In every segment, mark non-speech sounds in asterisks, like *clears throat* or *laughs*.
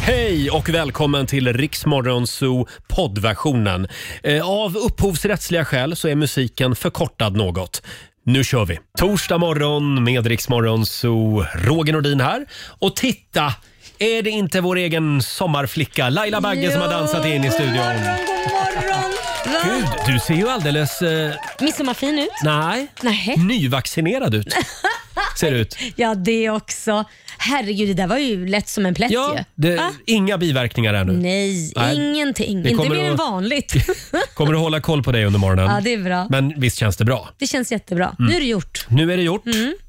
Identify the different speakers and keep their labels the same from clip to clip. Speaker 1: Hej och välkommen till Riksmorgon Zoo poddversionen. Eh, Av upphovsrättsliga skäl så är musiken förkortad något. Nu kör vi! Torsdag morgon med Riksmorgon Zoo. Roger Nordin här. Och titta! Är det inte vår egen sommarflicka Laila Bagge som har dansat in i studion? Gud, du ser ju alldeles... Eh,
Speaker 2: Midsommarfin ut.
Speaker 1: nej,
Speaker 2: Nej.
Speaker 1: nyvaccinerad
Speaker 2: *laughs*
Speaker 1: ut. Ser det ut.
Speaker 2: Ja, det också. Herregud, det där var ju lätt som en plätt
Speaker 1: Ja,
Speaker 2: ju.
Speaker 1: det,
Speaker 2: Va?
Speaker 1: inga biverkningar ännu.
Speaker 2: Nej,
Speaker 1: Nej.
Speaker 2: ingenting.
Speaker 1: Det
Speaker 2: Inte
Speaker 1: kommer
Speaker 2: mer än
Speaker 1: att-
Speaker 2: vanligt.
Speaker 1: Kommer att hålla koll på dig under morgonen.
Speaker 2: ja, det är bra.
Speaker 1: Men Mm. visst känns det bra?
Speaker 2: Det känns jättebra. Nu är det gjort.
Speaker 1: Nu är det gjort.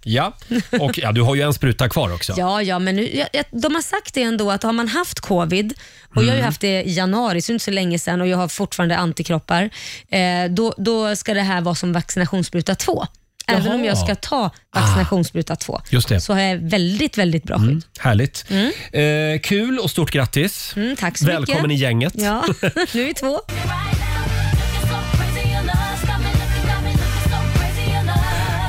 Speaker 1: Ja. Och ja, du har ju en spruta kvar också.
Speaker 2: Mm. Ja, ja, men nu, jag, jag, de har sagt det ändå att har man haft covid, och jag har ju
Speaker 1: Mm.
Speaker 2: haft det i januari, så det är inte så länge sedan, och jag har fortfarande antikroppar, eh, då, då ska det här vara som vaccinationsspruta 2. Även
Speaker 1: Jaha.
Speaker 2: om jag ska ta vaccinationsspruta 2,
Speaker 1: Just det.
Speaker 2: så har jag väldigt, väldigt bra skydd.
Speaker 1: Härligt. Eh, kul och stort grattis.
Speaker 2: Mm, tack så mycket.
Speaker 1: Välkommen i gänget.
Speaker 2: Ja, *laughs* nu är vi två.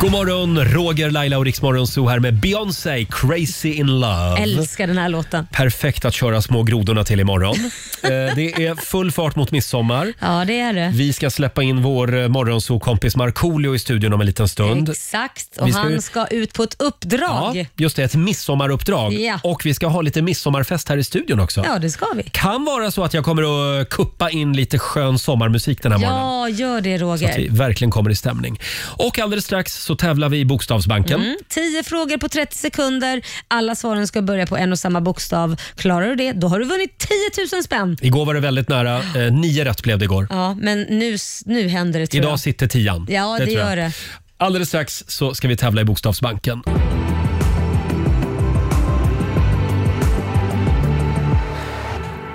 Speaker 1: God morgon, Roger, Laila och Riksmorgon Zoo här med Beyoncé, Crazy in Love.
Speaker 2: Älskar den här låten.
Speaker 1: Perfekt att köra små grodorna till
Speaker 2: *laughs*
Speaker 1: imorgon. eh, det är full fart mot midsommar.
Speaker 2: Ja, det är det.
Speaker 1: Vi ska släppa in vår eh, morgonzoo-kompis Markoolio i studion om en liten stund.
Speaker 2: Exakt, och
Speaker 1: Vi ska ju-
Speaker 2: han ska ut på ett uppdrag.
Speaker 1: Ja,
Speaker 2: Ja,
Speaker 1: just det, ett midsommaruppdrag.
Speaker 2: Ja.
Speaker 1: Och vi ska ha lite midsommarfest här i studion också.
Speaker 2: det ska vi.
Speaker 1: kan vara så att jag kommer att kuppa in lite skön sommarmusik den här morgonen.
Speaker 2: Ja, gör det
Speaker 1: Så att
Speaker 2: Roger.
Speaker 1: vi verkligen kommer i stämning. Och alldeles strax så tävlar vi i Bokstavsbanken.
Speaker 2: Mm, 10 frågor på 30 sekunder. Alla svaren ska börja på en och samma bokstav. Klarar du det, då har du vunnit 10 000 spänn.
Speaker 1: Igår var det väldigt nära. Eh, nio rätt blev det igår.
Speaker 2: Ja, men nu, s- nu händer det tror
Speaker 1: Idag sitter tian.
Speaker 2: jag. Ja, det,
Speaker 1: tror jag.
Speaker 2: gör det.
Speaker 1: Alldeles strax så ska vi tävla i Bokstavsbanken.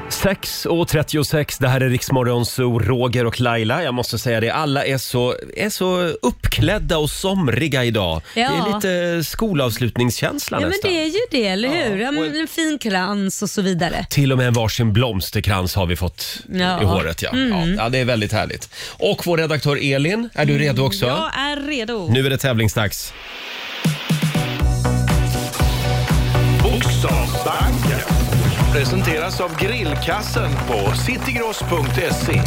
Speaker 1: Sex och 36, det här är Riksmorgon, så Roger och Laila. Jag måste säga det, alla är så, är så uppklädda och somriga idag.
Speaker 2: Ja.
Speaker 1: Det är lite skolavslutningskänsla
Speaker 2: Ja, men
Speaker 1: nästan.
Speaker 2: det är ju det, eller
Speaker 1: Ja,
Speaker 2: hur? Ja, men
Speaker 1: och-
Speaker 2: en fin krans och så vidare.
Speaker 1: Till och med en varsin blomsterkrans har vi fått
Speaker 2: Ja. Mm.
Speaker 1: i håret. Ja. Ja, ja, det är väldigt härligt. Och vår redaktör Elin, är du redo också?
Speaker 2: Mm,
Speaker 3: Jag är redo.
Speaker 1: Nu är det tävlingsdags.
Speaker 4: Bokstavsbanken presenteras av grillkassen på citygross.se.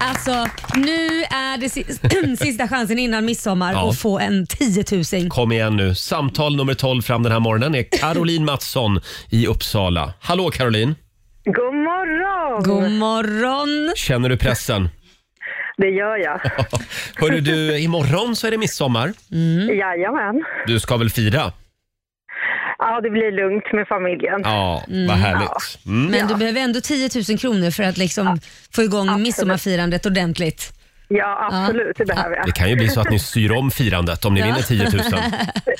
Speaker 2: Alltså, nu är det si- *clears throat* sista chansen innan midsommar
Speaker 1: Ja.
Speaker 2: att få en 10 000.
Speaker 1: Kom igen nu. Samtal nummer 12 fram den här morgonen är Caroline Mattsson i Uppsala. Hallå Caroline!
Speaker 5: God morgon!
Speaker 2: God morgon!
Speaker 1: Känner du pressen? *laughs*
Speaker 5: Det gör jag.
Speaker 1: Hörru du, imorgon så är det midsommar. Mm.
Speaker 5: Jajamän.
Speaker 1: Du ska väl fira?
Speaker 5: Ja, det blir lugnt med familjen.
Speaker 1: Ja, vad härligt. Mm.
Speaker 2: Men du behöver ändå 10 000 kronor för att liksom få igång midsommarfirandet ordentligt.
Speaker 5: Ja, absolut. Det behöver jag.
Speaker 1: Det kan ju bli så att ni syr om firandet om ni vinner 10 000.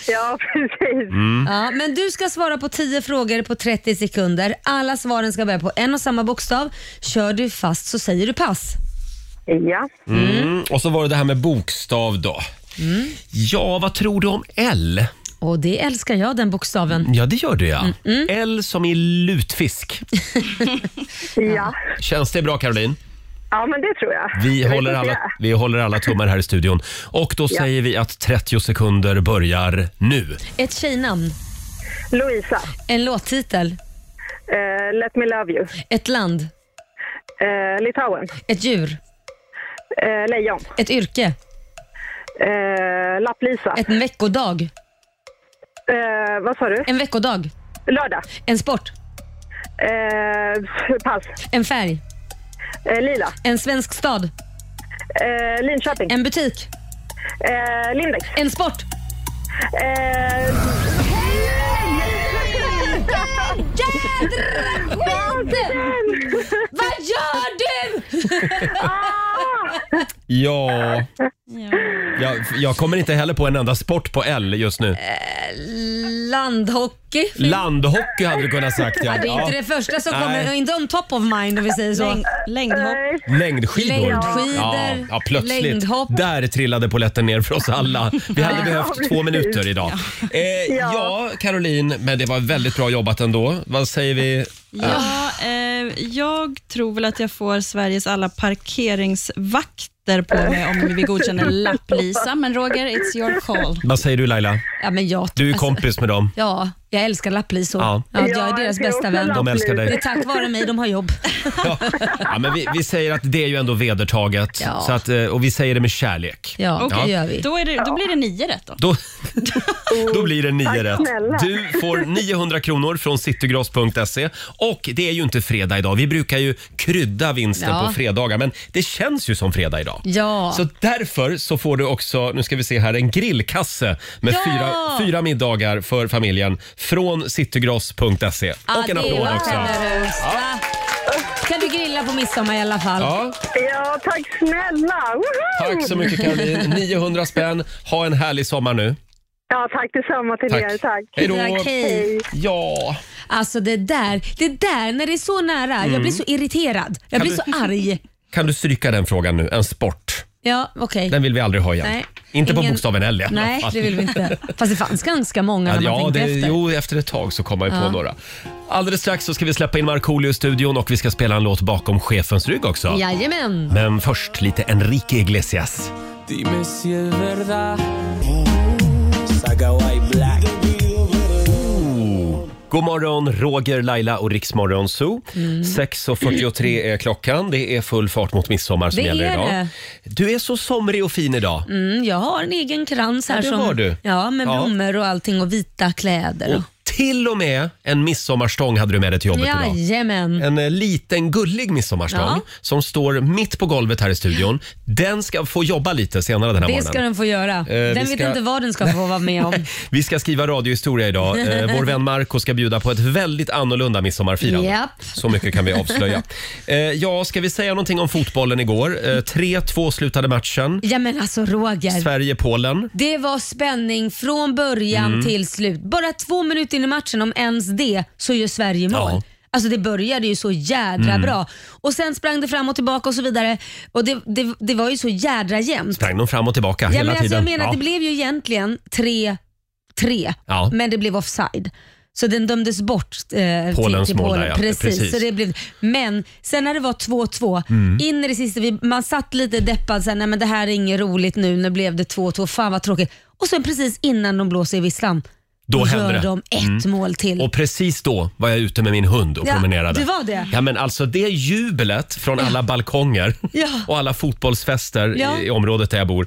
Speaker 5: Ja, precis.
Speaker 1: Mm.
Speaker 2: Ja, men du ska svara på 10 frågor på 30 sekunder. Alla svaren ska börja på en och samma bokstav. Kör du fast så säger du pass.
Speaker 5: Ja.
Speaker 1: Mm. Och så var det det här med bokstav då. Ja, vad tror du om L?
Speaker 2: Och det älskar jag, den bokstaven.
Speaker 1: Ja, det gör du ja. L som i lutfisk.
Speaker 5: ja.
Speaker 1: Känns det bra Caroline?
Speaker 5: Ja, men det tror jag.
Speaker 1: Vi
Speaker 5: Jag vet
Speaker 1: håller,
Speaker 5: inte
Speaker 1: alla,
Speaker 5: jag.
Speaker 1: vi håller alla tummar här i studion. Och då säger vi att 30 sekunder börjar nu.
Speaker 2: Ett tjejnamn,
Speaker 5: Louisa,
Speaker 2: en låttitel,
Speaker 5: eh, Let Me Love You.
Speaker 2: ett land,
Speaker 5: Eh, Litauen,
Speaker 2: ett djur,
Speaker 5: eh, Lejon,
Speaker 2: ett yrke,
Speaker 5: eh, Lapplisa.
Speaker 2: ett veckodag,
Speaker 5: Eh, vad sa du?
Speaker 2: en veckodag,
Speaker 5: Lördag,
Speaker 2: en sport,
Speaker 5: eh, pass.
Speaker 2: en färg,
Speaker 5: Eh, Lila,
Speaker 2: en svensk stad,
Speaker 5: eh, Linköping,
Speaker 2: en butik,
Speaker 5: eh, Lindex.
Speaker 2: en sport.
Speaker 5: Eh,
Speaker 2: Vad gör du?
Speaker 1: Ja, jag, jag kommer inte heller på en enda sport på L just
Speaker 2: Eh,
Speaker 1: nu.
Speaker 2: Landhockey.
Speaker 1: Landhockey hade du kunnat sagt ja.
Speaker 2: Det är inte
Speaker 1: ja.
Speaker 2: det första som
Speaker 1: Nej.
Speaker 2: kommer, inte on top of mind om vi säger så.
Speaker 3: Läng, längdhopp.
Speaker 5: nej.
Speaker 1: Längdskidor.
Speaker 2: Längdskidor,
Speaker 1: ja, ja, plötsligt.
Speaker 2: längdhopp.
Speaker 1: Där trillade poletten ner för oss alla. Vi
Speaker 2: *laughs*
Speaker 1: hade behövt två minuter idag. Eh, ja, Caroline, men det var väldigt bra jobbat ändå. Vad säger vi?
Speaker 3: Ja, eh, jag tror väl att jag får Sveriges alla parkeringsvakter på mig om vi godkänner lapplisa, men Roger, it's your call.
Speaker 1: Vad säger du Laila?
Speaker 2: Ja, men jag,
Speaker 1: Du är
Speaker 2: alltså,
Speaker 1: kompis med dem.
Speaker 2: Ja, Jag älskar lapplisor.
Speaker 1: Ja.
Speaker 2: Ja. jag är
Speaker 5: Ja,
Speaker 2: deras
Speaker 5: det är
Speaker 2: bästa
Speaker 5: också
Speaker 2: vän.
Speaker 1: De älskar
Speaker 2: Det
Speaker 1: dig.
Speaker 2: är tack vare mig de har jobb.
Speaker 1: Ja. Ja, men vi, vi säger att det är ju ändå vedertaget
Speaker 2: Ja.
Speaker 1: så att, eh, och vi säger det med kärlek.
Speaker 2: Ja,
Speaker 3: Okej,
Speaker 2: det gör vi.
Speaker 3: Då, är det, då blir det nio rätt då.
Speaker 5: *laughs*
Speaker 1: Då, då blir det
Speaker 5: tack
Speaker 1: nio rätt.
Speaker 5: snälla.
Speaker 1: Du får 900 kronor från citygross.se. Och det är ju inte fredag idag. Vi brukar ju krydda vinsten
Speaker 2: Ja.
Speaker 1: på fredagar, men det känns ju som fredag idag.
Speaker 2: Ja.
Speaker 1: Så därför så får du också, nu ska vi se här, en grillkasse med
Speaker 2: Ja!
Speaker 1: fyra, fyra middagar för familjen från citygross.se.
Speaker 2: Ja,
Speaker 1: och en
Speaker 2: det
Speaker 1: applåd
Speaker 2: var
Speaker 1: också.
Speaker 2: generöst. Va? Kan du grilla på midsommar i alla fall?
Speaker 1: Ja,
Speaker 5: Ja, tack snälla. Woho!
Speaker 1: tack så mycket
Speaker 2: *laughs*
Speaker 1: Caroline. 900 spänn. Ha en härlig sommar nu.
Speaker 5: Ja, tack detsamma till
Speaker 1: Tack.
Speaker 5: er. Tack.
Speaker 1: Hej då.
Speaker 2: Tack, hej.
Speaker 1: Ja.
Speaker 2: Alltså det där, det där när det är så nära. Jag
Speaker 1: Mm.
Speaker 2: blir så irriterad. Jag blir så arg.
Speaker 1: Kan du stryka den frågan nu? En sport.
Speaker 2: Ja, okej.
Speaker 1: Den vill vi aldrig ha igen.
Speaker 2: Nej,
Speaker 1: inte på
Speaker 2: ingen-
Speaker 1: bokstaven L i alla
Speaker 2: Nej,
Speaker 1: fall.
Speaker 2: det vill vi inte. Fast det fanns ganska många när man
Speaker 1: Ja,
Speaker 2: tänkte
Speaker 1: det,
Speaker 2: efter.
Speaker 1: jo, efter ett tag så kommer vi på
Speaker 2: Ja.
Speaker 1: några. Alldeles strax så ska vi släppa in Markoolio i studion och vi ska spela en låt bakom chefens rygg också.
Speaker 2: Jajamän.
Speaker 1: Men först lite Enrique Iglesias.
Speaker 6: Dime si es verdad. Saga White Black.
Speaker 1: God morgon, Roger, Laila och Riksmorgon Zoo.
Speaker 2: Mm.
Speaker 1: 6.43 är klockan. Det är full fart mot midsommar som
Speaker 2: Det
Speaker 1: gäller
Speaker 2: är
Speaker 1: idag.
Speaker 2: det.
Speaker 1: Du är så somrig och fin idag.
Speaker 2: Mm, jag har en egen krans här.
Speaker 1: det
Speaker 2: som,
Speaker 1: har du.
Speaker 2: Ja, med
Speaker 1: Ja.
Speaker 2: blommor och allting och vita kläder.
Speaker 1: Och till och med en midsommarstång hade du med dig till jobbet idag.
Speaker 2: Jajamän.
Speaker 1: En eh, liten gullig midsommarstång
Speaker 2: Ja.
Speaker 1: som står mitt på golvet här i studion. Den ska få jobba lite senare den här
Speaker 2: Det
Speaker 1: morgonen.
Speaker 2: ska den få göra.
Speaker 1: Eh, vi
Speaker 2: den vet
Speaker 1: ska-
Speaker 2: inte vad den ska få vara med om.
Speaker 1: *laughs* Vi ska skriva radiohistoria
Speaker 2: *laughs*
Speaker 1: idag. Eh, vår vän Marco ska bjuda på ett väldigt annorlunda midsommarfirande.
Speaker 2: Japp.
Speaker 1: Så mycket kan vi
Speaker 2: *laughs*
Speaker 1: avslöja. Eh, ja, ska vi säga någonting om fotbollen igår? Eh, 3-2 slutade matchen.
Speaker 2: Ja men alltså Roger.
Speaker 1: Sverige-Polen.
Speaker 2: Det var spänning från början till slut. Bara två minuter in i matchen, om ens det, så gör Sverige mål.
Speaker 1: Ja.
Speaker 2: Alltså det började ju så jädra bra. Och Sen sprang det fram och tillbaka och så vidare. Och Det, det, det var ju så jädra jämnt.
Speaker 1: Sprang de fram och tillbaka
Speaker 2: Ja,
Speaker 1: hela
Speaker 2: men alltså
Speaker 1: tiden?
Speaker 2: jag menar,
Speaker 1: ja.
Speaker 2: det blev ju egentligen 3-3,
Speaker 1: Ja.
Speaker 2: men det blev offside. Så den dömdes bort eh,
Speaker 1: Polens
Speaker 2: till, till
Speaker 1: mål
Speaker 2: Polen.
Speaker 1: där, ja.
Speaker 2: precis.
Speaker 1: Precis. Mm.
Speaker 2: Så det blev, men sen när det var 2-2, in i det sista, vi, man satt lite deppad, så här, nej men det här är inget roligt nu, nu blev det 2-2, fan vad tråkigt. Och sen precis innan de blåser i visslan,
Speaker 1: Då händer
Speaker 2: gör
Speaker 1: det. Mm.
Speaker 2: de ett mål till.
Speaker 1: Och precis då var jag ute med min hund och
Speaker 2: Ja,
Speaker 1: promenerade.
Speaker 2: det var det.
Speaker 1: Ja, men alltså det jublet från alla balkonger
Speaker 2: Ja.
Speaker 1: och alla fotbollsfester i-
Speaker 2: Ja.
Speaker 1: i området där jag bor.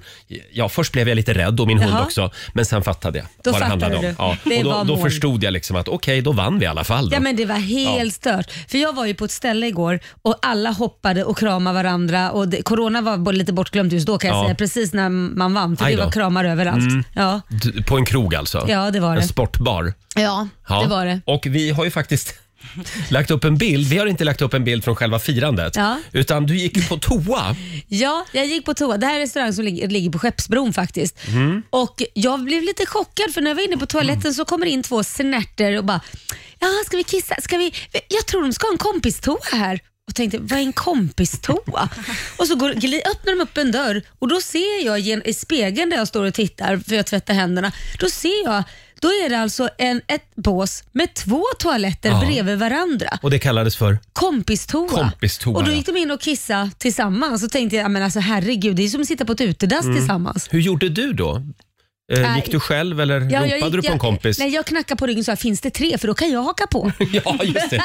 Speaker 1: Ja, först blev jag lite rädd och min hund
Speaker 2: Jaha.
Speaker 1: också, men sen fattade jag
Speaker 2: Då
Speaker 1: vad det
Speaker 2: fattade
Speaker 1: handlade
Speaker 2: du.
Speaker 1: om. Ja.
Speaker 2: Det
Speaker 1: Och då,
Speaker 2: var
Speaker 1: då
Speaker 2: mål.
Speaker 1: förstod jag liksom att okej, då vann vi i alla fall. Då.
Speaker 2: Ja men det var helt stört. För jag var ju på ett ställe igår och alla hoppade och kramade varandra och det, corona var bo- lite bortglömt just då kan jag
Speaker 1: Ja.
Speaker 2: säga, precis när man vann för
Speaker 1: Aj
Speaker 2: det
Speaker 1: då. Mm.
Speaker 2: var kramar överallt. Ja.
Speaker 1: D- På en krog alltså?
Speaker 2: Ja, det var
Speaker 1: En
Speaker 2: det.
Speaker 1: sportbar?
Speaker 2: Ja,
Speaker 1: Ja.
Speaker 2: det var det.
Speaker 1: Och vi har ju faktiskt *laughs* lagt upp en bild. Vi har inte lagt upp en bild från själva firandet,
Speaker 2: Ja.
Speaker 1: utan du gick ju på toa.
Speaker 2: Ja, jag gick på toa. Det här är en restaurang som ligger, ligger på Skeppsbron faktiskt. Och jag blev lite chockad för när jag var inne på toaletten så kommer det in två snärter och bara, ja ska vi kissa? Ska vi? Jag tror de ska ha en kompistoa här. Och tänkte, vad är en kompistoa? och så går, gli- öppnar de upp en dörr och då ser jag gen, i spegeln där jag står och tittar, för jag tvättar händerna, då ser jag, då är det alltså en, ett bås med två toaletter
Speaker 1: Ja.
Speaker 2: bredvid varandra
Speaker 1: Och det kallades för?
Speaker 2: kompistoa.
Speaker 1: Kompistoa,
Speaker 2: och då
Speaker 1: ja.
Speaker 2: gick de in och kissade tillsammans och tänkte jag, men alltså herregud, det är som att sitta på ett utedass
Speaker 1: Mm.
Speaker 2: tillsammans.
Speaker 1: Hur gjorde du då? Eh,
Speaker 2: Nej.
Speaker 1: Gick du själv eller
Speaker 2: Ja,
Speaker 1: ropade du på en kompis?
Speaker 2: Jag, nej, jag knackade på ryggen och sa, finns det tre? För då kan jag haka
Speaker 1: *laughs*
Speaker 2: på.
Speaker 1: Ja, just det.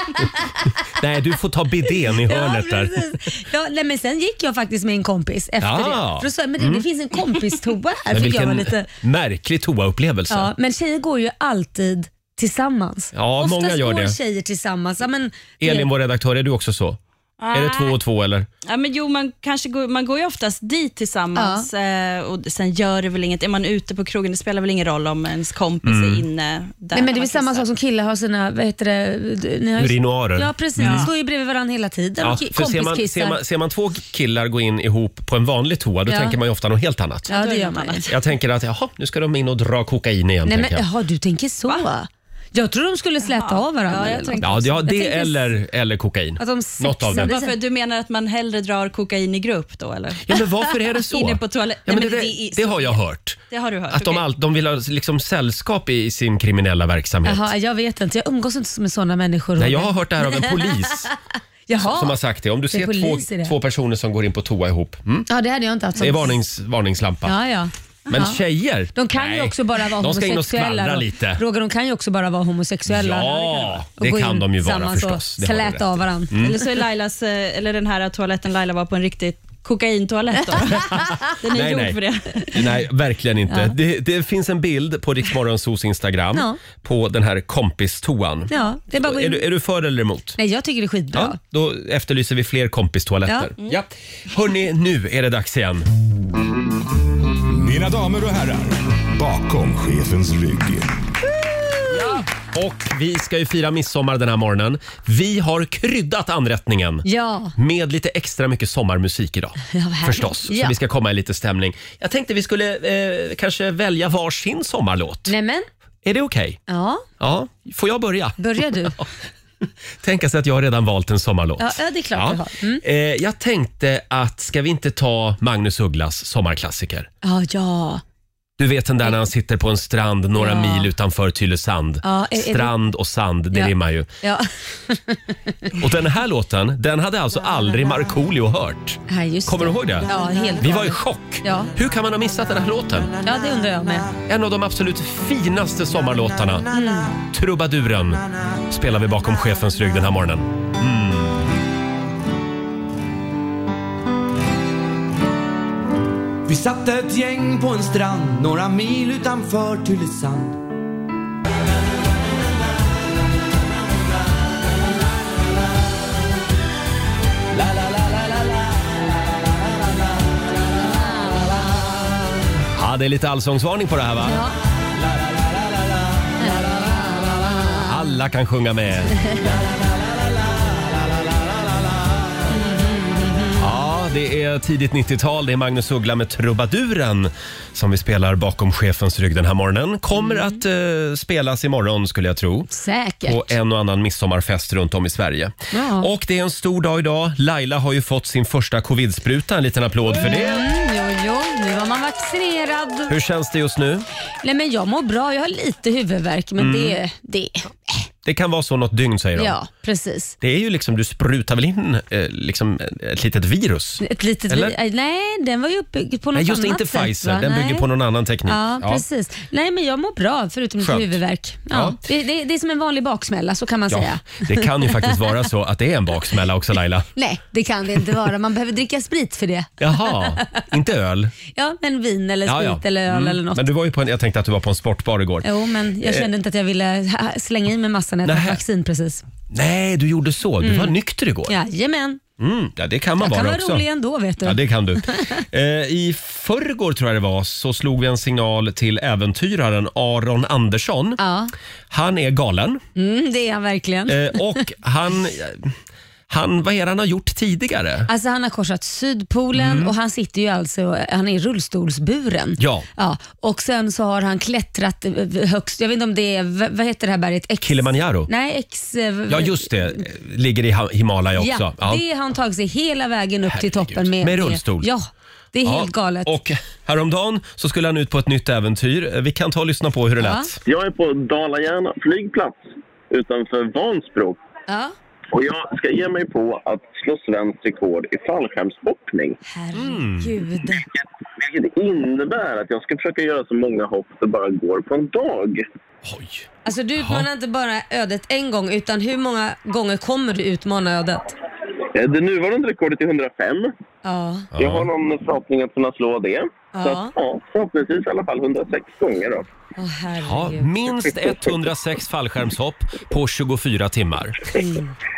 Speaker 1: Nej, du får ta bidén i hörnet där.
Speaker 2: precis. ja, nej, men sen gick jag faktiskt med en kompis efter
Speaker 1: Ja.
Speaker 2: det. För då sa jag, men det, det finns en kompistoa här.
Speaker 1: Ah. Mm. *laughs* Men
Speaker 2: Fick jag vara
Speaker 1: vilken
Speaker 2: lite,
Speaker 1: märklig toaupplevelse.
Speaker 2: ja, men tjejer går ju alltid tillsammans.
Speaker 1: Ja,
Speaker 2: Oftast
Speaker 1: många gör
Speaker 2: går
Speaker 1: det.
Speaker 2: tjejer tillsammans. Ja, men,
Speaker 1: Elin, vår redaktör, är du också så? Är det två och två eller?
Speaker 3: Ah, Ja, men jo, man, kanske går, man går ju oftast dit tillsammans eh, och sen gör det väl inget. Är man ute på krogen, det spelar väl ingen roll om ens kompis
Speaker 1: Mm.
Speaker 3: är inne där.
Speaker 2: Nej, men det
Speaker 3: när
Speaker 2: är
Speaker 3: man
Speaker 2: väl samma
Speaker 3: kissar.
Speaker 2: sak som killar har sina, vad heter det? Ni har ju-
Speaker 1: Urinoarer. Mm.
Speaker 2: Ja precis, de står ju bredvid varandra hela tiden
Speaker 1: Ja,
Speaker 2: och ki-
Speaker 1: för ser, man,
Speaker 2: kompiskissar.
Speaker 1: ser, man, ser man två killar gå in ihop på en vanlig toa, då
Speaker 2: Ja.
Speaker 1: tänker man ju ofta något helt annat.
Speaker 2: Ja
Speaker 3: Då
Speaker 2: det
Speaker 3: är det
Speaker 2: gör
Speaker 3: något
Speaker 2: man ju.
Speaker 3: annat.
Speaker 1: Jag tänker att jaha, nu ska de in och dra kokain igen.
Speaker 2: Nej men
Speaker 1: tänker jag.
Speaker 2: jaha, du tänker så? Jag tror de skulle släta av varandra.
Speaker 3: Ja, jag
Speaker 2: eller
Speaker 3: tänkte-
Speaker 1: Ja, det, ja, det
Speaker 2: tänkte-
Speaker 1: eller, eller kokain.
Speaker 2: Att de
Speaker 1: Något av det.
Speaker 2: sexade.
Speaker 3: Varför, du menar att man hellre drar kokain i grupp då eller?
Speaker 1: Ja, men varför är det så?
Speaker 3: Inne på toaletten.
Speaker 1: Ja, men det,
Speaker 3: Nej, men
Speaker 1: det,
Speaker 3: det är-
Speaker 1: har jag hört.
Speaker 3: Det har du hört,
Speaker 1: Att de,
Speaker 3: okej.
Speaker 1: all, de vill ha liksom sällskap i sin kriminella verksamhet.
Speaker 2: något. Jaha, jag vet inte. Jag umgås inte med sådana människor.
Speaker 1: Nej, jag har hört det här av en
Speaker 2: *laughs*
Speaker 1: polis
Speaker 2: Jaha.
Speaker 1: som har sagt det. Om du
Speaker 2: Det är
Speaker 1: ser
Speaker 2: polis i
Speaker 1: två,
Speaker 2: det.
Speaker 1: två personer som går in på toa ihop, mm,
Speaker 2: Ja, det hade jag inte haft.
Speaker 1: det är varnings, varningslampa.
Speaker 2: Ja, ja.
Speaker 1: Men
Speaker 2: Ja.
Speaker 1: tjejer?
Speaker 2: De kan
Speaker 1: Nej.
Speaker 2: ju också bara vara
Speaker 1: De ska in och
Speaker 2: homosexuella.
Speaker 1: skvallra
Speaker 2: då.
Speaker 1: lite.
Speaker 2: Roger, de kan ju också bara vara homosexuella.
Speaker 1: Ja,
Speaker 2: Och
Speaker 1: det
Speaker 2: gå
Speaker 1: kan
Speaker 2: in
Speaker 1: de ju vara
Speaker 2: tillsammans och
Speaker 1: förstås. Det har du rätt Mm.
Speaker 2: Släta av varandra.
Speaker 3: Eller så är Lailas, eh, eller den här toaletten Laila var på en riktig kokaintoalett. Då.
Speaker 7: *laughs*
Speaker 3: Den är
Speaker 1: Nej,
Speaker 3: gjord
Speaker 1: nej.
Speaker 3: för det.
Speaker 1: Nej, verkligen inte.
Speaker 2: Ja.
Speaker 1: Det, det finns en bild på Riksmorgonsos Instagram
Speaker 2: Ja.
Speaker 1: på den här kompistoan.
Speaker 2: Ja, det är bara att gå
Speaker 1: Är,
Speaker 2: in.
Speaker 1: du, är du för eller emot?
Speaker 2: Nej, jag tycker det är skitbra.
Speaker 1: Ja, då efterlyser vi fler kompistoaletter.
Speaker 2: Mm.
Speaker 1: Ja. Hörni, nu är det dags igen.
Speaker 8: Mina damer och herrar, bakom chefens rygg.
Speaker 1: Och vi ska ju fira midsommar den här morgonen. Vi har kryddat anrättningen.
Speaker 2: Ja.
Speaker 1: Med lite extra mycket sommarmusik idag.
Speaker 2: Ja, vad härligt.
Speaker 1: förstås. Så
Speaker 2: Ja.
Speaker 1: vi ska komma i lite stämning. Jag tänkte vi skulle eh, kanske välja varsin sommarlåt.
Speaker 2: Nej men,
Speaker 1: Är det okej?
Speaker 2: ja,
Speaker 1: Ja, får jag börja? *laughs*
Speaker 2: börja du.
Speaker 1: Tänka sig att jag har redan valt en sommarlåt.
Speaker 2: Ja, ja, det är klart du har. Mm.
Speaker 1: Eh, jag tänkte att ska vi inte ta Magnus Ugglas sommarklassiker?
Speaker 2: Ja, ja.
Speaker 1: Du vet den där när han sitter på en strand några
Speaker 2: Ja.
Speaker 1: mil utanför Tylösand.
Speaker 2: Ja, är- är det-
Speaker 1: strand och sand, det
Speaker 2: Ja.
Speaker 1: rimmar ju.
Speaker 2: ja.
Speaker 1: Och den här låten, den hade alltså aldrig Markoolio hört.
Speaker 2: ja just
Speaker 1: Kommer du ihåg det?
Speaker 2: Ja, helt
Speaker 1: Vi var i
Speaker 2: galet.
Speaker 1: chock.
Speaker 2: Ja.
Speaker 1: Hur kan man ha missat den här låten?
Speaker 2: Ja, det undrar jag med.
Speaker 1: En av de absolut finaste sommarlåtarna.
Speaker 2: Mm.
Speaker 1: Trubaduren spelar vi bakom chefens rygg den här morgonen.
Speaker 6: Vi satt ett gäng på en strand några mil utanför Tylösand.
Speaker 1: Ja, det är lite allsångsvarning på det här va?
Speaker 2: Ja.
Speaker 1: Alla kan sjunga med. Ja, Det är tidigt 90-tal, det är Magnus Uggla med Trubaduren som vi spelar bakom chefens rygg den här morgonen. Kommer
Speaker 2: Mm.
Speaker 1: att eh, spelas imorgon skulle jag tro.
Speaker 2: Säkert.
Speaker 1: På en och annan midsommarfest runt om i Sverige.
Speaker 2: Ja.
Speaker 1: Och det är en stor dag idag. Laila har ju fått sin första covidspruta. En liten applåd för det.
Speaker 2: Mm, jo, jo, nu var man vaccinerad.
Speaker 1: Hur känns det just nu?
Speaker 2: Nej men jag mår bra, jag har lite huvudvärk men
Speaker 1: Mm.
Speaker 2: det, det,
Speaker 1: Det kan vara så något dygn säger de.
Speaker 2: ja precis.
Speaker 1: Det är ju liksom, du sprutar väl in eh, liksom ett litet virus?
Speaker 2: Ett litet,
Speaker 1: Eller?
Speaker 2: Eller? Nej, den var ju uppbyggd på något
Speaker 1: Nej, just det,
Speaker 2: annat
Speaker 1: inte
Speaker 2: sätt,
Speaker 1: Pfizer.
Speaker 2: va?
Speaker 1: Den
Speaker 2: Nej.
Speaker 1: bygger på någon annan teknik.
Speaker 2: Ja, precis. Nej, men jag mår bra förutom lite
Speaker 1: Skönt.
Speaker 2: huvudvärk. Ja.
Speaker 1: Ja.
Speaker 2: Det, det, det är som en vanlig baksmälla, så kan man
Speaker 1: Ja,
Speaker 2: säga.
Speaker 1: det kan ju faktiskt vara så att det är en baksmälla också Laila.
Speaker 2: *laughs* Nej, det kan det inte vara. Man behöver dricka sprit för det.
Speaker 1: Jaha, inte öl?
Speaker 2: Ja, men vin eller sprit eller öl
Speaker 1: Mm.
Speaker 2: eller något.
Speaker 1: Men du var ju på en, jag tänkte att du var på en sportbar igår.
Speaker 2: Jo, men jag kände inte att jag ville ha- slänga i mig massan när jag
Speaker 1: Nähä.
Speaker 2: fick vaccin precis.
Speaker 1: Nej, du gjorde så. Du var nykter igår.
Speaker 2: Jajamän,
Speaker 1: Mm, ja, det kan man
Speaker 2: Mm. jag kan
Speaker 1: vara
Speaker 2: vara
Speaker 1: också.
Speaker 2: rolig ändå vet du.
Speaker 1: Ja, det
Speaker 2: *laughs*
Speaker 1: kan du. Eh, I förrgår tror jag det var så slog vi en signal till äventyraren Aron Andersson.
Speaker 2: Ja.
Speaker 1: Han är galen.
Speaker 2: Mm, det är han verkligen.
Speaker 1: Eh, och han, han, vad är det han har gjort tidigare?
Speaker 2: Alltså han har korsat Sydpolen och han sitter ju alltså, han är rullstolsburen.
Speaker 1: Mm. Ja.
Speaker 2: ja. Och sen så har han klättrat eh, högst, jag vet inte om det är, v- vad heter det här berget? X,
Speaker 1: Kilimanjaro?
Speaker 2: Nej, X... eh, v-
Speaker 1: Ja, just det. Ligger i Ha- Himalaya också.
Speaker 2: Ja, det har han tagit sig hela vägen upp till
Speaker 1: Herregud.
Speaker 2: toppen med.
Speaker 1: Med rullstol.
Speaker 2: Ja, det är
Speaker 1: Ja,
Speaker 2: helt galet.
Speaker 1: Och häromdagen så skulle han ut på ett nytt äventyr. Vi kan ta och lyssna på hur det
Speaker 2: Ja.
Speaker 1: lät.
Speaker 9: Jag är på Dala-Järna flygplats utanför Vansbro
Speaker 2: Ja.
Speaker 9: och jag ska ge mig på att slå svenskt rekord i fallskärmshoppning.
Speaker 1: Mm.
Speaker 2: Herregud.
Speaker 9: Vilket innebär att jag ska försöka göra så många hopp det bara går på en dag.
Speaker 1: Oj.
Speaker 2: Alltså du utmanar inte bara ödet en gång, utan hur många gånger kommer du utmana ödet?
Speaker 9: Eh, Det nuvarande rekordet är 105.
Speaker 2: Ja.
Speaker 9: Jag har någon förhoppning att kunna slå det. Så
Speaker 2: Ja.
Speaker 9: att, ja, förhoppningsvis i alla fall 106 gånger då.
Speaker 2: Åh
Speaker 1: Ja,
Speaker 2: herregud.
Speaker 1: minst 106 fallskärmshopp på 24 timmar.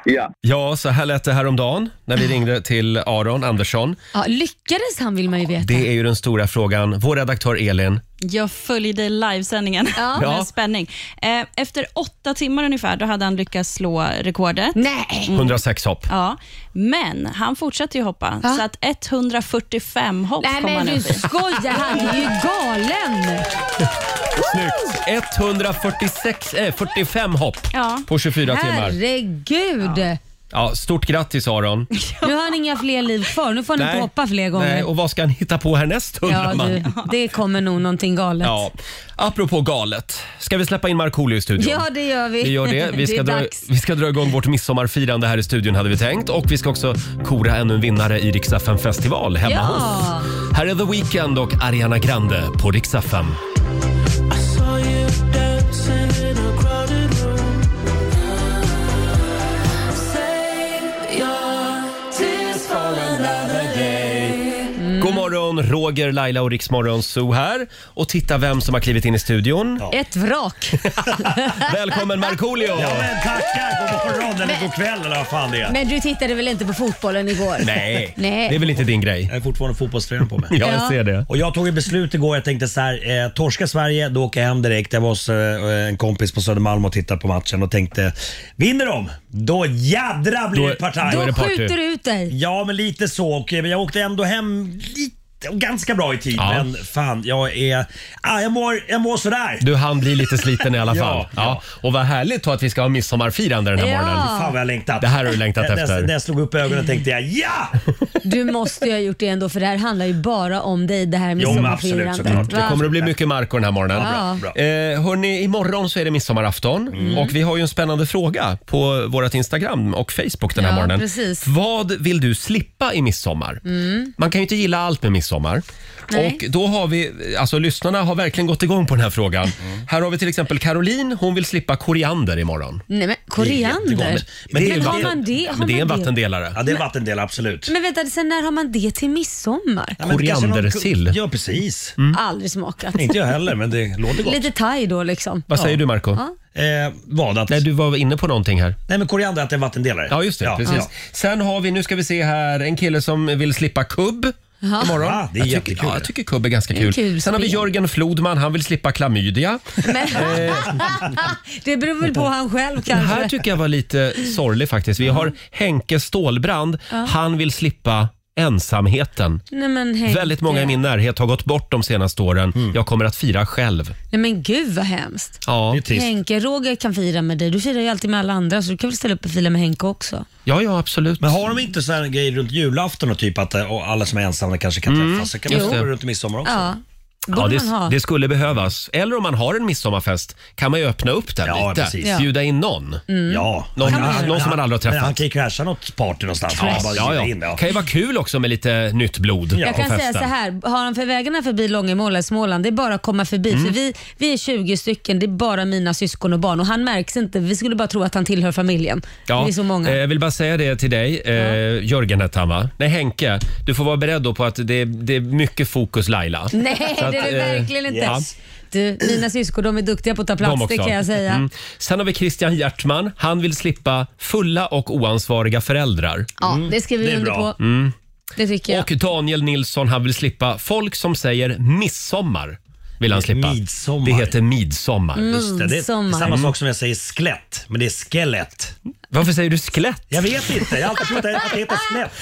Speaker 9: Ja,
Speaker 1: Ja, så här lät det häromdagen när vi ringde till Aron Andersson.
Speaker 2: Ja, lyckades han vill man ju veta.
Speaker 1: Det är ju den stora frågan. Vår redaktör Elin.
Speaker 3: Jag följde livesändningen
Speaker 2: Ja.
Speaker 1: Ja.
Speaker 3: *laughs* med spänning. Eh, Efter åtta timmar ungefär, då hade han lyckats slå rekordet.
Speaker 7: Mm.
Speaker 2: Nej!
Speaker 1: 106 hopp.
Speaker 3: Ja, men han fortsatte ju hoppa,
Speaker 2: Ja.
Speaker 3: så att 145 hopp
Speaker 2: Nej
Speaker 3: kom
Speaker 2: men
Speaker 3: han
Speaker 2: du
Speaker 3: upp i.
Speaker 2: skojar, han är ju galen!
Speaker 1: Snyggt! 146, eh, 45 hopp
Speaker 3: Ja.
Speaker 1: på 24 timmar.
Speaker 2: Herregud!
Speaker 1: Ja, stort grattis
Speaker 2: *laughs*
Speaker 1: Aron.
Speaker 2: Nu har han inga fler liv kvar, nu får han inte hoppa fler gånger.
Speaker 1: Nej, och vad ska han hitta på härnäst undrar
Speaker 2: ja,
Speaker 1: man.
Speaker 2: du, det kommer nog någonting galet.
Speaker 1: Ja. Apropå galet, ska vi släppa in Markoolio i studion?
Speaker 2: Ja, det gör vi.
Speaker 1: Vi gör det. Vi ska,
Speaker 2: *laughs* det är
Speaker 1: dra,
Speaker 2: dags.
Speaker 1: vi ska dra igång vårt midsommarfirande här i studion hade vi tänkt. Och vi ska också kora ännu en vinnare i Riksaffen festival hemma
Speaker 2: Ja.
Speaker 1: hos. Här är The Weeknd och Ariana Grande på Rix FM. God morgon, Roger, Laila och Riksmorgon Zoo här. Och titta vem som har klivit in i studion.
Speaker 2: Ett vrak.
Speaker 1: Välkommen Markoolio!
Speaker 10: Ja, men tackar! God morgon eller god kväll eller vad fan det är.
Speaker 2: Men du tittade väl inte på fotbollen igår?
Speaker 1: Nej,
Speaker 2: Nej.
Speaker 1: det är väl inte din grej?
Speaker 10: Jag är fortfarande fotbollstränare på mig.
Speaker 1: Ja, jag
Speaker 2: Ja.
Speaker 1: ser det.
Speaker 10: Och jag tog ett beslut igår, jag tänkte så här, eh, torska Sverige, då åker jag hem direkt. Jag var hos eh, en kompis på Södermalm och tittade på matchen och tänkte, vinner de, då jädra blir
Speaker 1: Då-
Speaker 10: det partaj.
Speaker 1: då är det
Speaker 2: Då
Speaker 1: party.
Speaker 2: skjuter du ut dig.
Speaker 10: Ja, men lite så. Och, eh, men jag åkte ändå hem lite, och ganska bra i tid.
Speaker 1: Ja.
Speaker 10: Men fan, jag är... Ah, jag, mår, jag mår sådär.
Speaker 1: Du han blir lite sliten i alla
Speaker 10: Ja,
Speaker 1: fall. Ja,
Speaker 10: ja.
Speaker 1: Och vad härligt då att vi ska ha midsommarfirande den här
Speaker 2: Ja.
Speaker 1: morgonen.
Speaker 10: Fan vad jag längtat.
Speaker 1: Det här har du längtat
Speaker 10: *laughs* När- när-
Speaker 1: efter.
Speaker 10: När jag slog upp ögonen tänkte jag ja!
Speaker 2: Du måste ju ha gjort det ändå för det här handlar ju bara om dig det här med
Speaker 10: Jo, men absolut, såklart.
Speaker 1: Det kommer att bli mycket Marco den här morgonen.
Speaker 2: Ja,
Speaker 10: bra, Mm. bra.
Speaker 1: Eh, hörni, imorgon så är det midsommarafton och vi har ju en spännande fråga på vårt Instagram och Facebook den här
Speaker 2: Ja,
Speaker 1: morgonen.
Speaker 2: precis. Mm.
Speaker 1: Vad vill du slippa i midsommar? Man kan ju inte gilla allt med midsommar.
Speaker 2: Nej.
Speaker 1: Och då har vi, alltså lyssnarna har verkligen gått igång på den här frågan.
Speaker 10: Mm.
Speaker 1: Här har vi till exempel Caroline, hon vill slippa koriander imorgon.
Speaker 2: Nej, men koriander?
Speaker 1: Men det är,
Speaker 2: Men har
Speaker 1: ju vatten-
Speaker 2: man det? Har
Speaker 1: men det är en
Speaker 2: man det?
Speaker 1: vattendelare.
Speaker 10: Ja, det är en vattendel, absolut.
Speaker 2: Men vänta, sen när har man det till midsommar?
Speaker 10: Ja, men kanske någon-
Speaker 1: Koriandersill.
Speaker 10: Ja, precis.
Speaker 1: Mm.
Speaker 2: Aldrig smakat.
Speaker 10: Inte jag heller, men det låter gott.
Speaker 2: Lite thai då liksom.
Speaker 1: Vad säger du Marco?
Speaker 10: Eh, vad? Att,
Speaker 1: Nej,
Speaker 10: nej,
Speaker 1: du var inne på någonting här.
Speaker 10: men koriander, att det är en vattendelare.
Speaker 1: Ja, just det. precis. Sen har vi, nu ska vi se här, en kille som vill slippa kubb. Imorgon.
Speaker 10: Va? Ah, Det är
Speaker 1: jag, tycker,
Speaker 10: jättekul.
Speaker 1: ja, jag tycker kubb är ganska kul.
Speaker 2: kul
Speaker 1: Sen har vi
Speaker 2: spel.
Speaker 1: Jörgen Flodman, han vill slippa klamydia.
Speaker 2: Men, *laughs* det beror väl på han själv
Speaker 1: Det
Speaker 2: kanske.
Speaker 1: här tycker jag var lite sorglig faktiskt. Vi har Henke Stålbrand, han vill slippa ensamheten.
Speaker 2: Nej, men, hej.
Speaker 1: Väldigt många i min närhet har gått bort de senaste åren.
Speaker 10: Mm.
Speaker 1: Jag kommer att fira själv.
Speaker 2: Nej men gud vad hemskt.
Speaker 1: Ja.
Speaker 10: Det är trist.
Speaker 2: Henke, Roger kan fira med dig. Du firar ju alltid med alla andra så du kan väl ställa upp och fira med Henke också.
Speaker 1: ja, ja absolut.
Speaker 10: Men har de inte sån här grejer runt julafton och typ att eh, och alla som är ensamma kanske kan
Speaker 1: Mm.
Speaker 10: träffas? Så kan man
Speaker 2: Jo.
Speaker 10: stå runt i midsommar också.
Speaker 2: Ja, borde
Speaker 1: Ja,
Speaker 2: man ha.
Speaker 1: det, det skulle behövas. Eller om man har en midsommarfest kan man ju öppna upp den
Speaker 10: Ja,
Speaker 1: lite.
Speaker 10: precis. Ja.
Speaker 1: Bjuda in någon.
Speaker 2: Mm.
Speaker 10: Ja.
Speaker 1: Mm. Någon-
Speaker 10: Han-
Speaker 1: någon som man aldrig har träffat.
Speaker 10: Han kan ju krascha något party någonstans.
Speaker 1: Ja,
Speaker 10: Bara
Speaker 1: ja,
Speaker 10: bjuda
Speaker 1: ja.
Speaker 10: in det, ja.
Speaker 1: kan ju vara kul också med lite nytt blod
Speaker 10: Jag
Speaker 2: jag
Speaker 1: på
Speaker 2: kan
Speaker 1: festen.
Speaker 2: säga så här, har han för vägarna förbi Långemåla i Småland, det är bara att komma förbi.
Speaker 1: Mm.
Speaker 2: För vi, vi är 20 stycken, det är bara mina syskon och barn och han märks inte. Vi skulle bara tro att han tillhör familjen.
Speaker 1: Ja,
Speaker 2: Vi är så många.
Speaker 1: eh, Jag vill bara säga det till dig, eh, Jörgen hette han va? Nej, Henke. Du får vara beredd då på att det, det är mycket fokus Laila.
Speaker 2: Nej,
Speaker 1: Så att,
Speaker 2: det är det
Speaker 1: eh,
Speaker 2: verkligen inte.
Speaker 1: ja.
Speaker 2: Du, mina syskon de är duktiga på att ta plats,
Speaker 1: De
Speaker 2: det
Speaker 1: också.
Speaker 2: kan jag säga.
Speaker 1: Mm. Sen har vi Christian Hjertman. Han vill slippa fulla och oansvariga föräldrar.
Speaker 2: Ja, det skriver
Speaker 10: Det
Speaker 2: vi
Speaker 10: är
Speaker 2: under
Speaker 10: bra.
Speaker 2: på. Det tycker jag.
Speaker 1: Mm. Och Daniel Nilsson, han vill slippa folk som säger midsommar. Vill han slippa.
Speaker 10: Midsommar.
Speaker 1: Det heter midsommar.
Speaker 2: Mm.
Speaker 10: Just det, det är
Speaker 2: Midsommar.
Speaker 10: samma sak som jag säger skelett, men det är skelett.
Speaker 1: Varför säger du skelett?
Speaker 10: Jag vet inte, jag har alltid trott att det heter skelett.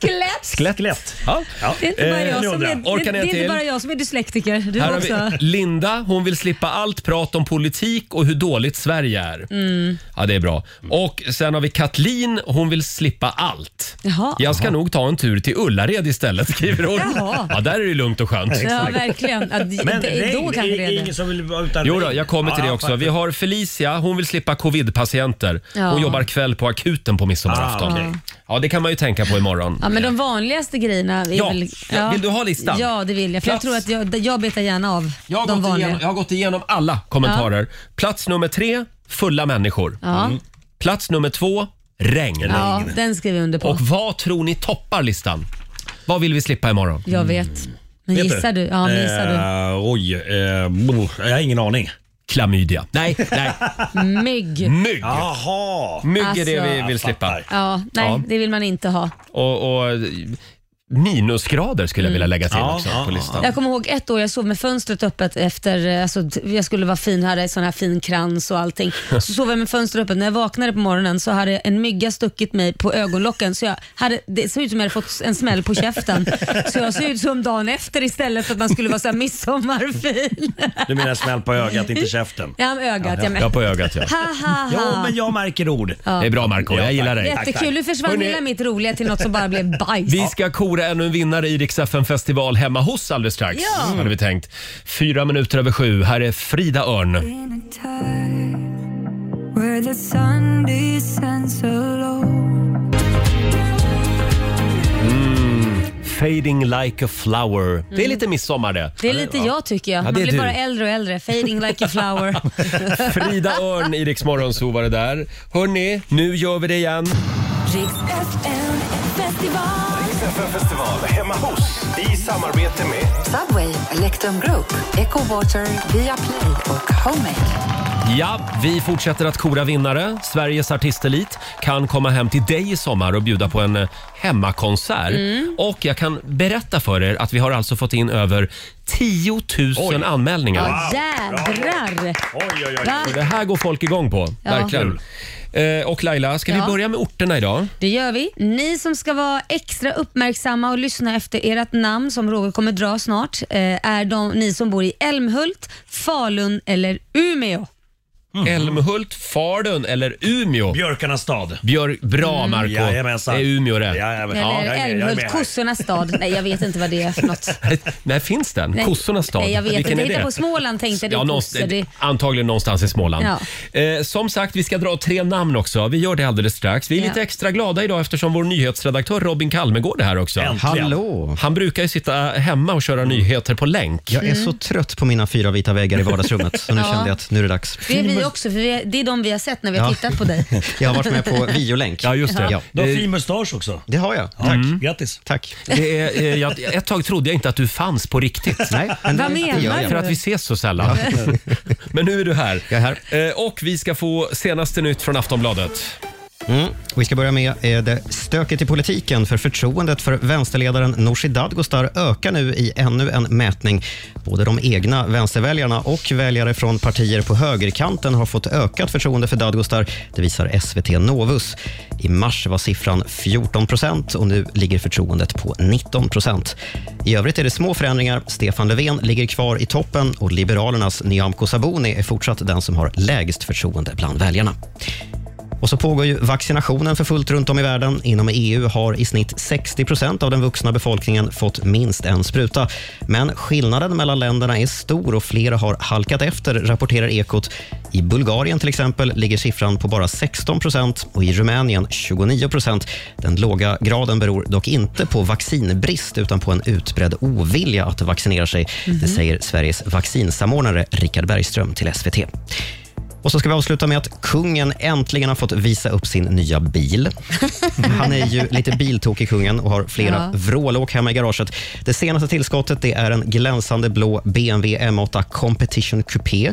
Speaker 2: Skelett!
Speaker 10: Skelett.
Speaker 1: Ja.
Speaker 10: Ja.
Speaker 2: Det är inte bara
Speaker 1: Eh,
Speaker 2: jag
Speaker 10: nu
Speaker 2: som
Speaker 10: undrar
Speaker 2: är,
Speaker 10: jag,
Speaker 1: orkar
Speaker 2: det, det
Speaker 1: ni
Speaker 2: är
Speaker 1: till?
Speaker 2: inte bara jag som är dyslektiker. Du
Speaker 1: Här
Speaker 2: också.
Speaker 1: har vi Linda, hon vill slippa allt prat om politik och hur dåligt Sverige är.
Speaker 2: Mm.
Speaker 1: Ja, det är bra. Och sen har vi Katlin, hon vill slippa allt.
Speaker 2: Jaha.
Speaker 1: Jag ska nog ta en tur till Ullared istället, skriver hon.
Speaker 2: Jaha.
Speaker 1: Ja, där är det lugnt och skönt.
Speaker 2: Ja, verkligen. Ja, d-
Speaker 10: Men
Speaker 2: det,
Speaker 10: regn,
Speaker 2: då kanske det
Speaker 10: är
Speaker 2: är
Speaker 10: ingen
Speaker 2: det.
Speaker 10: som vill vara utan
Speaker 1: Jo då,
Speaker 10: regn.
Speaker 1: jag kommer till
Speaker 10: Ja,
Speaker 1: det
Speaker 10: ja,
Speaker 1: också.
Speaker 10: faktiskt.
Speaker 1: Vi har Felicia, hon vill slippa covid-patienter. Hon
Speaker 2: Ja.
Speaker 1: jobbar kväll på akuten på midsommarafton.
Speaker 10: Ah, okej.
Speaker 1: Ja, det kan man ju tänka på imorgon.
Speaker 2: Ja, men de vanligaste grejerna. Är
Speaker 1: Ja.
Speaker 2: väl,
Speaker 1: Vill du ha listan?
Speaker 2: Ja, det vill jag. För jag
Speaker 1: Plats.
Speaker 2: tror att jag, jag betar gärna av
Speaker 1: Jag har,
Speaker 2: de
Speaker 1: gått
Speaker 2: vanliga.
Speaker 1: igenom, jag har gått igenom alla kommentarer. Mm. Plats nummer tre, fulla människor.
Speaker 2: Ja,
Speaker 1: Plats nummer två, regn.
Speaker 2: ja, den skriver jag under på.
Speaker 1: Och vad tror ni toppar listan? Vad vill vi slippa imorgon?
Speaker 2: Jag vet. Men
Speaker 10: Vet
Speaker 2: gissar du? Ja, men gissar du?
Speaker 10: Eh, Oj, eh, bo, jag har ingen aning.
Speaker 1: Klamydia. Nej, nej.
Speaker 2: Mygg.
Speaker 1: Mygg.
Speaker 10: Jaha.
Speaker 1: Mygg är det
Speaker 2: Alltså.
Speaker 1: vi vill slippa.
Speaker 10: Fattar.
Speaker 2: Ja, nej,
Speaker 1: Ja.
Speaker 2: det vill man inte ha.
Speaker 1: Och, och minusgrader skulle jag vilja lägga till
Speaker 10: Ja,
Speaker 1: också
Speaker 10: ja,
Speaker 1: på listan.
Speaker 2: Mm. Jag kommer ihåg ett år jag sov med fönstret öppet efter, eh, alltså, t- jag skulle vara fin, hade sån här fin krans och
Speaker 10: *laughs*
Speaker 2: allting. Så sov jag med fönstret öppet. När jag vaknade på morgonen så hade en mygga stuckit mig på ögonlocken så jag hade, det såg ut som jag hade fått en smäll på käften. Så jag såg ut som dagen efter istället för att man skulle vara så här midsommarfin.
Speaker 10: *laughs* Du menar smäll på ögat, inte käften?
Speaker 2: Ja, med ögat, jag
Speaker 1: Ja,
Speaker 2: med.
Speaker 1: på ögat ja.
Speaker 2: Ha, ha,
Speaker 10: Jo,
Speaker 2: ha.
Speaker 10: men jag märker ord.
Speaker 1: Det är bra Marco, jag gillar dig.
Speaker 10: tack.
Speaker 2: Jättekul, nu försvann
Speaker 1: Hörrni.
Speaker 2: hela mitt roliga till något som bara blev bajs.
Speaker 1: Vi ska kora ännu en vinnare i Rix FM festival hemma hos alldeles strax.
Speaker 2: Ja. Mm.
Speaker 1: Hade vi tänkt. Fyra minuter över sju. Här är Frida Örn. Mm. Fading like a flower. Det är
Speaker 2: Mm.
Speaker 1: lite midsommar det.
Speaker 2: Det är lite jag tycker jag.
Speaker 1: Ja,
Speaker 2: Man
Speaker 1: det är
Speaker 2: blir
Speaker 1: du.
Speaker 2: bara äldre och äldre. Fading like a flower.
Speaker 10: *laughs*
Speaker 1: Frida Örn i Rix Morgonzoo var det där. Hörni, nu gör vi det igen.
Speaker 7: Riks FM festival.
Speaker 4: Festival hemma hos i samarbete med
Speaker 7: Subway, Electrum Group, Echo Water, Viaplay och Homemade.
Speaker 1: Ja, vi fortsätter att kora vinnare. Sveriges artistelit kan komma hem till dig i sommar och bjuda på en eh, hemmakonsert.
Speaker 11: Mm.
Speaker 1: Och jag kan berätta för er att vi har alltså fått in över 10 000 anmälningar.
Speaker 2: Ja, jädrar. Va?
Speaker 1: Så Det här går folk igång på,
Speaker 2: Ja.
Speaker 1: verkligen. Eh, och Laila, ska
Speaker 2: Ja.
Speaker 1: vi börja med orterna idag?
Speaker 2: Det gör vi. Ni som ska vara extra uppmärksamma och lyssna efter ert namn som Roger kommer dra snart eh, är de, ni som bor i Älmhult, Falun eller Umeå.
Speaker 10: Mm.
Speaker 1: Älmhult, Falun eller Umeå? Björkarnas stad. Björ Bra
Speaker 10: Mm.
Speaker 1: Marco
Speaker 10: Jajamensan.
Speaker 1: Är Umeå rätt? *laughs*
Speaker 2: Eller Älmhult, kossornas stad. Nej, jag vet inte vad det är för något.
Speaker 1: Nej, finns den?
Speaker 2: Nej.
Speaker 1: Kossornas stad?
Speaker 2: Nej, jag vet
Speaker 1: Vilken
Speaker 2: inte.
Speaker 1: är
Speaker 2: Jag
Speaker 1: det?
Speaker 2: hittade på Småland tänkte jag. Det
Speaker 1: Ja,
Speaker 2: är
Speaker 1: någonstans,
Speaker 2: kossor. Det...
Speaker 1: Antagligen någonstans i Småland. Eh, som sagt, vi ska dra tre namn också. Vi gör det alldeles strax. Vi är
Speaker 2: Ja.
Speaker 1: lite extra glada idag eftersom vår nyhetsredaktör Robin Kalmegård är här också.
Speaker 12: Äntligen. Hallå.
Speaker 1: Han brukar ju sitta hemma och köra nyheter på länk.
Speaker 12: Jag är så trött på mina fyra
Speaker 10: *laughs*
Speaker 12: vita väggar i vardagsrummet, så nu
Speaker 2: Mm. Ja.
Speaker 12: kände jag att nu är det dags.
Speaker 2: Det är vi också, för vi är, det är de vi har sett när vi har
Speaker 12: Ja.
Speaker 2: tittat på dig.
Speaker 12: Jag har varit med på videolänk. Ja,
Speaker 1: just det. Du har fin
Speaker 12: mustasch också. Det har jag. Tack. Grattis. Tack.
Speaker 1: Det är, eh, jag, ett tag trodde jag inte att du fanns på riktigt.
Speaker 12: Nej, men Vad det- det menar gör jag. du?
Speaker 1: För att vi ses så sällan. *laughs* Men nu är du här. Jag är här. Och vi ska få senaste nytt från Aftonbladet.
Speaker 12: Mm. Vi ska börja med eh, det stöket i politiken för förtroendet för vänsterledaren Nooshi Dadgostar ökar nu i ännu en mätning. Både de egna vänsterväljarna och väljare från partier på högerkanten har fått ökat förtroende för Dadgostar. Det visar SVT Novus. I mars var siffran 14 procent och nu ligger förtroendet på 19 procent. I övrigt är det små förändringar. Stefan Löfven ligger kvar i toppen och Liberalernas Nyamko Sabuni är fortsatt den som har lägst förtroende bland väljarna. Och så pågår ju vaccinationen för fullt runt om i världen. Inom EU har i snitt 60 procent av den vuxna befolkningen fått minst en spruta. Men skillnaden mellan länderna är stor och flera har halkat efter, rapporterar Ekot. I Bulgarien till exempel ligger siffran på bara 16 procent och i Rumänien 29 procent. Den låga graden beror dock inte på vaccinbrist utan på en utbredd ovilja att vaccinera sig. Det
Speaker 2: Mhm.
Speaker 12: säger Sveriges vaccinsamordnare Richard Bergström till SVT. Och så ska vi avsluta med att kungen äntligen har fått visa upp sin nya bil. Han är ju lite biltokig kungen och har flera
Speaker 13: Ja.
Speaker 12: vrålåk hemma i garaget. Det senaste tillskottet det är en glänsande blå BMW M8 Competition Coupé.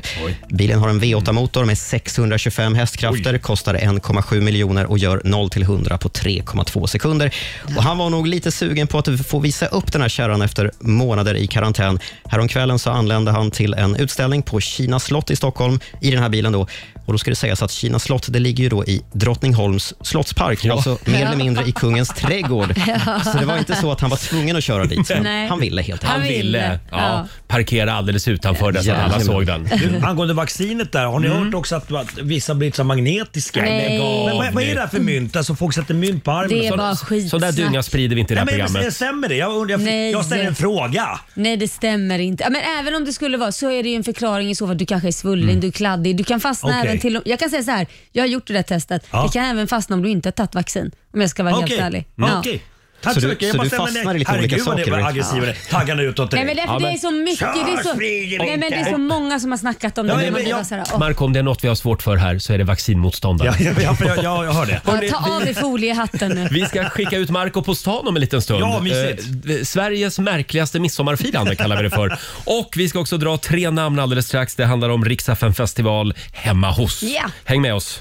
Speaker 12: Bilen har en V8-motor med 625 hästkrafter, kostar 1,7 miljoner och gör 0 till 100 på 3,2 sekunder. Och han var nog lite sugen på att få visa upp den här kärran efter månader i karantän. Häromkvällen så anlände han till en utställning på Kina slott i Stockholm i den här bilen. Då. Och då ska det sägas att Kina slott det ligger ju då i Drottningholms slottspark, alltså mer
Speaker 2: Ja.
Speaker 12: eller mindre
Speaker 2: *laughs*
Speaker 12: i kungens trädgård.
Speaker 2: Ja.
Speaker 12: Så det var inte så att han var tvungen att köra dit. men
Speaker 2: Nej.
Speaker 12: Han ville helt enkelt.
Speaker 2: Han ville,
Speaker 1: Ja, Parkera alldeles utanför där så att alla såg den.
Speaker 10: Du, angående vaccinet där, har ni
Speaker 12: Mm.
Speaker 10: hört också att, att vissa har blivit så magnetiska?
Speaker 1: Nej.
Speaker 10: Men vad, vad är det här för mynt? Alltså folk sätter mynt på armen.
Speaker 2: Mm. Det är
Speaker 10: Sån-
Speaker 2: bara skitsnack. Sån där dynga
Speaker 1: sprider vi inte i det här
Speaker 10: Nej, men,
Speaker 1: programmet.
Speaker 10: Men, stämmer det? Jag, undrar- jag,
Speaker 2: Nej.
Speaker 10: jag ställer en fråga.
Speaker 2: Nej, det stämmer inte. Ja, Men även om det skulle vara så är det ju en förklaring i så fall. Du kanske är svullen,
Speaker 10: Mm.
Speaker 2: du är kladdig. Du kan fastna
Speaker 10: Okej.
Speaker 2: även till... Jag kan säga så här, jag har gjort det där testet.
Speaker 12: Ja.
Speaker 2: Det kan även fastna om du inte har tagit vaccin. Om jag ska vara
Speaker 12: Okej.
Speaker 2: helt ärlig.
Speaker 12: Mm.
Speaker 2: Ja.
Speaker 12: Okej. Tack Så så du- mycket. Jag så bara du stämmer fastnar ner. i lite olika
Speaker 10: Herregud vad det
Speaker 12: saker,
Speaker 10: var
Speaker 12: Rick.
Speaker 10: aggressivare. Taggarna utåt
Speaker 2: Nej
Speaker 10: direkt.
Speaker 2: men det,
Speaker 1: Ja,
Speaker 2: det är
Speaker 1: men-
Speaker 2: så mycket. Det är
Speaker 10: Kör,
Speaker 2: så,
Speaker 10: smyger
Speaker 2: nej, men det är
Speaker 1: inte.
Speaker 2: så många som har snackat om det.
Speaker 1: Ja,
Speaker 2: när
Speaker 1: men-
Speaker 2: man
Speaker 1: men
Speaker 2: bara
Speaker 1: jag-
Speaker 2: så här, åh.
Speaker 1: Marco, om det är något vi har svårt för här så är det vaccinmotståndare.
Speaker 10: Ja, ja,
Speaker 1: *laughs*
Speaker 10: ja, ja, jag hör det.
Speaker 2: Ja, ta av dig foliehatten nu.
Speaker 1: Vi ska skicka ut Marco på stan om en liten stund.
Speaker 10: Ja, mysigt.
Speaker 1: Eh, Sveriges märkligaste midsommarfirande kallar vi det
Speaker 10: *laughs*
Speaker 1: för. Och vi ska också dra tre namn alldeles strax. Det handlar om Riksaffen festival hemma hos.
Speaker 4: Ja.
Speaker 1: Häng med oss.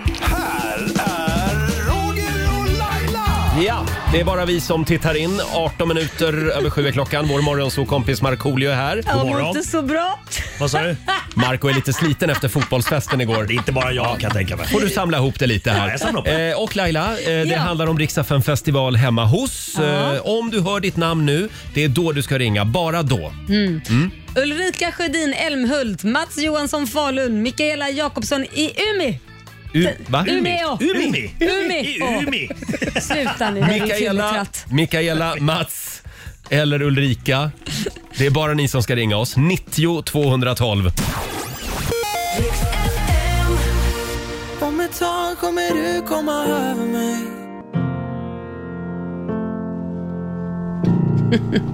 Speaker 1: Ja, det är bara vi som tittar in. 18 minuter över sju är klockan. Vår morgonsåkompis Markoolio är här.
Speaker 2: Jag mår inte så bra.
Speaker 1: Vad sa du? Marco är lite sliten efter fotbollsfesten igår. Det är
Speaker 10: inte bara jag kan jag tänka mig.
Speaker 1: Får du samla ihop det lite
Speaker 10: Ja,
Speaker 1: här.
Speaker 10: jag samlar ihop
Speaker 1: eh, och Laila, eh, det
Speaker 10: Ja.
Speaker 1: handlar om Riksaffen festival hemma hos.
Speaker 2: Ja.
Speaker 1: Eh, om du hör ditt namn nu, det är då du ska ringa. Bara då.
Speaker 2: Mm.
Speaker 1: Mm.
Speaker 2: Ulrika Sjödin Elmhult, Mats Johansson Falun, Mikaela Jakobsson i Umeå.
Speaker 1: U- va?
Speaker 2: Umeå.
Speaker 1: Umeå.
Speaker 2: Umeå. Sluta nu.
Speaker 1: Mikaela, Mikaela, Mats eller Ulrika. Det är bara ni som ska ringa oss. 90 212.
Speaker 6: Om ett tag kommer du komma över mig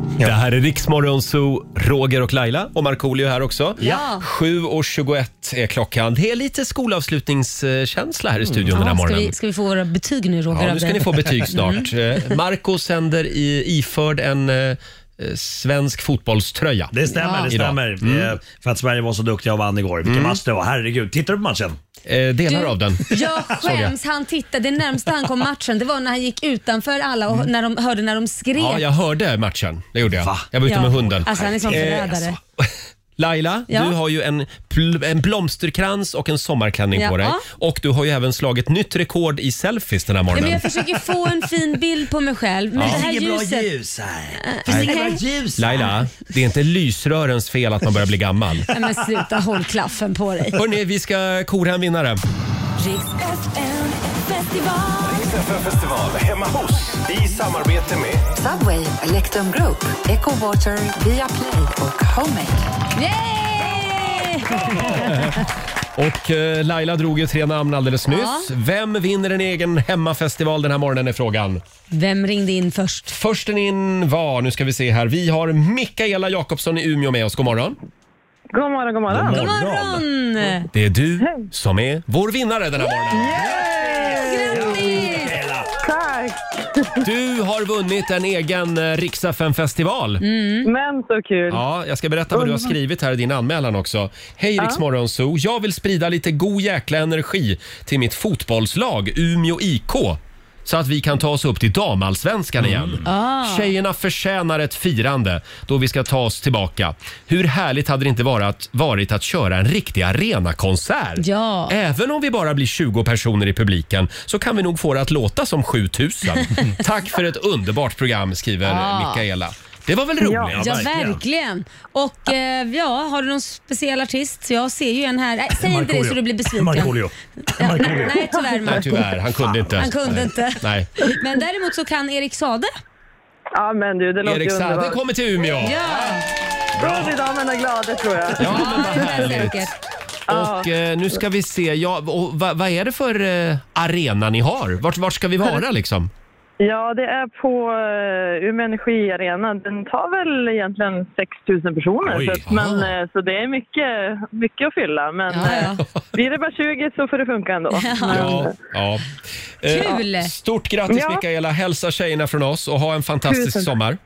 Speaker 1: *laughs* Det här är Riksmorgon Zoo, Roger och Laila och Markoolio här också.
Speaker 2: Ja.
Speaker 1: 7.21 är klockan. Det är lite skolavslutningskänsla här i studion den här
Speaker 2: Mm. ska,
Speaker 1: morgonen.
Speaker 2: vi, ska vi få våra betyg nu Roger?
Speaker 1: Ja,
Speaker 2: av
Speaker 1: nu ska
Speaker 2: dig?
Speaker 1: ni få betyg snart.
Speaker 2: Mm.
Speaker 1: Eh, Marco sänder i, iförd en eh, svensk fotbollströja.
Speaker 10: Det stämmer, det
Speaker 1: Idag.
Speaker 10: stämmer. Eh, För att Sverige var så duktiga och vann igår. Vilken
Speaker 1: Mm.
Speaker 10: match det var. Herregud, tittar du på matchen?
Speaker 1: Eh, delar
Speaker 2: Du-
Speaker 1: av den. *laughs*
Speaker 2: Jag
Speaker 10: Såg jag.
Speaker 2: skäms. Han tittade, det närmsta han kom matchen det var när han gick utanför alla och när de hörde när de skrek.
Speaker 1: Ja, jag hörde matchen. Det gjorde jag. Jag var ute
Speaker 2: Ja.
Speaker 1: med hunden.
Speaker 2: Alltså han är sån
Speaker 1: Eh,
Speaker 2: förrädare.
Speaker 1: *laughs* Laila,
Speaker 2: Ja.
Speaker 1: du har ju en, pl- en blomsterkrans och en sommarklänning på
Speaker 2: Ja.
Speaker 1: dig. Och du har ju även slagit nytt rekord i selfies den här
Speaker 2: Nej,
Speaker 1: morgonen.
Speaker 2: men jag försöker få en fin bild på mig själv. Men
Speaker 1: Ja.
Speaker 2: det här
Speaker 1: Inget bra
Speaker 2: ljuset... Äh,
Speaker 10: ljus här.
Speaker 1: Nej.
Speaker 2: ljus
Speaker 1: Laila, det är inte lysrörens fel att man börjar bli gammal.
Speaker 2: *laughs* Nej, men sluta, håll klaffen på dig.
Speaker 1: Hörni, vi ska kora en vinnare.
Speaker 4: Festival hemma hos i samarbete med
Speaker 7: Subway, Electrum Group, Echo Water, Viaplay och Homemade.
Speaker 1: Och eh, Laila drog ju tre namn alldeles nyss.
Speaker 2: Ja.
Speaker 1: Vem vinner en egen hemmafestival den här morgonen är frågan.
Speaker 2: Vem ringde in först?
Speaker 1: Försten in var, nu ska vi se här, vi har Mikaela Jakobsson i Umeå med oss. God morgon.
Speaker 5: God morgon, god morgon.
Speaker 1: God
Speaker 2: morgon!
Speaker 1: Det är du som är vår vinnare den här morgonen.
Speaker 5: Tack!
Speaker 1: Du har vunnit en egen riks festival
Speaker 5: Men så kul.
Speaker 1: Ja, jag ska berätta vad du har skrivit här i din anmälan också. Hej
Speaker 5: Ja.
Speaker 1: Rix Morgonzoo. Jag vill sprida lite god jäkla energi till mitt fotbollslag Umeå IK. Så att vi kan ta oss upp till damallsvenskan
Speaker 2: Mm.
Speaker 1: igen.
Speaker 11: Ah.
Speaker 1: Tjejerna förtjänar ett firande då vi ska ta oss tillbaka. Hur härligt hade det inte varit, varit att köra en riktig arenakonsert?
Speaker 2: Ja.
Speaker 1: Även om vi bara blir 20 personer i publiken så kan vi nog få det att låta som
Speaker 2: *laughs*
Speaker 1: 7000. Tack för ett underbart program skriver
Speaker 2: Ah.
Speaker 1: Mikaela. Det var väl roligt?
Speaker 2: Ja, ja verkligen. Och eh, ja, har du någon speciell artist? Jag ser ju en här. Nej, säg inte det så du blir besviken.
Speaker 10: Markoolio.
Speaker 2: Ja, nej, nej, tyvärr Marco.
Speaker 1: Nej, tyvärr. Han kunde inte.
Speaker 2: Han kunde
Speaker 1: Nej.
Speaker 2: inte.
Speaker 1: Nej.
Speaker 2: Men däremot så kan Erik Sade.
Speaker 5: Ja, men du, det låter
Speaker 1: Erik
Speaker 5: ju
Speaker 1: Saade
Speaker 5: underbart.
Speaker 1: kommer till Umeå.
Speaker 2: Ja,
Speaker 5: Då blir damerna glada tror jag.
Speaker 1: Ja, men
Speaker 2: *laughs*
Speaker 1: vad härligt.
Speaker 2: säkert.
Speaker 1: Och eh, nu ska vi se. Ja, och, vad, vad är det för eh, arena ni har? Vart, vart ska vi vara liksom?
Speaker 5: Ja, det är på eh, Umeå Energi Arena. Den tar väl egentligen 6 000 personer.
Speaker 1: Oj.
Speaker 5: så, att, men, eh, så det är mycket, mycket att fylla. Men eh, blir det bara 20 så får det funka ändå. Men,
Speaker 1: Ja, ja. Eh,
Speaker 5: Kul.
Speaker 1: Stort grattis
Speaker 5: Ja.
Speaker 1: Mikaela. Hälsa tjejerna från oss och ha en fantastisk
Speaker 5: Tusen tack.
Speaker 1: sommar.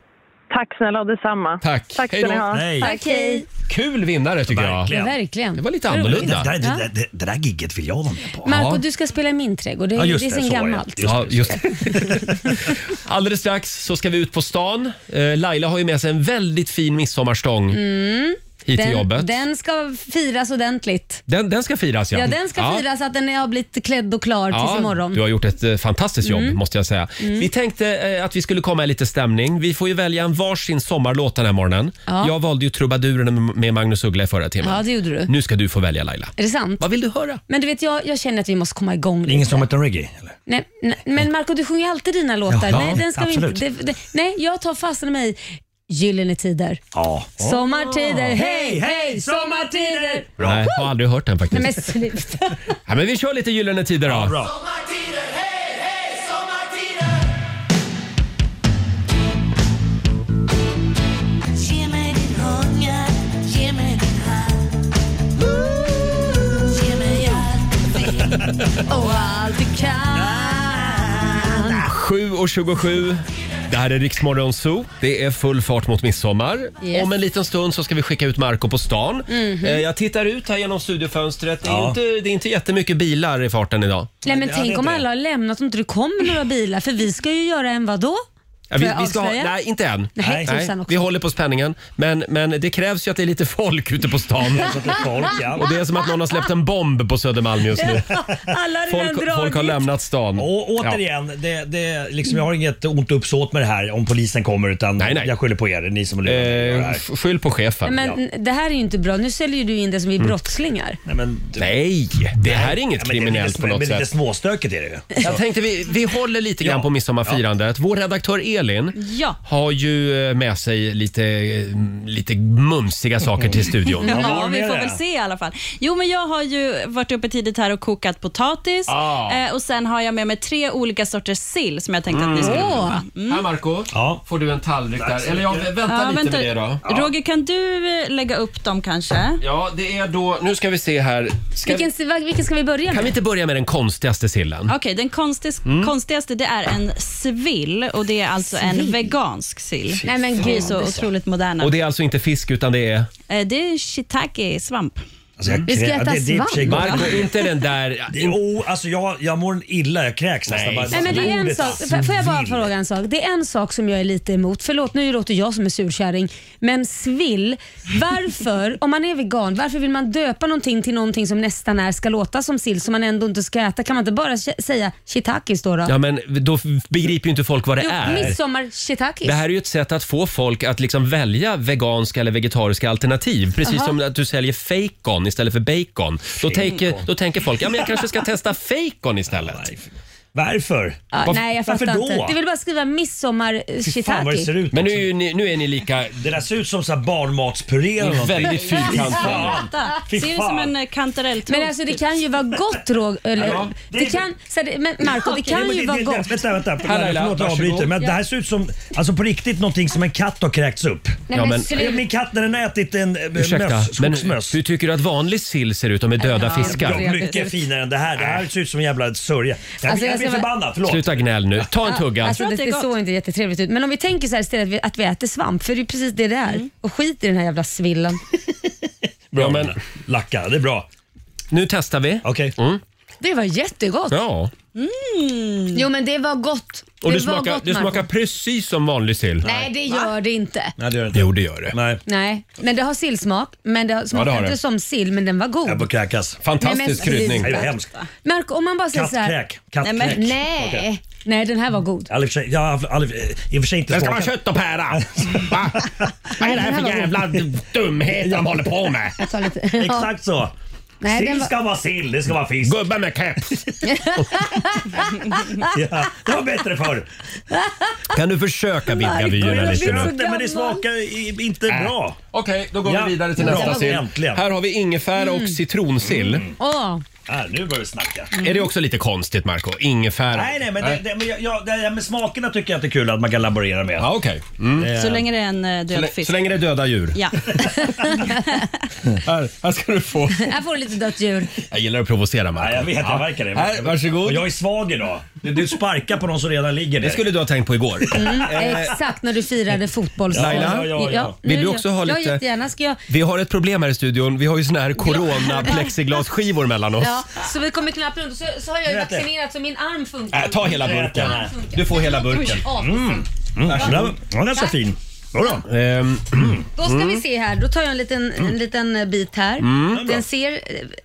Speaker 5: Tack snälla och detsamma.
Speaker 1: Tack.
Speaker 5: Tack
Speaker 1: Hej
Speaker 5: ska ni
Speaker 1: då.
Speaker 5: ha.
Speaker 1: Hej.
Speaker 2: Tack, hej.
Speaker 1: Kul vinnare tycker
Speaker 2: Ja,
Speaker 1: jag.
Speaker 2: verkligen.
Speaker 1: Det var lite annorlunda.
Speaker 10: Det, det,
Speaker 2: Ja.
Speaker 10: det, det, det där gigget vill jag vara med på.
Speaker 2: Marco, du ska spela i min trädgård. Det, är- det är sen gammalt.
Speaker 1: Ja, just det. *laughs* Alldeles strax så ska vi ut på stan. Eh, Laila har ju med sig en väldigt fin midsommarstång
Speaker 2: Mm.
Speaker 1: hit till
Speaker 2: den,
Speaker 1: jobbet.
Speaker 2: den ska firas ordentligt.
Speaker 1: Den, den ska firas
Speaker 2: Ja, den ska firas att den har blivit klädd och klar tills imorgon.
Speaker 1: Mm. Du har gjort ett eh, fantastiskt jobb
Speaker 2: Mm.
Speaker 1: måste jag säga.
Speaker 2: Mm.
Speaker 1: Vi tänkte eh, att vi skulle komma i lite stämning. Vi får ju välja en varsin sommarlåt den här morgonen.
Speaker 2: Ja.
Speaker 1: Jag valde ju trubaduren med Magnus Uggla i förra timmen.
Speaker 2: Ja, det gjorde du.
Speaker 1: Nu ska du få välja Laila.
Speaker 2: Är det sant?
Speaker 1: Vad vill du höra?
Speaker 2: Men du vet, jag, jag känner att vi måste komma igång lite.
Speaker 10: Ingen som heter reggae? Eller?
Speaker 2: Nej, nej, men Marco du sjunger ju alltid dina låtar.
Speaker 10: Ja,
Speaker 2: nej, den ska vi inte, det,
Speaker 10: absolut.
Speaker 2: det, nej, jag tar fastna mig i Gyllene tider.
Speaker 10: Ja.
Speaker 2: Sommartider, hej, hej, sommartider!
Speaker 1: Nej, jag har aldrig hört den faktiskt.
Speaker 2: Nej men sluta.
Speaker 1: Ja, men vi kör lite Gyllene Tider då.
Speaker 11: Ge mig din hunger, ge mig din hand Ge mig allt
Speaker 2: Och allt du kan.
Speaker 1: 7.27. Det här är Riksmorgon Zoo. Det är full fart mot midsommar.
Speaker 2: Yes.
Speaker 1: Om en liten stund så ska vi skicka ut Marco på stan.
Speaker 2: Mhm.
Speaker 1: Eh, Jag tittar ut här genom studiofönstret. Det är,
Speaker 2: Ja.
Speaker 1: inte, det är inte jättemycket bilar i farten idag.
Speaker 2: Nej men tänk om alla har lämnat och inte det kommer några bilar för vi ska ju göra en vadå?
Speaker 1: Ja, vi,
Speaker 2: Får jag
Speaker 1: vi ska ha,
Speaker 2: avslöja?
Speaker 1: nej, inte än.
Speaker 2: Nej, tusan också.
Speaker 1: Vi håller på spänningen. Men, men det krävs ju att det är lite folk ute på stan.
Speaker 10: Det är så att det
Speaker 2: *laughs*
Speaker 10: är folk, ja.
Speaker 1: Och det är som att någon har släppt en bomb på Södermalm just nu.
Speaker 2: Alla har redan
Speaker 1: Folk, folk har
Speaker 2: dragit.
Speaker 1: lämnat stan.
Speaker 10: Och återigen, det, det, liksom, jag har inget ont uppsåt med det här om polisen kommer utan jag skyller på er, ni som lurar eh,
Speaker 1: Skyll på chefen.
Speaker 2: Men det här är ju inte bra. Nu säljer du in det som vi är
Speaker 1: Mm.
Speaker 2: brottslingar.
Speaker 10: Nej, men,
Speaker 1: Nej, det här är inget
Speaker 10: Ja, men det är
Speaker 1: kriminellt
Speaker 10: lite små-
Speaker 1: på något
Speaker 10: men lite
Speaker 1: sätt.
Speaker 10: småstökigt är det ju. Alltså,
Speaker 1: Jag tänkte vi, vi håller lite grann på midsommarfirandet. Vår redaktör Elin
Speaker 3: Ja.
Speaker 1: har ju eh, med sig lite, eh, lite mumsiga saker till studion.
Speaker 3: Ja, vi får väl se i alla fall. Jo, men jag har ju varit uppe tidigt här och kokat potatis
Speaker 1: Ah.
Speaker 3: eh, och sen har jag med mig tre olika sorters sill som jag tänkte att
Speaker 1: Mm.
Speaker 3: ni skulle
Speaker 1: Åh.
Speaker 3: prova.
Speaker 1: Här Marco, får du en tallrik
Speaker 10: Tack
Speaker 1: där.
Speaker 10: så
Speaker 1: Eller ja,
Speaker 10: mycket.
Speaker 1: vänta
Speaker 3: Ja,
Speaker 1: lite
Speaker 3: vänta.
Speaker 1: med det då.
Speaker 3: Roger, kan du eh, lägga upp dem kanske?
Speaker 1: Ja, det är då... Nu ska vi se här. Ska,
Speaker 3: Vilken, vilken ska vi börja med?
Speaker 1: kan vi inte börja med den konstigaste sillen?
Speaker 3: Okej, den konstis,
Speaker 1: Mm.
Speaker 3: konstigaste det är en svill och det är alltså en vegansk sill.
Speaker 1: Nej, men
Speaker 3: Vi är
Speaker 1: gud.
Speaker 3: så otroligt moderna.
Speaker 1: Och det är alltså inte fisk utan det är...
Speaker 3: Eh, det är shiitake-svamp.
Speaker 2: Mm.
Speaker 10: jag Vi ska krä- äta det- det är i och för sig svamp. gott.
Speaker 1: Marco, inte den där...
Speaker 10: Det, oh, alltså jag, jag mår illa, jag kräks nästan. bara-
Speaker 1: Nej,
Speaker 2: Nej, men det är en
Speaker 10: ordet
Speaker 2: sak, F- får jag bara
Speaker 10: svill.
Speaker 2: fråga en sak? Det är en sak som jag är lite emot. Förlåt, nu låter jag som en surkärring. Men svill, varför, om man är vegan, varför vill man döpa någonting till någonting som nästan är, ska låta som sill som man ändå inte ska äta? Kan man inte bara sh- säga shiitakis då? då?
Speaker 1: Ja, men då begriper ju inte folk vad det
Speaker 2: jo,
Speaker 1: är.
Speaker 2: midsommar shiitakis.
Speaker 1: Det här är ju ett sätt att få folk att liksom välja veganska eller vegetariska alternativ. Precis
Speaker 2: Aha.
Speaker 1: som att du säljer fejkon istället för bacon. Då, tänker, då tänker folk, ja men jag kanske ska testa fejkon istället.
Speaker 10: Varför?
Speaker 2: Ja, Ah, nej, jag fattar inte. Det vill bara skriva midsommar eh, shiitake.
Speaker 1: Men nu, är ju ni- nu är ni lika...
Speaker 10: Det där ser ut som så här barnmatspuré eller
Speaker 1: Ni är
Speaker 10: någonting.
Speaker 1: väldigt
Speaker 10: *laughs*
Speaker 1: fyrkantiga.
Speaker 10: Fy
Speaker 3: Ser det
Speaker 10: fan.
Speaker 3: som en eh, kantarelltårta?
Speaker 2: Men alltså det kan ju vara gott Rog... Eller,
Speaker 10: Ja.
Speaker 2: det kan, så det, men Marco, det
Speaker 10: Nej,
Speaker 2: kan
Speaker 10: men
Speaker 2: ju
Speaker 10: det-
Speaker 2: vara
Speaker 10: det-
Speaker 2: gott.
Speaker 10: Vänta, vänta.
Speaker 1: Här,
Speaker 10: Här,
Speaker 1: Laila,
Speaker 10: förlåt jag avbryter.
Speaker 1: varsågod.
Speaker 10: Men det här ser ut som alltså på riktigt någonting som en katt har kräkts upp.
Speaker 1: men Ja, men- sluta.
Speaker 10: Min katt när den har ätit en eh,
Speaker 1: Ursäkta,
Speaker 10: möss,
Speaker 1: men
Speaker 10: skogsmöss.
Speaker 1: hur tycker du att vanlig sill ser ut om med döda
Speaker 10: Ja,
Speaker 1: fiskar?
Speaker 10: mycket finare än det här. Det här ser ut som en jävla sörja. Jag,
Speaker 2: Alltså,
Speaker 10: jag,
Speaker 2: jag
Speaker 10: blir
Speaker 2: ska vara-
Speaker 10: förbannad, förlåt.
Speaker 1: Sluta gnäll nu. Ta en tugga.
Speaker 2: Alltså, det,
Speaker 3: det är
Speaker 2: det
Speaker 3: gott.
Speaker 2: såg inte jättetrevligt ut. Men om vi tänker så här istället att vi, att vi äter svamp, för det är precis det det är. Och skit i den här jävla svillen.
Speaker 10: Bra, men... Lacka, det är bra.
Speaker 1: Nu testar vi. Mm.
Speaker 10: Okej.
Speaker 2: Det var jättegott.
Speaker 1: Ja.
Speaker 2: Mm. Jo men det var gott.
Speaker 1: Och det,
Speaker 2: var
Speaker 1: smakar,
Speaker 2: gott,
Speaker 1: det
Speaker 2: Marco.
Speaker 1: smakar precis som vanlig sill.
Speaker 2: Nej det gör det inte.
Speaker 10: Nej, det gör det inte.
Speaker 1: Jo, det gör det.
Speaker 10: Nej.
Speaker 2: Nej, men det har sillsmak. Men det har- smakar
Speaker 1: har
Speaker 2: inte
Speaker 1: det.
Speaker 2: som sill, men den var
Speaker 10: Jag
Speaker 2: god.
Speaker 10: får kräkas.
Speaker 1: Fantastisk
Speaker 2: Nej, men-
Speaker 1: kryddning.
Speaker 10: Nej, det är hemskt.
Speaker 2: Marco, om man bara säger så här.
Speaker 10: Kattkräk. Kattkräk.
Speaker 2: Nej, men-
Speaker 10: Okej.
Speaker 2: nej. nej, den här var god.
Speaker 10: Jag har i och för sig- jag har aldrig- i och för sig inte
Speaker 1: Det ska vara
Speaker 10: smakat.
Speaker 1: kött och
Speaker 10: *laughs*
Speaker 1: pära. Va? Vad är det här för jävla dumhet de håller på med?
Speaker 2: Jag tar lite.
Speaker 10: Exakt så.
Speaker 2: Nej, den
Speaker 10: sill
Speaker 2: var-
Speaker 10: ska vara sill, det ska vara fisk.
Speaker 1: Gubbar med keps.
Speaker 10: Ja, det var bättre förr.
Speaker 1: Kan du försöka vidga vyerna lite nu?
Speaker 10: Försökte, men det smakar i- inte
Speaker 1: Äh.
Speaker 10: bra.
Speaker 1: Okej, då går
Speaker 10: Ja,
Speaker 1: vi vidare till
Speaker 10: bra.
Speaker 1: nästa sill.
Speaker 10: Äntligen. Mm.
Speaker 1: Här har vi ingefära och citronsill.
Speaker 2: Åh,
Speaker 10: Här, nu börjar vi snacka.
Speaker 1: Är det också lite konstigt, Marco? Ingefära?
Speaker 10: Nej, nej, men, det, det, men jag, jag, det här med smakerna tycker jag inte är kul att man kan laborera med.
Speaker 1: Ja, okej. Mm.
Speaker 3: Så länge det är en eh,
Speaker 1: Så,
Speaker 3: död
Speaker 1: lä-
Speaker 3: fisk.
Speaker 1: så länge det är döda djur.
Speaker 3: Ja.
Speaker 1: Här, här ska du
Speaker 10: *laughs*
Speaker 1: få.
Speaker 2: här får du lite dött djur.
Speaker 1: Jag gillar att provocera Marco.
Speaker 10: Ja, jag vet, jag verkar det.
Speaker 1: Här, varsågod.
Speaker 10: Och jag är svag idag. Du, du sparkar på någon som redan ligger där.
Speaker 1: Det skulle du ha tänkt på igår.
Speaker 10: Mm.
Speaker 2: Eh, Exakt när du firade fotbolls...
Speaker 1: Laila?
Speaker 10: Ja, ja, ja, ja.
Speaker 2: nu
Speaker 1: Vill du
Speaker 2: gör-
Speaker 1: också ha lite-
Speaker 2: Ja, jättegärna. Ska jag...
Speaker 1: Vi har ett problem här i studion. Vi har ju såna här corona-plexiglasskivor mellan oss.
Speaker 2: Ja, så vi kommer knappt runt. Så, så har jag ju
Speaker 10: Vet det.
Speaker 2: vaccinerat så min arm funkar.
Speaker 1: Äh, ta hela burken.
Speaker 2: Min arm funkar.
Speaker 1: Du får hela burken.
Speaker 2: Oj, ja, för fan.
Speaker 10: Mm, den var ganska
Speaker 2: Tack.
Speaker 10: fin. Jodå.
Speaker 1: Ehm,
Speaker 2: Då ska vi se här. Då tar jag en liten, en liten eh, bit här.
Speaker 1: Mm.
Speaker 2: Den, ser,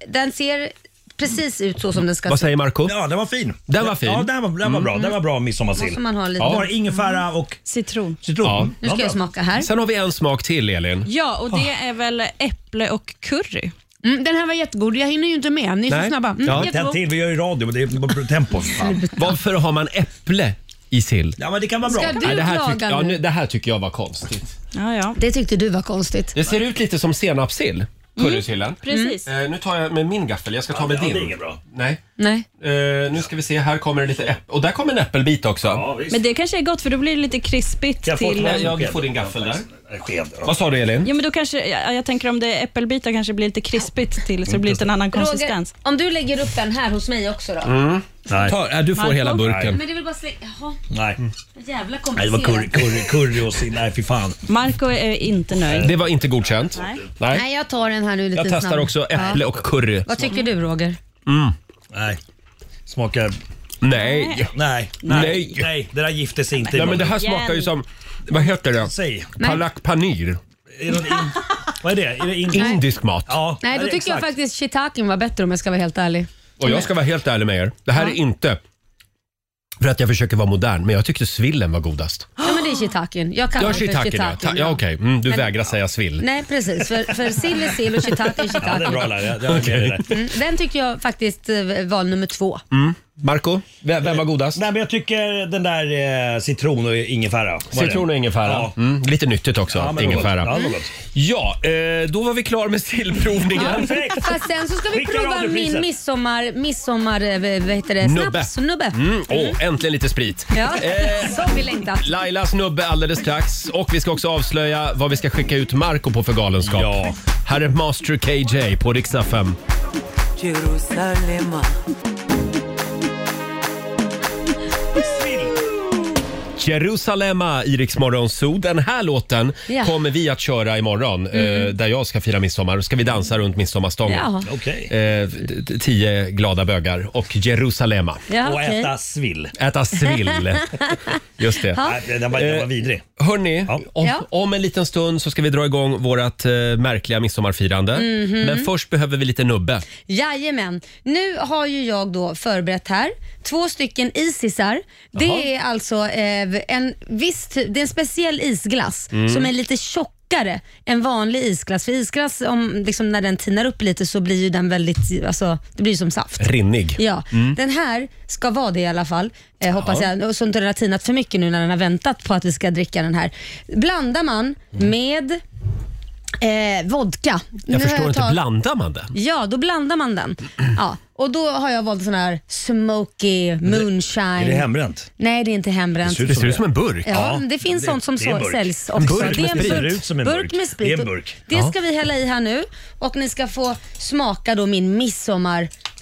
Speaker 2: den ser precis ut så som den ska
Speaker 1: vad
Speaker 2: se
Speaker 1: säger Marco?
Speaker 10: Ja, den var fin.
Speaker 1: Den var fin.
Speaker 10: Ja, den var, den var bra. Den var bra midsommarsill.
Speaker 2: Måste man ha lite- Mm.
Speaker 10: Ja, bara ingefära och
Speaker 3: Citron.
Speaker 10: citron.
Speaker 1: Ja.
Speaker 2: Nu ska jag smaka här.
Speaker 1: Mm. Sen har vi en smak till, Elin.
Speaker 3: Ja, och det är väl äpple och curry.
Speaker 2: Mm, den här var jättegod. Jag hinner ju inte med. Ni är
Speaker 1: Nej.
Speaker 2: så snabba. Mm,
Speaker 1: Ja, den
Speaker 10: Den
Speaker 2: jättegod.
Speaker 10: till, vi gör ju radio. men Det är tempo. för fan.
Speaker 1: Varför har man äpple i sill?
Speaker 10: Ja, men det kan vara bra.
Speaker 2: Ska du
Speaker 1: Ja, det, här tyck-
Speaker 2: klaga
Speaker 1: ja,
Speaker 2: nu?
Speaker 1: nu, det här tycker jag var konstigt.
Speaker 3: Ja, ja.
Speaker 2: Det tyckte du var konstigt.
Speaker 1: Det ser ut lite som senapssill, Mm. currysillen.
Speaker 3: Precis.
Speaker 1: Eh, nu tar jag med min gaffel, jag ska ta med
Speaker 10: Ja,
Speaker 1: din.
Speaker 10: det är inget bra.
Speaker 1: Nej.
Speaker 2: Nej.
Speaker 1: Eh, nu ska vi se, här kommer det lite äpple. Och där kommer en äppelbit också.
Speaker 10: Ja, visst.
Speaker 3: Men det kanske är gott för då blir det lite krispigt
Speaker 10: Jag får-
Speaker 3: till...
Speaker 1: Nej,
Speaker 3: eh,
Speaker 1: jag- du får din gaffel där.
Speaker 10: En Sked.
Speaker 1: Vad sa du Elin?
Speaker 3: Ja, men då kanske, ja, jag tänker om det är äppelbitar kanske blir lite krispigt till så det blir lite en annan
Speaker 2: Roger,
Speaker 3: konsistens.
Speaker 2: om du lägger upp den här hos mig också då.
Speaker 10: Nej.
Speaker 1: Ta, eh, du får
Speaker 3: Marco?
Speaker 1: hela burken.
Speaker 2: Men det är väl bara slä... Jaha,
Speaker 10: Nej.
Speaker 2: jävla
Speaker 10: Nej, det
Speaker 2: komplicerat.
Speaker 10: var curry, curry, curry och sill. Nej, fy fan.
Speaker 3: Marco är inte nöjd.
Speaker 1: Det var inte godkänt.
Speaker 3: Nej.
Speaker 1: Nej.
Speaker 2: Nej, jag tar den här nu lite
Speaker 1: Jag testar
Speaker 2: snabbt.
Speaker 1: också äpple
Speaker 2: Ja.
Speaker 1: och curry.
Speaker 2: Vad tycker du Roger?
Speaker 10: Nej. Smakar...
Speaker 1: Nej.
Speaker 10: Nej.
Speaker 1: Nej.
Speaker 10: Nej, det där gifter sig inte. i
Speaker 1: Nej men det här
Speaker 3: Igen.
Speaker 1: smakar ju som, vad heter det?
Speaker 10: Säg.
Speaker 1: Palak panir.
Speaker 10: Är det någon in... Vad är det? Är det in...
Speaker 1: Indisk mat.
Speaker 10: Ja,
Speaker 2: Nej, då
Speaker 10: det-
Speaker 2: tycker jag
Speaker 10: exakt.
Speaker 2: faktiskt shiitaken var bättre om jag ska vara helt ärlig.
Speaker 1: Och jag ska vara helt ärlig med er. Det här är inte för att jag försöker vara modern, men jag tyckte svillen var godast.
Speaker 2: Ja, men det är shiitaken. Jag kallar
Speaker 1: Jag har
Speaker 2: den för
Speaker 1: shiitake nu. Ta-
Speaker 2: shiitaken.
Speaker 1: Ja, okej. Mm, du vägrar säga svill.
Speaker 2: Nej, precis. För, för sill är sill och shiitake är
Speaker 10: Ja, det är
Speaker 2: shiitake.
Speaker 10: bra Laila. Jag, jag är med dig där.
Speaker 2: Mm, den tycker jag faktiskt eh, var nummer två.
Speaker 1: Marco, vem vem var godast?
Speaker 10: Nej, men jag tycker den där eh, citron och ingefära. var det?
Speaker 1: Citron och ingefära.
Speaker 10: Ja.
Speaker 1: Mm, lite nyttigt också,
Speaker 10: Ja, men det var
Speaker 1: ingefära.
Speaker 10: gott. Ja, det var gott.
Speaker 1: Ja, eh, då var vi klar med sillprovningen.
Speaker 2: Fast sen så ska vi
Speaker 1: Skicka
Speaker 2: prova
Speaker 1: radiopriset.
Speaker 2: min midsommar, midsommar eh, vad heter det, snaps, nubbe.
Speaker 1: Mm, åh, äntligen lite sprit.
Speaker 2: Ja,
Speaker 1: Eh,
Speaker 2: som vi längtat.
Speaker 1: Lailas nubbe alldeles strax och vi ska också avslöja vad vi ska skicka ut Marco på för galenskap. Ja. Här är Master KJ på riksdag 5.
Speaker 11: Jerusalema.
Speaker 1: Jerusalema i Rix Morgon Zoo. Den här låten
Speaker 11: Ja.
Speaker 1: kommer vi att köra imorgon
Speaker 11: Mm.
Speaker 1: eh, där jag ska fira midsommar. Då ska vi dansa runt midsommarstången.
Speaker 11: Jaha.
Speaker 1: Eh, d- d- tio glada bögar och Jerusalema.
Speaker 11: Ja, Och okej. äta
Speaker 10: svill.
Speaker 1: Äta
Speaker 11: *laughs*
Speaker 1: svill. Just det.
Speaker 11: Ja.
Speaker 10: Nej, den var-
Speaker 1: Eh,
Speaker 10: den var vidrig.
Speaker 1: Hörni, om,
Speaker 11: Ja.
Speaker 1: om en liten stund så ska vi dra igång vårt eh, märkliga midsommarfirande.
Speaker 11: Mm-hmm.
Speaker 2: Mhm.
Speaker 1: Men först behöver vi lite nubbe.
Speaker 2: Jajamän. Nu har ju jag då förberett här två stycken isisar. Det
Speaker 1: Jaha.
Speaker 2: är alltså eh, en viss ty- det är en speciell isglass
Speaker 11: Mm.
Speaker 2: som är lite tjockare än vanlig isglass. För isglass, om, liksom, när den tinar upp lite så blir ju den väldigt, alltså, det blir ju som saft.
Speaker 1: Rinnig.
Speaker 2: Ja,
Speaker 1: Mm.
Speaker 2: den här ska vara det i alla fall, eh, hoppas
Speaker 1: Ja.
Speaker 2: jag. Och Så inte den har tinat för mycket nu när den har väntat på att vi ska dricka den här. Blandar man med eh, vodka. Nu
Speaker 1: Mm. Jag
Speaker 2: har
Speaker 1: förstår inte,
Speaker 2: tagit-
Speaker 1: blandar man den?
Speaker 2: Ja, då blandar man den. *clears throat* Ja, och då har jag valt sån här smoky moonshine. Nej, det är inte hembränt.
Speaker 1: Det ser ut som Det ser ut som det. en burk.
Speaker 2: Ja,
Speaker 1: Ja,
Speaker 2: men det finns
Speaker 1: det-
Speaker 2: sånt som
Speaker 1: det är en
Speaker 2: så,
Speaker 1: burk.
Speaker 2: säljs
Speaker 1: En
Speaker 2: också.
Speaker 1: burk
Speaker 2: det är
Speaker 1: med
Speaker 2: en burk.
Speaker 1: sprit. Det ser ut som en burk.
Speaker 2: med sprit.
Speaker 1: Det är en burk.
Speaker 2: Det
Speaker 1: Ja.
Speaker 2: ska vi hälla i här nu och ni ska få smaka då min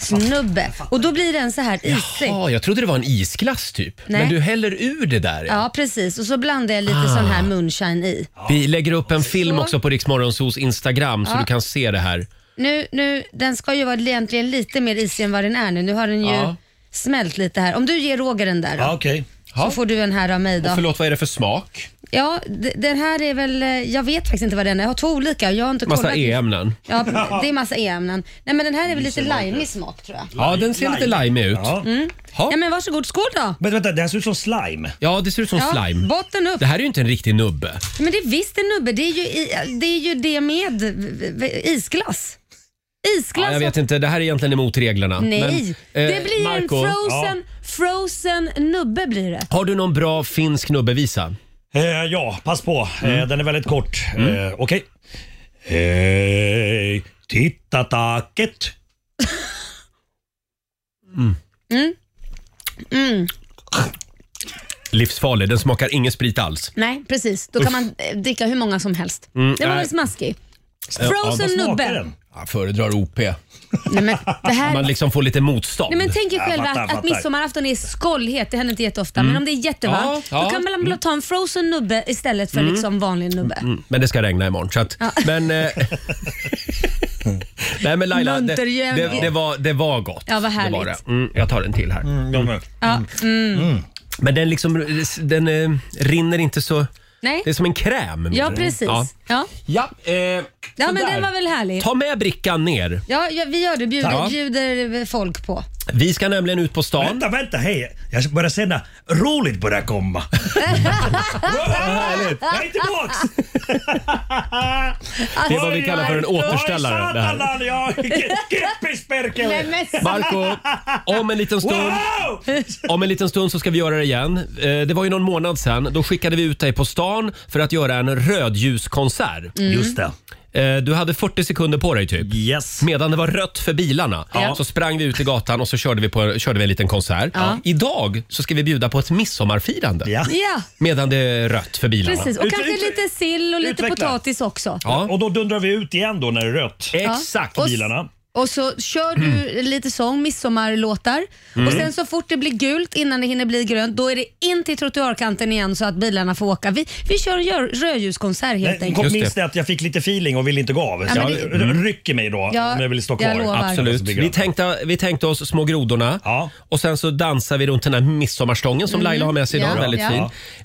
Speaker 2: midsommarsnubbe. Och då blir den så här isig.
Speaker 1: Ja, jag trodde det var en isglass typ.
Speaker 2: Nej.
Speaker 1: Men du häller ur det där. ja.
Speaker 2: Ja, precis. Och så blandar jag lite
Speaker 1: Ah.
Speaker 2: sån här moonshine i.
Speaker 1: Vi lägger upp en film
Speaker 2: Så.
Speaker 1: också på Riksmorgonsos Instagram så
Speaker 2: Ja.
Speaker 1: du kan se det här.
Speaker 2: Nu, nu, den ska ju vara egentligen lite mer isig än vad den är nu. Nu har den ju
Speaker 1: Ja.
Speaker 2: smält lite här. Om du ger Roger den där då,
Speaker 1: okej.
Speaker 2: så får du en här av mig då.
Speaker 1: Och förlåt, vad är det för smak?
Speaker 2: Ja, d- den här är väl, eh, jag vet faktiskt inte vad den är. Jag har två olika. Jag har inte
Speaker 1: Massa E.
Speaker 2: kollat.
Speaker 1: e-ämnen.
Speaker 2: Ja, det är massa e-ämnen. Nej men den här är väl lite limeig smak tror jag.
Speaker 1: Ja, den ser lite limey ut.
Speaker 2: Mm.
Speaker 1: Ja.
Speaker 2: Ja men varsågod, skål då!
Speaker 10: Men vänta, det här ser ut som slime.
Speaker 1: Ja, det ser ut som
Speaker 2: Ja,
Speaker 1: slime.
Speaker 2: botten upp.
Speaker 1: Det här är ju inte en riktig nubbe.
Speaker 2: Men det är visst en nubbe, det är ju, i- det, är ju det med v- v- isglass. Isglass
Speaker 1: Ja, jag vet inte, det här är egentligen emot reglerna.
Speaker 2: Nej,
Speaker 1: Men, eh,
Speaker 2: det blir en
Speaker 1: Marco,
Speaker 2: frozen, frozen nubbe blir det.
Speaker 1: ja. Har du någon bra finsk nubbevisa?
Speaker 10: Eh, ja, pass på.
Speaker 1: Mm.
Speaker 10: Eh, den är väldigt kort. Eh, Okej. Eh, Hej, titta taket.
Speaker 2: Mm. Mm.
Speaker 1: Livsfarlig, den smakar ingen sprit alls.
Speaker 2: Nej, precis. Då
Speaker 1: Uff.
Speaker 2: kan man eh, dricka hur många som helst.
Speaker 1: Mm,
Speaker 2: det var
Speaker 1: nej.
Speaker 2: väl smaskig?
Speaker 1: Ja,
Speaker 2: Frozen
Speaker 1: vad smakar
Speaker 2: nubbe.
Speaker 1: den? Jag föredrar OP.
Speaker 2: Nej, men det här...
Speaker 1: *laughs* Man liksom får lite motstånd.
Speaker 2: Nej, men tänk er själva att, att midsommarafton är skållhet, det händer inte jätteofta.
Speaker 1: Mm.
Speaker 2: Men om det är jättevarmt,
Speaker 1: Ja, ja.
Speaker 2: då kan man väl ta en frozen nubbe istället för
Speaker 1: Mm.
Speaker 2: liksom vanlig nubbe.
Speaker 1: Mm, men det ska regna imorgon. Så att,
Speaker 2: Ja.
Speaker 1: Men...
Speaker 2: *laughs*
Speaker 1: Eh, nej men Laila, det,
Speaker 2: Muntergömning.
Speaker 1: det, det, var, det var gott.
Speaker 2: Ja, vad
Speaker 1: det
Speaker 2: härligt.
Speaker 1: var det. Mm, jag tar en till här.
Speaker 2: Ja, mm.
Speaker 1: Men den liksom, den eh, rinner inte så...
Speaker 2: Nej.
Speaker 1: Det är som en kräm.
Speaker 2: Ja, precis. Ja, ja.
Speaker 1: Ja, eh,
Speaker 2: men
Speaker 1: sådär.
Speaker 2: den var väl härlig.
Speaker 1: Ta med brickan ner.
Speaker 2: Ja, ja, vi gör det. Bjuder,
Speaker 1: Ja.
Speaker 2: bjuder folk på.
Speaker 1: Vi ska nämligen ut på stan.
Speaker 10: Vänta, vänta, hej. Jag börjar känna roligt börjar
Speaker 2: *laughs*
Speaker 10: komma. Härligt. Jag är tillbaks!
Speaker 1: Det är vad vi kallar för en återställare. Det här.
Speaker 10: Satan, jag
Speaker 2: *laughs*
Speaker 10: keppisperkel!
Speaker 11: Nej, men så-
Speaker 1: Marco, om en liten stund *laughs* Om en liten stund så ska vi göra det igen. Eh, Det var ju någon månad sedan. Då skickade vi ut dig på stan för att göra en rödljuskonsert.
Speaker 10: Mm. Just det.
Speaker 1: Eh, Du hade 40 sekunder på dig typ.
Speaker 10: Yes.
Speaker 1: Medan det var rött för bilarna
Speaker 10: Ja.
Speaker 1: så sprang vi ut i gatan och så körde vi, på, körde vi en liten konsert.
Speaker 2: Ja.
Speaker 1: Idag så ska vi bjuda på ett midsommarfirande.
Speaker 2: Ja,
Speaker 1: Medan det är rött för bilarna.
Speaker 2: precis. Och kanske lite sill och lite
Speaker 10: utveckla.
Speaker 2: potatis också.
Speaker 10: Och då dundrar vi ut igen då när det är rött.
Speaker 2: Ja. Och s-
Speaker 10: Bilarna.
Speaker 2: Och så kör du lite sång, midsommarlåtar.
Speaker 10: Mm.
Speaker 2: Och sen så fort det blir gult innan det hinner bli grönt, då är det in till trottoarkanten igen så att bilarna får åka. Vi, vi kör en gör- rödljuskonsert helt
Speaker 10: Nej,
Speaker 2: enkelt.
Speaker 10: kom minst det att jag fick lite feeling och ville inte gå av.
Speaker 2: Ja,
Speaker 10: Så
Speaker 2: men
Speaker 10: jag
Speaker 2: det-
Speaker 10: r- rycker mig då
Speaker 2: Ja,
Speaker 10: om jag vill stå
Speaker 2: jag
Speaker 10: kvar.
Speaker 2: lovar.
Speaker 1: Absolut. Vi tänkte, vi tänkte oss små grodorna och sen så dansar vi runt den här midsommarstången som
Speaker 10: Mm.
Speaker 1: Laila har med sig idag.
Speaker 10: Ja,
Speaker 1: Väldigt
Speaker 10: ja.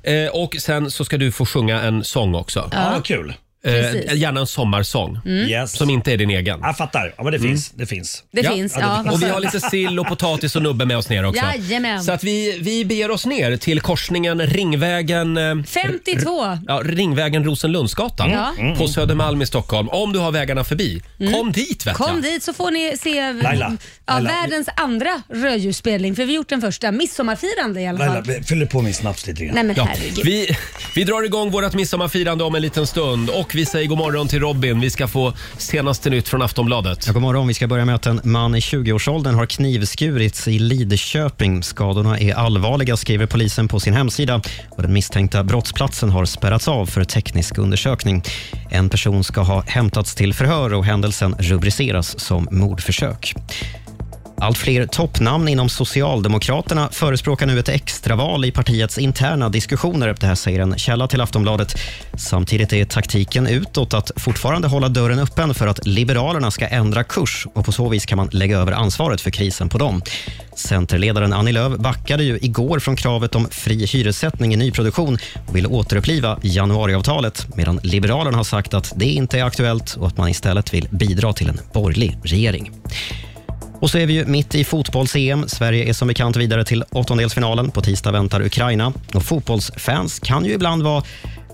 Speaker 1: fin. Eh, och sen så ska du få sjunga en sång också.
Speaker 10: Ja, kul.
Speaker 1: Eh,
Speaker 2: Precis.
Speaker 1: gärna en sommarsång
Speaker 2: Mm.
Speaker 1: som inte Mm. är din egen. Jag
Speaker 10: fattar. Ja, men det finns. Det finns.
Speaker 2: Det finns, ja, vad
Speaker 1: och vi
Speaker 2: skönt.
Speaker 1: har lite sill och potatis och nubbe med oss ner också.
Speaker 2: Jajamän.
Speaker 1: Så att vi, vi beger oss ner till korsningen Ringvägen... eh,
Speaker 2: 52.
Speaker 1: Ja, Ringvägen Rosenlundsgatan
Speaker 2: Ja. Mm.
Speaker 1: på Södermalm i Stockholm. Om du har vägarna förbi,
Speaker 2: Mm.
Speaker 1: kom dit vet
Speaker 2: Kom
Speaker 1: jag.
Speaker 2: dit så får ni se
Speaker 1: Laila,
Speaker 2: Ja,
Speaker 1: Laila.
Speaker 2: världens andra rödljusspelning. För vi har gjort den första, midsommarfirande i alla fall.
Speaker 10: Laila, fyller på min snaps lite grann.
Speaker 2: Nej, men herregud.
Speaker 1: vi, vi drar igång vårt midsommarfirande om en liten stund och vi säger god morgon till Robin. Vi ska få senaste nytt från Aftonbladet.
Speaker 12: Ja, god morgon. Vi ska börja med att en man i 20-årsåldern har knivskurits i Lidköping. Skadorna är allvarliga, skriver polisen på sin hemsida. Och den misstänkta brottsplatsen har spärrats av för teknisk undersökning. En person ska ha hämtats till förhör och händelsen rubriceras som mordförsök. Allt fler toppnamn inom Socialdemokraterna förespråkar nu ett extraval i partiets interna diskussioner. Det här säger en källa till Aftonbladet. Samtidigt är taktiken utåt att fortfarande hålla dörren öppen för att Liberalerna ska ändra kurs och på så vis kan man lägga över ansvaret för krisen på dem. Centerledaren Annie Lööf backade ju igår från kravet om fri hyressättning i nyproduktion och vill återuppliva januariavtalet medan Liberalerna har sagt att det inte är aktuellt och att man istället vill bidra till en borgerlig regering. Och så är vi ju mitt i fotbolls-EM. Sverige är som bekant vidare till åttondelsfinalen. På tisdag väntar Ukraina. Och fotbollsfans kan ju ibland vara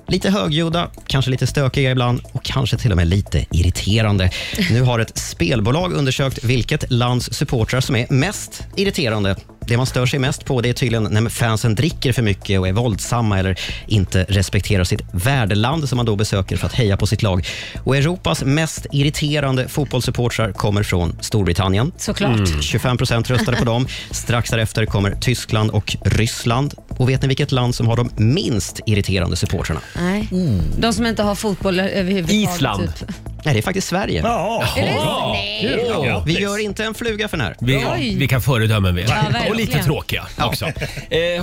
Speaker 12: lite högljudda, kanske lite stökiga ibland och kanske till och med lite irriterande. Nu har ett spelbolag undersökt vilket lands supportrar som är mest irriterande. Det man stör sig mest på det är tydligen när fansen dricker för mycket och är våldsamma eller inte respekterar sitt värdeland som man då besöker för att heja på sitt lag. Och Europas mest irriterande fotbollssupportrar kommer från Storbritannien.
Speaker 2: Såklart. Mm.
Speaker 12: 25 procent röstade på dem. Strax därefter kommer Tyskland och Ryssland. Och vet ni vilket land som har de minst irriterande supportrarna?
Speaker 2: Nej. De som inte har fotboll överhuvudtaget. Typ.
Speaker 12: Nej, det är faktiskt Sverige.
Speaker 10: Ja.
Speaker 2: Är det
Speaker 1: Ja.
Speaker 2: Nej.
Speaker 1: Ja.
Speaker 12: Vi gör inte en fluga för den här.
Speaker 1: Vi,
Speaker 12: Oj.
Speaker 1: vilka föredömen vi är.
Speaker 12: Ja, verkligen.
Speaker 1: och lite tråkiga också. Eh,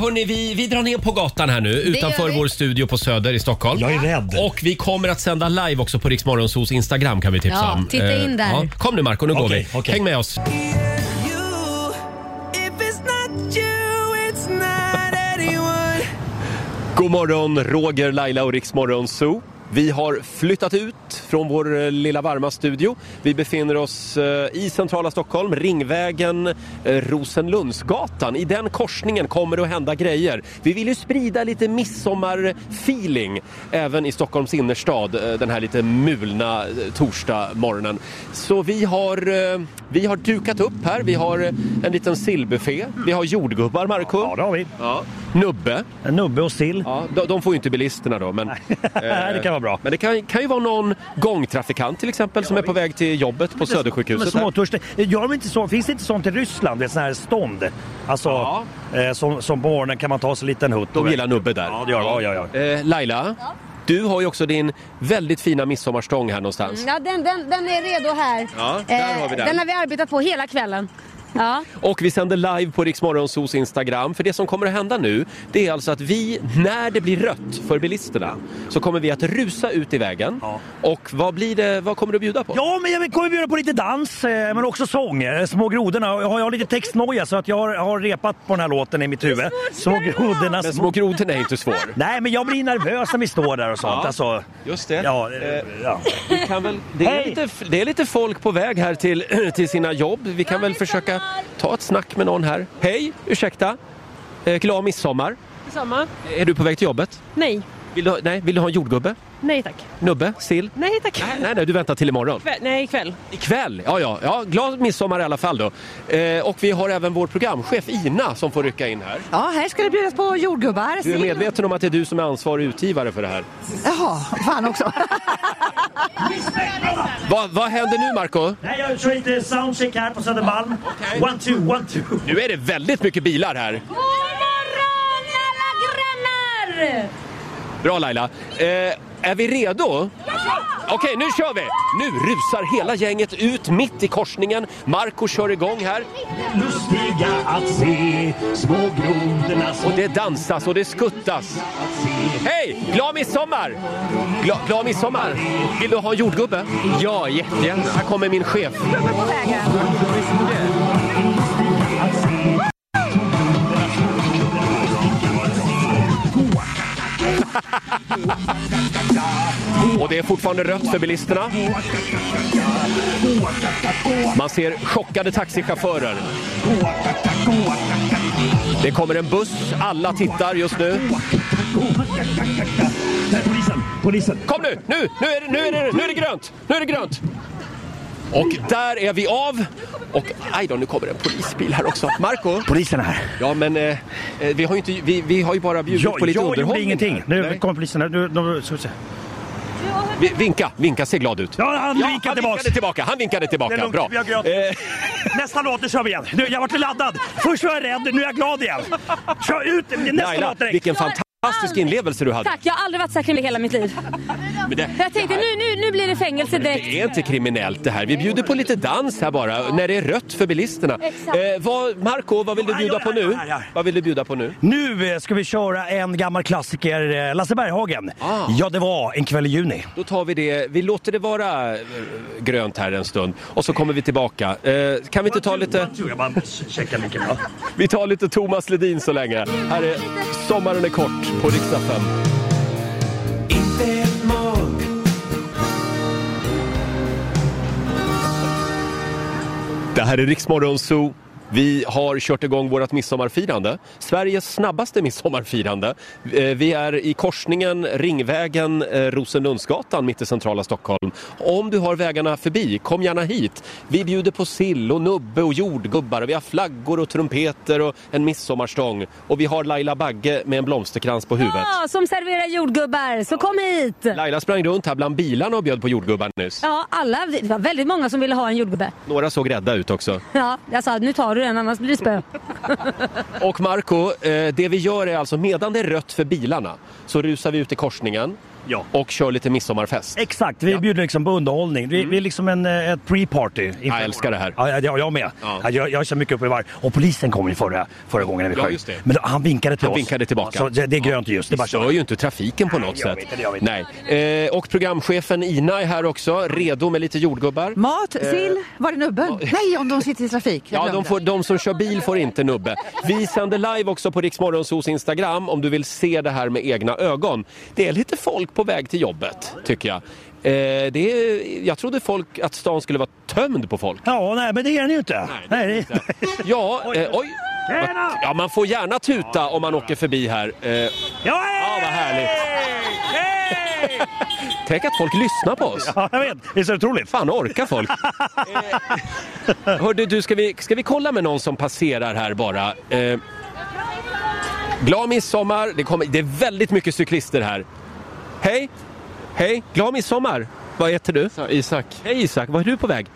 Speaker 1: hörni, vi, vi drar ner på gatan här nu
Speaker 12: gör
Speaker 1: utanför
Speaker 12: vi.
Speaker 1: vår studio på Söder i Stockholm. Jag är rädd. Och vi kommer att sända live också på Riksmorgonsos Instagram kan vi tipsa
Speaker 2: Ja,
Speaker 1: om. Eh,
Speaker 2: titta in där.
Speaker 1: Kom nu Marco, nu går vi. Häng med oss. God morgon, Roger, Laila och Riksmorgon Zoo. Vi har flyttat ut från vår eh, lilla varma studio. Vi befinner oss eh, i centrala Stockholm, Ringvägen, eh, Rosenlundsgatan. I den korsningen kommer det att hända grejer. Vi vill ju sprida lite midsommarfeeling även i Stockholms innerstad eh, den här lite mulna torsdag morgonen. Så vi har, eh, vi har dukat upp här. Vi har eh, en liten sillbuffé. Vi har jordgubbar, Marco. Ja, det har vi. Nubbe.
Speaker 10: En nubbe och sill.
Speaker 1: Ja, de, de får ju inte bilisterna då.
Speaker 10: *laughs*
Speaker 1: Men, eh,
Speaker 10: det kan vara bra.
Speaker 1: Men det kan, kan ju vara någon gångtrafikant till exempel som är på väg till jobbet på Södersjukhuset.
Speaker 10: De är
Speaker 1: här.
Speaker 10: småtörstig. Gör de inte så, finns det inte sånt i Ryssland? Det är sån här stånd. Alltså, eh, som, som på morgonen kan man ta sig en liten hutt.
Speaker 1: De gillar nubbe där.
Speaker 10: Ja, det gör de. Ja, ja, ja.
Speaker 1: Eh, Laila, du har ju också din väldigt fina midsommarstång här någonstans.
Speaker 13: Ja, den, den, den är redo här.
Speaker 1: Ja, där har vi
Speaker 2: Eh,
Speaker 1: den.
Speaker 13: har vi arbetat på hela kvällen. Ja.
Speaker 10: Mm.
Speaker 1: Och vi sänder live på Riksmorgonsos Instagram. För det som kommer att hända nu, det är alltså att vi, när det blir rött för bilisterna, så kommer vi att rusa ut i vägen. Och vad, blir det, vad kommer du att bjuda på?
Speaker 10: Ja, men jag kommer bjuda på lite dans, eh, men också sång. eh, Små grodorna. Jag har, jag har lite textnoja så att jag har, har repat på den här låten i mitt huvud. Små grodorna.
Speaker 1: Men Små grodorna är inte svår.
Speaker 10: *laughs* Nej, men jag blir nervös när vi står där och sånt.
Speaker 1: Ja,
Speaker 10: Alltså,
Speaker 1: just det.
Speaker 10: Ja, eh, ja.
Speaker 1: Vi kan väl, det, är
Speaker 10: Hej!
Speaker 1: lite, det är lite folk på väg här till, till *clears throat* sina jobb. Vi kan väl försöka ta ett snack med någon här. Hej, ursäkta. Eh, glad midsommar.
Speaker 14: Samma.
Speaker 1: Är du på väg till jobbet?
Speaker 14: Nej.
Speaker 1: Vill du, ha- nej, vill du ha en jordgubbe?
Speaker 14: Nej tack.
Speaker 1: Nubbe? Sill?
Speaker 14: Nej tack.
Speaker 1: Nej, nej, nej, du väntar till imorgon.
Speaker 14: Kväll. Nej, ikväll.
Speaker 1: Ikväll? Ja, ja, ja. Glad midsommar i alla fall då. Eh, och vi har även vår programchef Ina som får rycka in här.
Speaker 15: Ja, här ska det bjudas på jordgubbar.
Speaker 1: Du är medveten om att det är du som är ansvarig utgivare för det här.
Speaker 15: Jaha, fan också.
Speaker 1: Vad, vad händer nu, Marco?
Speaker 10: Nej, jag kör lite soundcheck här på Södermalm. One, two, one, two.
Speaker 1: Nu är det väldigt mycket bilar här.
Speaker 13: God morgon alla grannar!
Speaker 1: Bra Laila. Eh, är vi redo? Okej, nu kör vi! Nu rusar hela gänget ut mitt i korsningen. Marco kör igång här.
Speaker 10: Lustiga att se små grodorna
Speaker 1: Och det dansas och det skuttas. Hej! Glad midsommar! Gla, glad midsommar! Vill du ha en jordgubbe? Ja, jättegärna. Här kommer min chef. Och det det är fortfarande rött för bilisterna. Man ser chockade taxichaufförer. Det kommer en buss. Alla tittar just nu. Polisen! Polisen! Kom nu! Nu, nu, är, det, nu, är, det, nu är det grönt! Nu är det grönt! Och där är vi av. Och aj då, nu kommer en polisbil här också. Marco? Polisen här. Ja, men eh, eh, vi, har ju inte, vi, vi har ju bara bjudit
Speaker 10: Jag,
Speaker 1: på lite
Speaker 10: jag gjorde
Speaker 1: underhållning.
Speaker 10: ingenting.
Speaker 1: här.
Speaker 10: Nu
Speaker 1: Nej.
Speaker 10: kommer poliserna. Nu, de, ska vi se.
Speaker 1: Vi- Vinka, vinka, se glad ut. Ja,
Speaker 10: han vinkade tillbaks.
Speaker 1: vinkade tillbaka. Han vinkade
Speaker 10: Det är
Speaker 1: tillbaka,
Speaker 10: lugnt,
Speaker 1: bra. Eh,
Speaker 10: vi har grönt. Nästa låt, nu kör vi igen. Nu, jag vart laddad. Först var jag rädd, nu är jag glad igen. Kör ut nästa
Speaker 1: Laila,
Speaker 10: låt direkt.
Speaker 1: vilken fantastisk inlevelse du hade.
Speaker 2: Tack, jag har aldrig varit så här kriminell i hela mitt liv.
Speaker 1: Men det,
Speaker 2: Jag tänkte nu, nu, nu blir det fängelse direkt.
Speaker 1: det är inte kriminellt det här. Vi bjuder på lite dans här bara, när det är rött för bilisterna.
Speaker 2: Exakt.
Speaker 1: Eh, vad, Marco, vad vill du bjuda på nu? Vad vill du bjuda på nu?
Speaker 10: Nu eh, ska vi köra en gammal klassiker, eh, Lasse Berghagen.
Speaker 1: Ah.
Speaker 10: Ja, det var en kväll i juni.
Speaker 1: Då tar vi det, vi låter det vara eh, grönt här en stund och så kommer vi tillbaka. Eh, kan vi inte ta lite... Vi tar lite Thomas Ledin så länge. Här är Sommaren är kort på riksdag 5.
Speaker 16: Inte ett mål.
Speaker 1: Det här är Riksmorgon Zoo. Vi har kört igång vårt midsommarfirande. Sveriges snabbaste midsommarfirande. Eh, Vi är i korsningen Ringvägen eh, Rosenlundsgatan mitt i centrala Stockholm. Om du har vägarna förbi, kom gärna hit. Vi bjuder på sill och nubbe och jordgubbar. Vi har flaggor och trumpeter och en midsommarstång. Och vi har Laila Bagge med en blomsterkrans på huvudet.
Speaker 2: Ja, som serverar jordgubbar, så kom hit!
Speaker 1: Laila sprang runt här bland bilarna och bjöd på jordgubbar nyss.
Speaker 2: Ja, alla, det var väldigt många som ville ha en jordgubbe.
Speaker 1: Några såg rädda ut också.
Speaker 2: Ja, jag sa nu tar du den annars blir det spö.
Speaker 1: Och Marco, eh, det vi gör är alltså medan det är rött för bilarna så rusar vi ut i korsningen och kör lite midsommarfest.
Speaker 10: Exakt, vi bjuder liksom på underhållning. Vi, vi är liksom en, eh, ett pre-party.
Speaker 1: Mm. Jag älskar det här.
Speaker 10: Ja, jag, jag- jag med. Ja. Jag, jag kör mycket upp i varv. Och polisen kom ju förra, förra gången när vi
Speaker 1: Ja,
Speaker 10: sjöng.
Speaker 1: just det.
Speaker 10: Men då, han vinkade till
Speaker 1: Han
Speaker 10: oss.
Speaker 1: vinkade tillbaka.
Speaker 10: Så det, det är grönt ljus. Det är bara
Speaker 1: Vi
Speaker 10: att
Speaker 1: stör
Speaker 10: köra.
Speaker 1: ju inte trafiken på något
Speaker 10: jag
Speaker 1: sätt.
Speaker 10: vet det, jag vet det.
Speaker 1: Nej. Eh, och programchefen Ina är här också, redo med lite jordgubbar.
Speaker 5: Mat,
Speaker 1: Eh,
Speaker 5: sill, var det nubben? Nej, om de sitter i trafik. Jag
Speaker 1: Ja, de,
Speaker 5: glömde.
Speaker 1: får, de som kör bil får inte nubbe. Vi sänder live också på Riksmorgonsos Instagram om du vill se det här med egna ögon. Det är lite folk på väg till jobbet, tycker jag. Eh, det är, jag trodde folk, att stan skulle vara tömd på folk.
Speaker 10: Ja, nej, men det är den ju inte. Nej, det *laughs* är...
Speaker 1: Ja, eh, oj! Ja, man får gärna tuta om man åker förbi här. Eh, ja, vad härligt! Tänk att folk lyssnar på oss.
Speaker 10: Ja, jag vet. Visst är det otroligt?
Speaker 1: Fan, orkar
Speaker 10: *laughs*
Speaker 1: folk? eh, hörde du, ska vi, ska vi kolla med någon som passerar här bara? Eh, glad midsommar. Det, kommer, det är väldigt mycket cyklister här. Hej! Hej! Glad midsommar! Vad heter du? Isak. Hej Isak! Var är du på väg?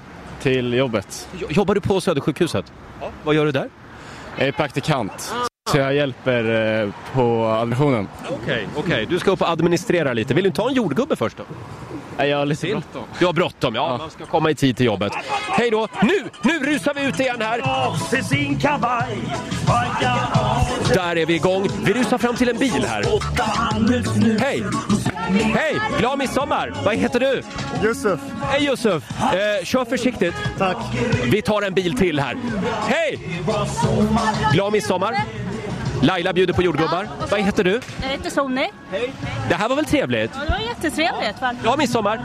Speaker 1: Till jobbet. Jobbar du på Södersjukhuset? Ja. Vad gör du där? Jag är praktikant.
Speaker 4: Så jag hjälper eh, på admissionen.
Speaker 1: Okej, okej. Du ska upp och administrera lite. Vill du ta en jordgubbe först då? Nej, jag har lite bråttom. Du har bråttom, ja. Man ska komma i tid till jobbet. Hej då! Nu, nu rusar vi ut igen här!
Speaker 10: Av sig sin kavaj, vajka av
Speaker 1: Där är vi igång. Vi rusar fram till en bil här.
Speaker 10: åtta handen nu.
Speaker 1: Hej! Hej! Glad midsommar! Vad heter du? Yusuf. Hej Yusuf! Eh, kör försiktigt. Tack. Vi tar en bil till här. Hej! Glad midsommar! Laila bjuder på jordgubbar. Vad heter du?
Speaker 3: Jag heter Sonny. Hej.
Speaker 1: Det här var väl trevligt?
Speaker 3: Ja, det var jättetrevligt. Ja.
Speaker 1: Glad midsommar!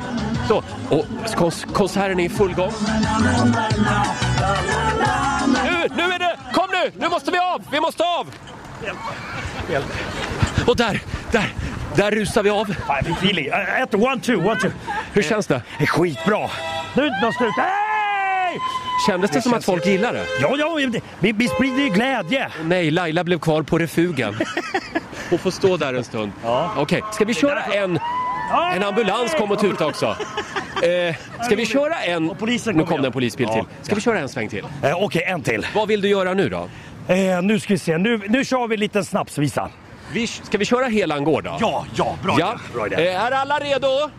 Speaker 1: Så, och kons- konserten är i full gång. Nu, nu är det! Kom nu! Nu måste vi av! Vi måste av! Och där, där, där rusar vi av.
Speaker 10: Fan, jag fick feeling. Eh, Ett, one, two, one, two.
Speaker 1: Hur känns det?
Speaker 10: Skitbra. Nu är det inte något slut. Hej!
Speaker 1: Kändes det, som att folk gillar det?
Speaker 10: Ja, ja, det- vi, vi sprider ju glädje.
Speaker 1: Nej, Laila blev kvar på refugen. Och får stå där en stund. Okej, ska vi köra en... En ambulans kom och tutade också. Eh, ska vi köra en... nu kom det en polisbil till. Ska vi köra en sväng till?
Speaker 10: Eh, Okej, en till.
Speaker 1: Vad vill du göra nu då?
Speaker 10: Eh, nu ska vi se, nu, nu kör vi en liten snapsvisa.
Speaker 1: Vi, ska vi köra hela en gård då?
Speaker 10: Ja, ja, bra
Speaker 1: ja.
Speaker 10: idé. Bra idé.
Speaker 1: Eh, är alla redo? Ja!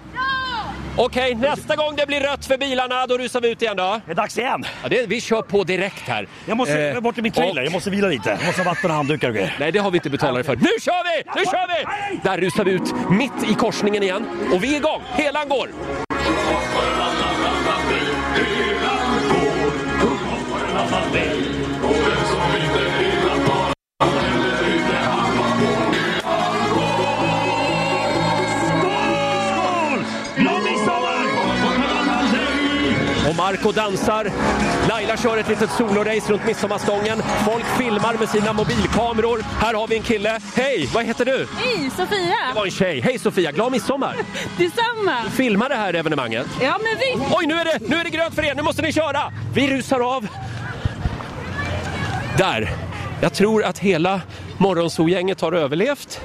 Speaker 1: Okej, nästa gång det blir rött för bilarna, då rusar vi ut igen då.
Speaker 10: Det är dags igen.
Speaker 1: Ja, det, vi kör på direkt här. Eh,
Speaker 10: Jag måste jag är bort i min trailer, jag måste vila lite. Jag måste ha vatten och handdukar och grejer.
Speaker 1: Nej, det har vi inte betalat dig för. Nu kör vi! Nu kör vi! Där rusar vi ut mitt i korsningen igen. Och vi är igång! Helan går!
Speaker 10: Skål! Skål!
Speaker 1: Marco dansar. Laila kör ett litet solorace runt midsommarstången. Folk filmar med sina mobilkameror. Här har vi en kille. Hej, vad heter du? Det
Speaker 3: Hej, Sofia!
Speaker 1: var en tjej. Hej Sofia, glad midsommar!
Speaker 3: Detsamma!
Speaker 1: Filma det här evenemanget.
Speaker 3: Ja, men vi...
Speaker 1: Oj, nu är, det, nu är det grönt för er! Nu måste ni köra! Vi rusar av. Där! Jag tror att hela Morgonzoo-gänget har överlevt.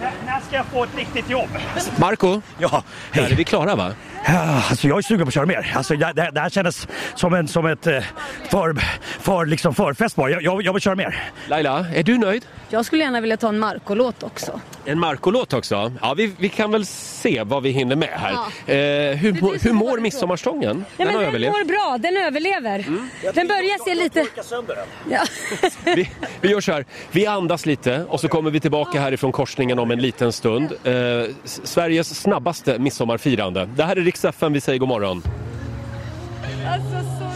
Speaker 10: När, när ska jag få ett riktigt jobb?
Speaker 1: Marco?
Speaker 10: Ja, hej.
Speaker 1: Där är vi klara va?
Speaker 10: Ja, Alltså jag är sugen på att köra mer. Alltså jag, det, det här kändes som, en, som ett eh, för, för, liksom förfest bara. Jag, jag, jag vill köra mer.
Speaker 1: Laila, är du nöjd?
Speaker 2: Jag skulle gärna vilja ta en Marco-låt också.
Speaker 1: En Marco-låt också. Ja, vi, vi kan väl se vad vi hinner med här.
Speaker 2: Ja.
Speaker 1: Eh, hur, mår- hur mår midsommarstången?
Speaker 2: Ja,
Speaker 1: Den
Speaker 2: men
Speaker 1: har
Speaker 2: den
Speaker 1: överlevt.
Speaker 2: mår bra, den överlever.
Speaker 1: Mm.
Speaker 2: Den börjar se lite... Ja. *laughs*
Speaker 1: Vi, vi gör så här, vi andas lite och så kommer vi tillbaka härifrån korsningen om en liten stund. Eh, S- Sveriges snabbaste midsommarfirande. Det här är Rix FM, vi säger god morgon.
Speaker 11: Alltså så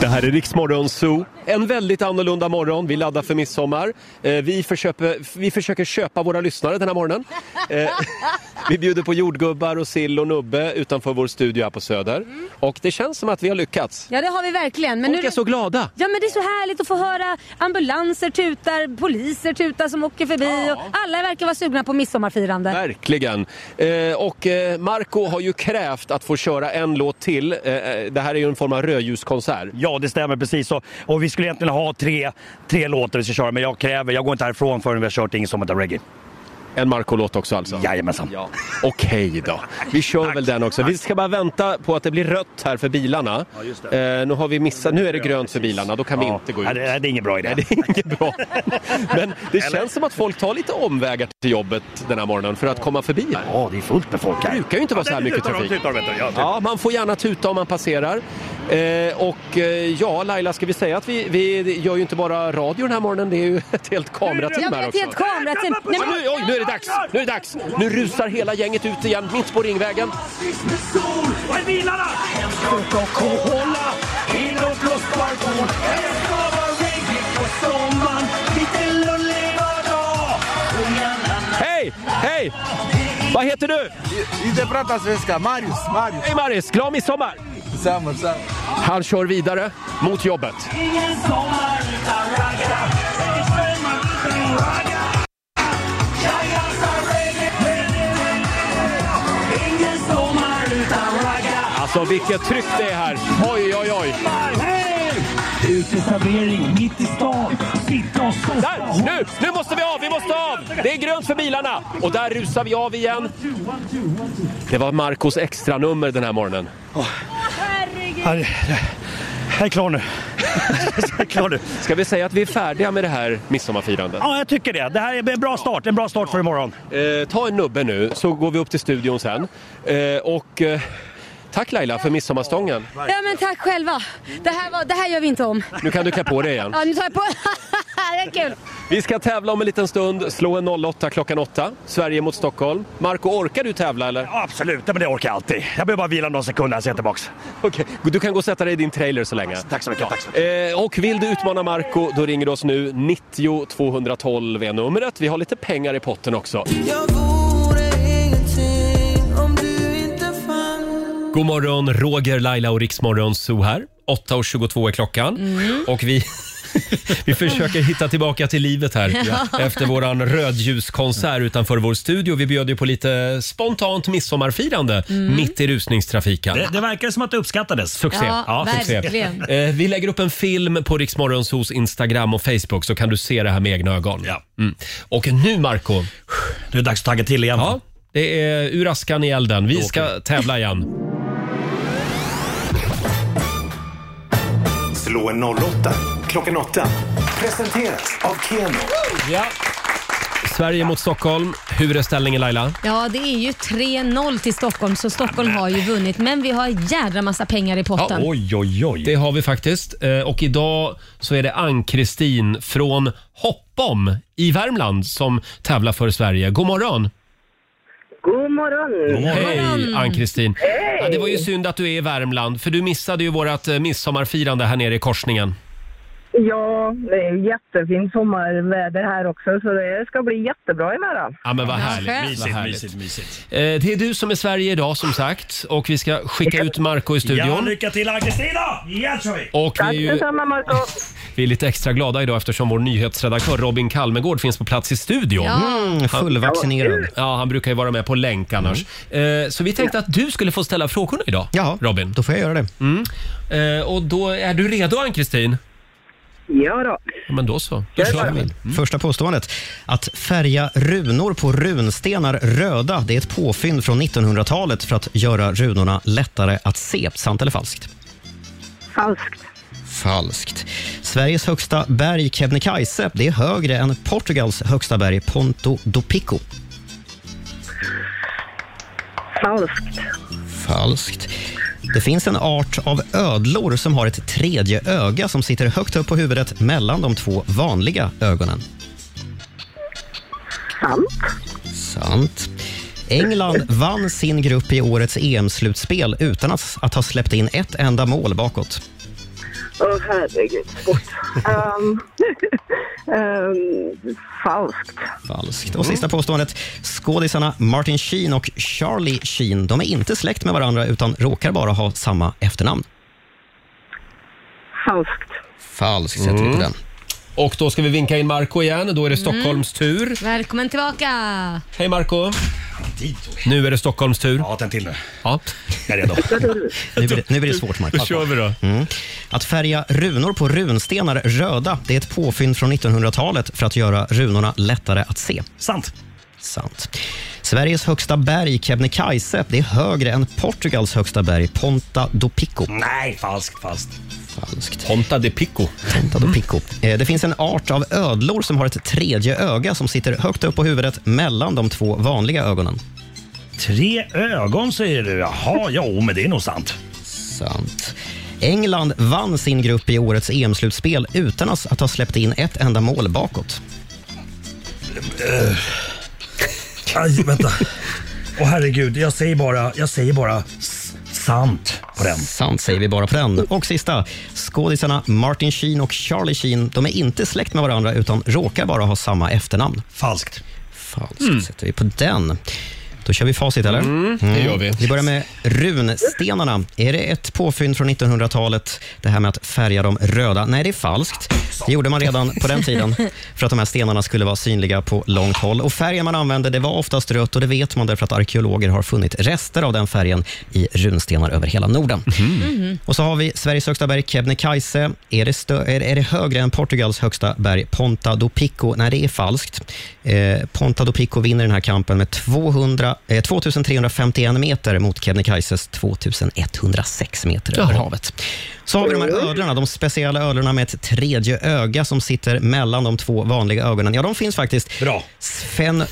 Speaker 1: Det här är Riksmorgon Zoo. En väldigt annorlunda morgon. Vi laddar för midsommar. Eh, Vi försöker, vi försöker köpa våra lyssnare den här morgonen. Eh, *laughs* Vi bjuder på jordgubbar och sill och nubbe utanför vår studio här på Söder. Och det känns som att vi har lyckats.
Speaker 2: ja, det har vi verkligen. Men
Speaker 1: Folk är så glada.
Speaker 2: Ja men det är så härligt att få höra ambulanser tutar, poliser tutar som åker förbi och alla verkar vara sugna på midsommarfirande.
Speaker 1: Verkligen. Eh, och eh, Marco har ju krävt att få köra en låt till. Eh, eh, det här är ju en form av rödljuskonsert.
Speaker 10: Ja, det stämmer precis. Och, och vi skulle egentligen ha tre, tre låtar vi ska köra men jag kräver, jag går inte härifrån förrän vi har kört Ingen sommar reggae.
Speaker 1: En Marco-låt också alltså?
Speaker 10: Jajamensan.
Speaker 1: Ja. Okej då. Vi kör väl den också. Vi ska bara vänta på att det blir rött här för bilarna.
Speaker 10: Ja, just
Speaker 1: Eh, nu har vi missat, nu är det grönt för bilarna, då kan vi inte gå ut. *laughs*
Speaker 10: Nej, det, nej, det är ingen bra idé.
Speaker 1: det är inget bra. Men det känns som att folk tar lite omvägar till jobbet den här morgonen för att komma förbi här.
Speaker 10: Ja, det är fullt med folk här.
Speaker 1: Det brukar ju inte vara
Speaker 10: Ja,
Speaker 1: så här
Speaker 10: det
Speaker 1: mycket
Speaker 10: tutar de,
Speaker 1: trafik.
Speaker 10: tutar de, vet du. Ja, tutar.
Speaker 1: Ja, man får gärna tuta om man passerar. Eh, och eh, ja, Laila, ska vi säga att vi, vi gör ju inte bara radio den här morgonen, det är ju *laughs* ett helt kamerateam
Speaker 2: Ja, men
Speaker 1: här
Speaker 2: ett
Speaker 1: också.
Speaker 2: helt kamerateam. Nej, men-
Speaker 1: Nu, oj, nu är det dags! Nu är det dags! Nu rusar hela gänget ut igen, mitt på Ringvägen.
Speaker 10: Var är bilarna? Coca-Cola, inåt blå sparkon. Jag ska vara reggae på sommaren. Lite lullig vardag.
Speaker 1: Hej! Hej! Vad heter du?
Speaker 17: Inte prata svenska. Marius. Marius.
Speaker 1: Hej Marius, glad midsommar!
Speaker 17: Samma, samma.
Speaker 1: Han kör vidare mot jobbet.
Speaker 11: Ingen sommar utan ragga Ingen sommar utan ragga Jag dansar reggae Ingen sommar utan ragga
Speaker 1: Alltså vilket tryck det är här! Oj, oj, oj!
Speaker 10: Uteservering mitt i stan. Sitta och sossa.
Speaker 1: Där! Nu! Nu måste vi av! Vi måste av! Det är grönt för bilarna! Och där rusar vi av igen. Det var Marcos extra nummer den här morgonen.
Speaker 10: Herregud. Jag är klar nu. *laughs* Jag är klar nu.
Speaker 1: Ska vi säga att vi är färdiga med det här midsommarfirandet?
Speaker 10: Ja, jag tycker det. Det här är en bra start. En bra start för imorgon.
Speaker 1: Eh, ta en nubbe nu, så går vi upp till studion sen. Eh, och eh, tack Laila för midsommarstången.
Speaker 2: Ja men tack själva. Det här, var, det här gör vi inte om.
Speaker 1: Nu kan du klä på dig igen.
Speaker 2: Ja, nu tar jag på... *laughs* det är kul.
Speaker 1: Vi ska tävla om en liten stund. Slå en 08 klockan 8. Sverige mot Stockholm. Marco, orkar du tävla eller?
Speaker 10: Ja, absolut. Ja, Men det orkar jag alltid. Jag behöver bara vila några sekunder, sen är jag tillbaks.
Speaker 1: Okej, du kan gå och sätta dig i din trailer så länge.
Speaker 10: Tack så mycket. Tack så mycket.
Speaker 1: Eh, och vill du utmana Marco, då ringer du oss nu. 90 212 är numret. Vi har lite pengar i potten också.
Speaker 11: Jag vore ingenting om du inte fanns
Speaker 5: God morgon, Roger, Laila och Riksmorgon Zoo här. 8.22 är klockan
Speaker 18: Mm.
Speaker 5: och vi, *laughs* vi försöker hitta tillbaka till livet här
Speaker 1: Ja.
Speaker 18: *laughs*
Speaker 5: efter våran rödljuskonsert utanför vår studio. Vi bjöd ju på lite spontant midsommarfirande
Speaker 18: Mm.
Speaker 5: mitt i rusningstrafiken.
Speaker 18: Det, det verkar som att det uppskattades.
Speaker 5: Succé.
Speaker 18: verkligen.
Speaker 5: Eh, vi lägger upp en film på Riksmorgonsos Instagram och Facebook så kan du se det här med egna ögon. Mm. Och nu Marco
Speaker 18: Det är dags att tagga till igen.
Speaker 5: Ja, det är ur askan i elden. Vi ska tävla igen.
Speaker 4: Slå en 08 klockan 8. Presenteras av Keno.
Speaker 5: Ja. Sverige mot Stockholm. Hur är ställningen Laila?
Speaker 19: Ja, det är ju 3-0 till Stockholm, så Stockholm har ju vunnit. Men vi har en jädra massa pengar i potten.
Speaker 5: oj, oj, oj. Det har vi faktiskt. Eh, Och idag så är det Ann-Kristin från Hoppom i Värmland som tävlar för Sverige. God morgon!
Speaker 12: God morgon!
Speaker 5: Hej Ann-Kristin! Ja,
Speaker 1: eh,
Speaker 5: det var ju synd att du är i Värmland för du missade ju vårt midsommarfirande här nere i korsningen.
Speaker 20: Ja, det är ju jättefint sommarväder här också så det ska bli jättebra imorgon.
Speaker 1: Ja men vad
Speaker 20: Ja,
Speaker 1: härligt.
Speaker 20: skönt.
Speaker 1: vad
Speaker 10: Mysigt,
Speaker 1: härligt.
Speaker 10: mysigt, mysigt.
Speaker 1: Eh, Det är du som är Sverige idag som sagt och vi ska skicka ut Marco i
Speaker 10: Ja,
Speaker 1: studion.
Speaker 10: lycka till Ann-Kristina! Ja, kör vi!
Speaker 1: Och vi är ju Vi är lite extra glada idag eftersom vår nyhetsredaktör Robin Kalmegård finns på plats i studion.
Speaker 12: Ja. Mm, fullvaccinerad.
Speaker 1: Ja, han brukar ju vara med på länk annars. Eh, Så vi tänkte att du skulle få ställa frågorna idag, ja, Robin.
Speaker 12: Då får jag göra det.
Speaker 1: Mm. Eh, Och då är du redo Ann-Kristin?
Speaker 20: Ja då.
Speaker 1: Ja, men då så. Då kör vi.
Speaker 12: Första påståendet. Att färga runor på runstenar röda, det är ett påfynd från 1900-talet för att göra runorna lättare att se. Sant eller falskt?
Speaker 20: Falskt.
Speaker 12: Falskt. Sveriges högsta berg Kebnekaise, det är högre än Portugals högsta berg Ponto do Pico.
Speaker 20: Falskt.
Speaker 12: Falskt. Det finns en art av ödlor som har ett tredje öga som sitter högt upp på huvudet mellan de två vanliga ögonen. Sant. Sant. England vann sin grupp i årets EM-slutspel utan att, att ha släppt in ett enda mål bakåt.
Speaker 20: Åh herregud, sport. *laughs* um, um, falskt.
Speaker 12: Falskt. Och sista påståendet. Skådisarna Martin Sheen och Charlie Sheen de är inte släkt med varandra utan råkar bara ha samma efternamn.
Speaker 20: Falskt.
Speaker 12: Falskt sätter vi på
Speaker 1: Mm.
Speaker 12: den.
Speaker 1: Och då ska vi vinka in Marco igen. Då är det Stockholms tur.
Speaker 2: Välkommen tillbaka!
Speaker 1: Hej Marco Nu är det Stockholms tur. Ja,
Speaker 10: en till nu.
Speaker 1: Ja.
Speaker 10: Jag är redo.
Speaker 12: Nu blir, det- nu blir det svårt,
Speaker 1: *laughs*
Speaker 12: Mark.
Speaker 1: Då kör vi då.
Speaker 12: Mm. Att färga runor på runstenar röda, det är ett påfynd från 1900-talet för att göra runorna lättare att se.
Speaker 10: Sant.
Speaker 12: Sant. Sveriges högsta berg, Kebnekaise, det är högre än Portugals högsta berg, Ponta do Pico.
Speaker 10: Nej, falskt, falskt.
Speaker 12: Falskt.
Speaker 1: Ponta de Pico.
Speaker 12: Ponta do Pico. Eh, Det finns en art av ödlor som har ett tredje öga som sitter högt upp på huvudet mellan de två vanliga ögonen.
Speaker 10: Tre ögon säger du. Jaha, jo, men det är nog sant.
Speaker 12: Sant. England vann sin grupp i årets EM-slutspel utan att att ha släppt in ett enda mål bakåt.
Speaker 10: Eh. Aj, vänta. Åh herregud, jag säger bara, jag säger bara s- sant på den.
Speaker 12: Sant säger vi bara på den. Och sista. Skådisarna Martin Sheen och Charlie Sheen de är inte släkt med varandra utan råkar bara ha samma efternamn.
Speaker 10: Falskt.
Speaker 12: Falskt sätter vi på den. Då kör vi facit, eller?
Speaker 1: Mm, det gör vi.
Speaker 12: Vi börjar med runstenarna. Är det ett påfynd från 1900-talet, det här med att färga dem röda? Nej, det är falskt. Det gjorde man redan på den tiden för att de här stenarna skulle vara synliga på långt håll. Och Färgen man använde det var oftast rött och det vet man därför att arkeologer har funnit rester av den färgen i runstenar över hela Norden.
Speaker 11: Mhm.
Speaker 12: Och så har vi Sveriges högsta berg Kebnekaise. Är det, stö- är, är det högre än Portugals högsta berg Ponta do Pico? Nej, det är falskt. Eh, Ponta do Pico vinner den här kampen med 200, eh, 2351 meter mot Kebnekaises 2106 meter över
Speaker 1: Jaha.
Speaker 12: havet. Så har vi de här ödlorna, de speciella ödlorna med ett tredje öga som sitter mellan de två vanliga ögonen. Ja, de finns faktiskt.
Speaker 10: Bra.
Speaker 12: Sfen,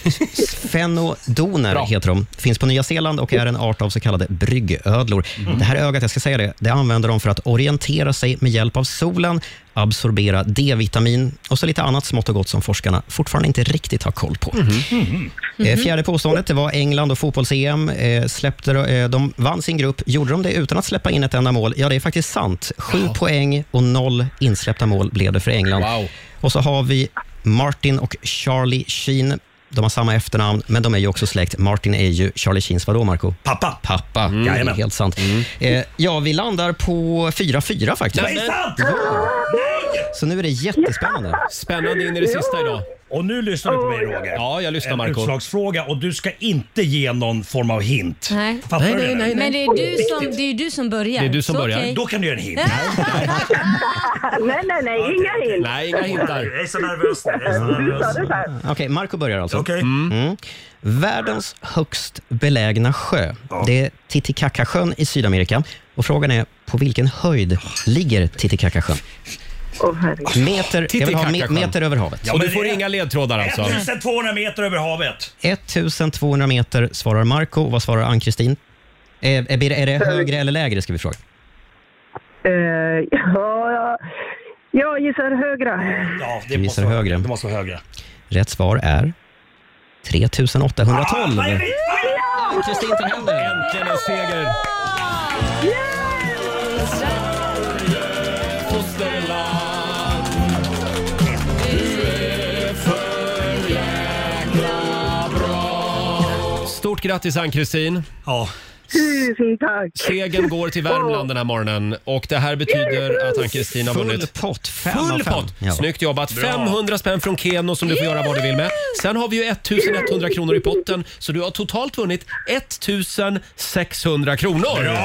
Speaker 12: sfenodoner heter de. Finns på Nya Zeeland och är en art av så kallade bryggödlor. Det här ögat, jag ska säga det, det använder de för att orientera sig med hjälp av solen, absorbera D-vitamin och så lite annat smått och gott som forskarna fortfarande inte riktigt har koll på. Eh, Fjärde påståendet det var England och fotbolls-EM. Eh, släppte, eh, de vann sin grupp. Gjorde de det utan att släppa in ett enda mål? Ja, det är faktiskt sant. Sju poäng och noll insläppta mål blev det för England. Och så har vi Martin och Charlie Sheen. De har samma efternamn, men de är ju också släkt. Martin är ju Charlie Sheens vadå, Marco?
Speaker 10: Pappa.
Speaker 12: Pappa. Det är
Speaker 10: Jajamän.
Speaker 12: helt sant. Eh, ja, vi landar på 4-4 faktiskt.
Speaker 10: Nej, sant!
Speaker 12: Så nu är det jättespännande.
Speaker 1: Spännande in i det sista idag.
Speaker 10: Och nu lyssnar du på mig Roger.
Speaker 1: Ja, jag lyssnar,
Speaker 10: en
Speaker 1: Marco.
Speaker 10: utslagsfråga och du ska inte ge någon form av hint.
Speaker 2: Nej.
Speaker 10: Fattar du det, eller?
Speaker 2: Men det är, du som, det är du som börjar. Så okej.
Speaker 10: Då kan du göra en hint.
Speaker 20: nej, nej, nej, inga hint.
Speaker 10: Jag är så nervös nu. Jag är så
Speaker 20: Du sa
Speaker 10: nervös.
Speaker 20: det själv.
Speaker 12: Okej, Marco börjar alltså. Mm. Mm. Världens högst belägna sjö, det är Titicacasjön i Sydamerika. Och frågan är, på vilken höjd ligger Titicacasjön? Meter, jag vill ha me-
Speaker 1: Titicacasjön.
Speaker 12: meter över havet.
Speaker 1: Och du får inga ledtrådar alltså.
Speaker 10: 1200 meter över havet.
Speaker 12: 1200 meter svarar Marco. Och Vad svarar Ann-Kristin? Är, är, är det högre eller lägre ska vi fråga?
Speaker 20: Eh, ja, ja, jag gissar högra.
Speaker 10: Ja,
Speaker 12: Du gissar högre. Det
Speaker 10: måste vara högre.
Speaker 12: Rätt svar är
Speaker 1: Ah,
Speaker 12: 3812.
Speaker 10: Ah,
Speaker 1: Kristin tar hem Äntligen en seger! Fosterland grattis Ann-Kristin. Ja.
Speaker 20: Tusen tack!
Speaker 1: Segern går till Värmland den här morgonen och det här betyder att Ann-Kristin har
Speaker 12: Full
Speaker 1: vunnit.
Speaker 12: pott, fem av
Speaker 1: Full
Speaker 12: fem.
Speaker 1: pott!
Speaker 12: Ja.
Speaker 1: Snyggt jobbat.
Speaker 12: Bra.
Speaker 1: 500 spänn från Keno som du får göra vad du vill med. Sen har vi ju 1100 kronor i potten så du har totalt vunnit 1600 kronor.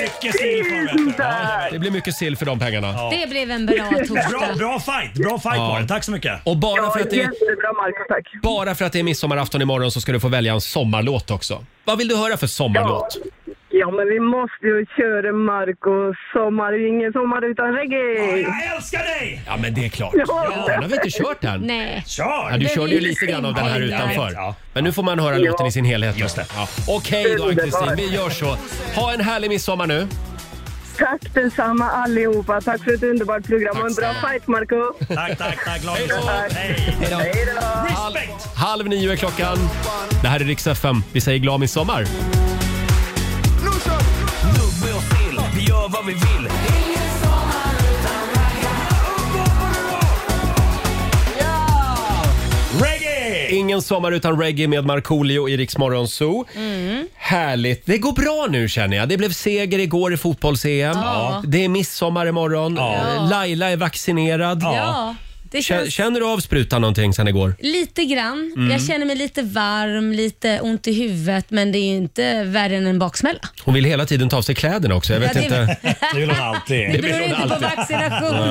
Speaker 10: Mycket sill för mig.
Speaker 1: Det blir mycket sill för de pengarna.
Speaker 2: *laughs* Det blev en bra
Speaker 10: Bra,
Speaker 2: torsdag.
Speaker 10: bra fight, bra fight
Speaker 1: Ja.
Speaker 10: var det. Tack så mycket.
Speaker 1: Och bara för, att det är,
Speaker 20: Jättebra Marco, tack.
Speaker 1: bara för att det är midsommarafton imorgon så ska du få välja en sommarlåt också. Vad vill du höra för sommarlåt?
Speaker 20: Ja, men vi måste ju köra Marco sommar. Det är ingen sommar utan reggae.
Speaker 10: Jag älskar dig!
Speaker 1: Ja, men det är klart.
Speaker 20: Ja.
Speaker 1: Den har vi inte kört än.
Speaker 2: Nej.
Speaker 1: Ja, du körde ju lite grann av den här utanför. Men nu får man höra låten i sin helhet. Just det. Ja. Okej då Ann-Kristin, vi gör så. Ha en härlig midsommar nu.
Speaker 20: Tack detsamma allihopa. Tack för ett underbart program och en bra fight Marco.
Speaker 10: Tack, tack, tack. Glad
Speaker 20: Hej
Speaker 10: midsommar.
Speaker 1: Hej då.
Speaker 10: Respekt.
Speaker 1: Halv nio är klockan. Det här är Rix FM. Vi säger glad midsommar.
Speaker 14: Nubbe och sill, vi gör vad vi vill.
Speaker 1: Reggae! *laughs* Ingen sommar utan reggae med Markoolio i Rix Morgon Zoo.
Speaker 11: Mm.
Speaker 1: Härligt. Det går bra nu känner jag. Det blev seger igår i fotbolls-EM.
Speaker 11: Ja.
Speaker 1: Det är midsommar imorgon. Eh,
Speaker 2: Ja.
Speaker 1: Laila är vaccinerad.
Speaker 2: Ja, det
Speaker 1: Kä-
Speaker 2: känns...
Speaker 1: Känner du av sprutan någonting sen igår?
Speaker 2: Lite grann.
Speaker 1: Mm.
Speaker 2: Jag känner mig lite varm, lite ont i huvudet, men det är ju inte värre än en baksmälla.
Speaker 1: Hon vill hela tiden ta av sig kläderna också. Jag
Speaker 2: Ja,
Speaker 1: vet
Speaker 2: det-
Speaker 1: inte.
Speaker 10: Det
Speaker 2: *laughs*
Speaker 10: vill hon alltid.
Speaker 2: Det beror inte på vaccinationen.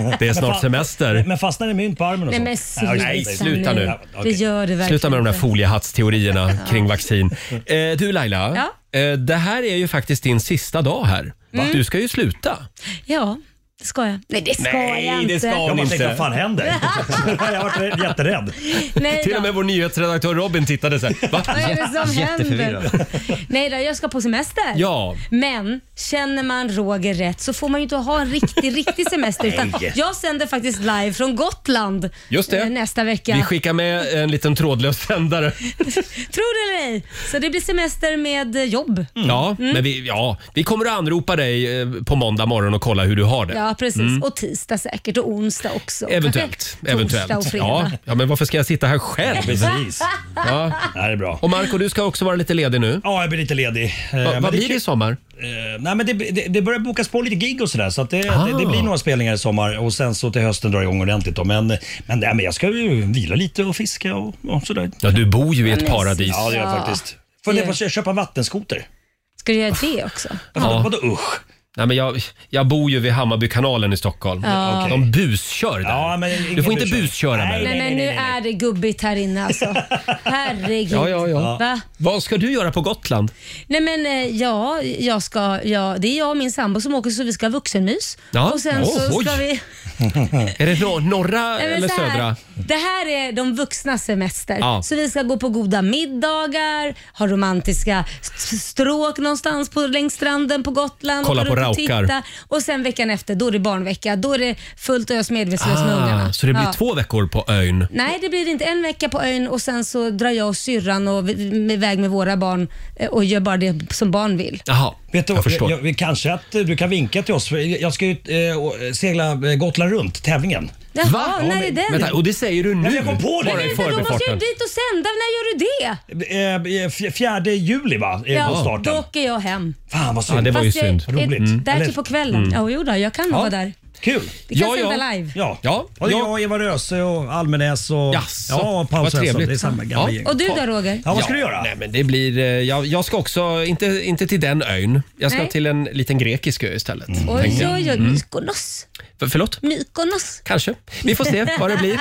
Speaker 1: Nej, det är snart semester.
Speaker 10: Men fastnar det mynt på armen
Speaker 2: Nej
Speaker 10: och så?
Speaker 2: men sluta,
Speaker 1: Nej, sluta nu.
Speaker 2: Det gör det verkligen
Speaker 1: Sluta med de där
Speaker 2: inte.
Speaker 1: foliehattsteorierna kring vaccin. Eh, du Laila, eh, det här är ju faktiskt din sista dag här.
Speaker 2: Va?
Speaker 1: Du ska ju sluta.
Speaker 2: Ja, det ska jag. Nej, det ska jag inte.
Speaker 10: jag har varit jätterädd.
Speaker 2: Nej
Speaker 1: Till
Speaker 2: då.
Speaker 1: och med vår nyhetsredaktör Robin tittade så
Speaker 2: *laughs*
Speaker 1: här. Va?
Speaker 2: Vad är det som
Speaker 1: Jätteförvirrad.
Speaker 2: Nej då, jag ska på semester.
Speaker 1: Ja.
Speaker 2: Men känner man Roger rätt så får man ju inte ha en riktig, riktig
Speaker 1: *laughs*
Speaker 2: semester. Utan
Speaker 1: Nej.
Speaker 2: jag sänder faktiskt live från Gotland
Speaker 1: Just det.
Speaker 2: eh, nästa vecka.
Speaker 1: Vi skickar med en liten trådlös sändare.
Speaker 2: Tror det eller ej. Så det blir semester med eh, jobb.
Speaker 1: Ja,
Speaker 2: Mm.
Speaker 1: men vi, ja, vi kommer att anropa dig eh, på måndag morgon och kolla hur du har det.
Speaker 2: Ja, precis.
Speaker 1: Mm.
Speaker 2: Och tisdag säkert och onsdag också.
Speaker 1: Eventuellt.
Speaker 2: Kanske
Speaker 1: eventuellt.
Speaker 2: Torsdag och
Speaker 1: ja,
Speaker 2: fredag.
Speaker 1: ja, men varför ska jag sitta här själv?
Speaker 2: Precis.
Speaker 1: Ja.
Speaker 10: Det här är bra.
Speaker 1: Och Marco, du ska också vara lite ledig nu.
Speaker 10: Ja, jag blir lite ledig. Eh,
Speaker 1: Va, vad
Speaker 10: men det är
Speaker 1: blir det i
Speaker 10: kul.
Speaker 1: sommar?
Speaker 10: Eh, nej, men det, det, det börjar bokas på lite gig och sådär så att det,
Speaker 1: Ah.
Speaker 10: det, det blir några spelningar i sommar och sen så till hösten drar jag igång ordentligt. Då. Men, men, nej, men jag ska ju vila lite och fiska och, och sådär.
Speaker 1: Ja, du bor ju i ett
Speaker 10: Men
Speaker 1: paradis.
Speaker 10: Ja, det gör jag faktiskt. Funderar på att köpa en vattenskoter.
Speaker 2: Ska du göra det också?
Speaker 1: Ja.
Speaker 10: Vadå usch?
Speaker 1: Nej, men jag, jag bor ju vid Hammarbykanalen i Stockholm.
Speaker 2: Ja. Okej.
Speaker 1: De buskör där.
Speaker 10: Ja, men
Speaker 1: du
Speaker 10: ingen
Speaker 1: får inte
Speaker 10: buskör.
Speaker 1: busköra med
Speaker 2: Nej,
Speaker 1: dig.
Speaker 2: men nu är det gubbigt här inne alltså. Herregud.
Speaker 1: Ja, ja, ja.
Speaker 2: Va?
Speaker 1: Vad ska du göra på Gotland?
Speaker 2: Nej men eh, ja, jag ska, ja, det är jag och min sambo som åker så vi ska ha vuxenmys.
Speaker 1: Ja.
Speaker 2: Och sen
Speaker 1: Åh,
Speaker 2: så ska
Speaker 1: oj.
Speaker 2: vi...
Speaker 1: Är det nor- norra
Speaker 2: Nej, men
Speaker 1: eller
Speaker 2: så här,
Speaker 1: södra?
Speaker 2: Det här är de vuxnas semester.
Speaker 1: Ja.
Speaker 2: Så vi ska gå på goda middagar, ha romantiska st- stråk någonstans på, längs stranden på Gotland.
Speaker 1: Kolla
Speaker 2: åka
Speaker 1: på
Speaker 2: runt och
Speaker 1: raukar.
Speaker 2: titta. Och sen veckan efter, då är det barnvecka. Då är det fullt ös medvetslös med ungarna.
Speaker 1: Ah, så det blir
Speaker 2: Ja.
Speaker 1: två veckor på ön?
Speaker 2: Nej, det blir inte. En vecka på ön och sen så drar jag och syrran och vi- vi- iväg med våra barn eh, och gör bara det som barn vill.
Speaker 1: Jaha,
Speaker 10: Vet du,
Speaker 1: jag förstår.
Speaker 10: Jag, vi kanske att eh, du kan vinka till oss. för Jag ska ju eh, och segla eh, Gotland runt, tävlingen.
Speaker 2: Jaha, Va? när är den?
Speaker 1: Vänta, och det säger du nu?
Speaker 10: Jag kom på det.
Speaker 1: Bara i
Speaker 2: Men då måste jag ju dit och sända. När gör du det?
Speaker 10: Eh, f- Fjärde juli va? Är på starten.
Speaker 2: då åker jag hem.
Speaker 10: Fan vad synd.
Speaker 1: Ja, det var ju
Speaker 2: Fast jag
Speaker 1: synd.
Speaker 2: är-
Speaker 1: Roligt. Mm.
Speaker 2: Därtill
Speaker 1: Eller-
Speaker 2: på kvällen.
Speaker 1: Mm.
Speaker 2: Ja, jo då, jag kan
Speaker 1: Ja.
Speaker 2: vara där.
Speaker 10: Kul.
Speaker 2: Vi kan sända live.
Speaker 10: Ja.
Speaker 1: Ja.
Speaker 10: Och det är
Speaker 1: Ja.
Speaker 10: jag, Eva Röse och Almenäs och,
Speaker 1: Jaså,
Speaker 10: ja, och Paul
Speaker 1: vad
Speaker 10: Svensson.
Speaker 1: trevligt.
Speaker 10: Det är samma
Speaker 1: Ja.
Speaker 10: gamla gäng.
Speaker 2: Och du då Roger?
Speaker 10: Ja, vad ska du göra?
Speaker 1: Nej, men det blir, eh, jag, jag ska också, inte, inte till den ön. Jag ska
Speaker 2: Nej.
Speaker 1: till en liten grekisk ö istället. tänkte
Speaker 2: Oj,
Speaker 1: jag.
Speaker 2: oj, oj.
Speaker 1: Mm.
Speaker 2: Mykonos.
Speaker 1: För, förlåt?
Speaker 2: Mykonos.
Speaker 1: Kanske. Vi får se vad det blir.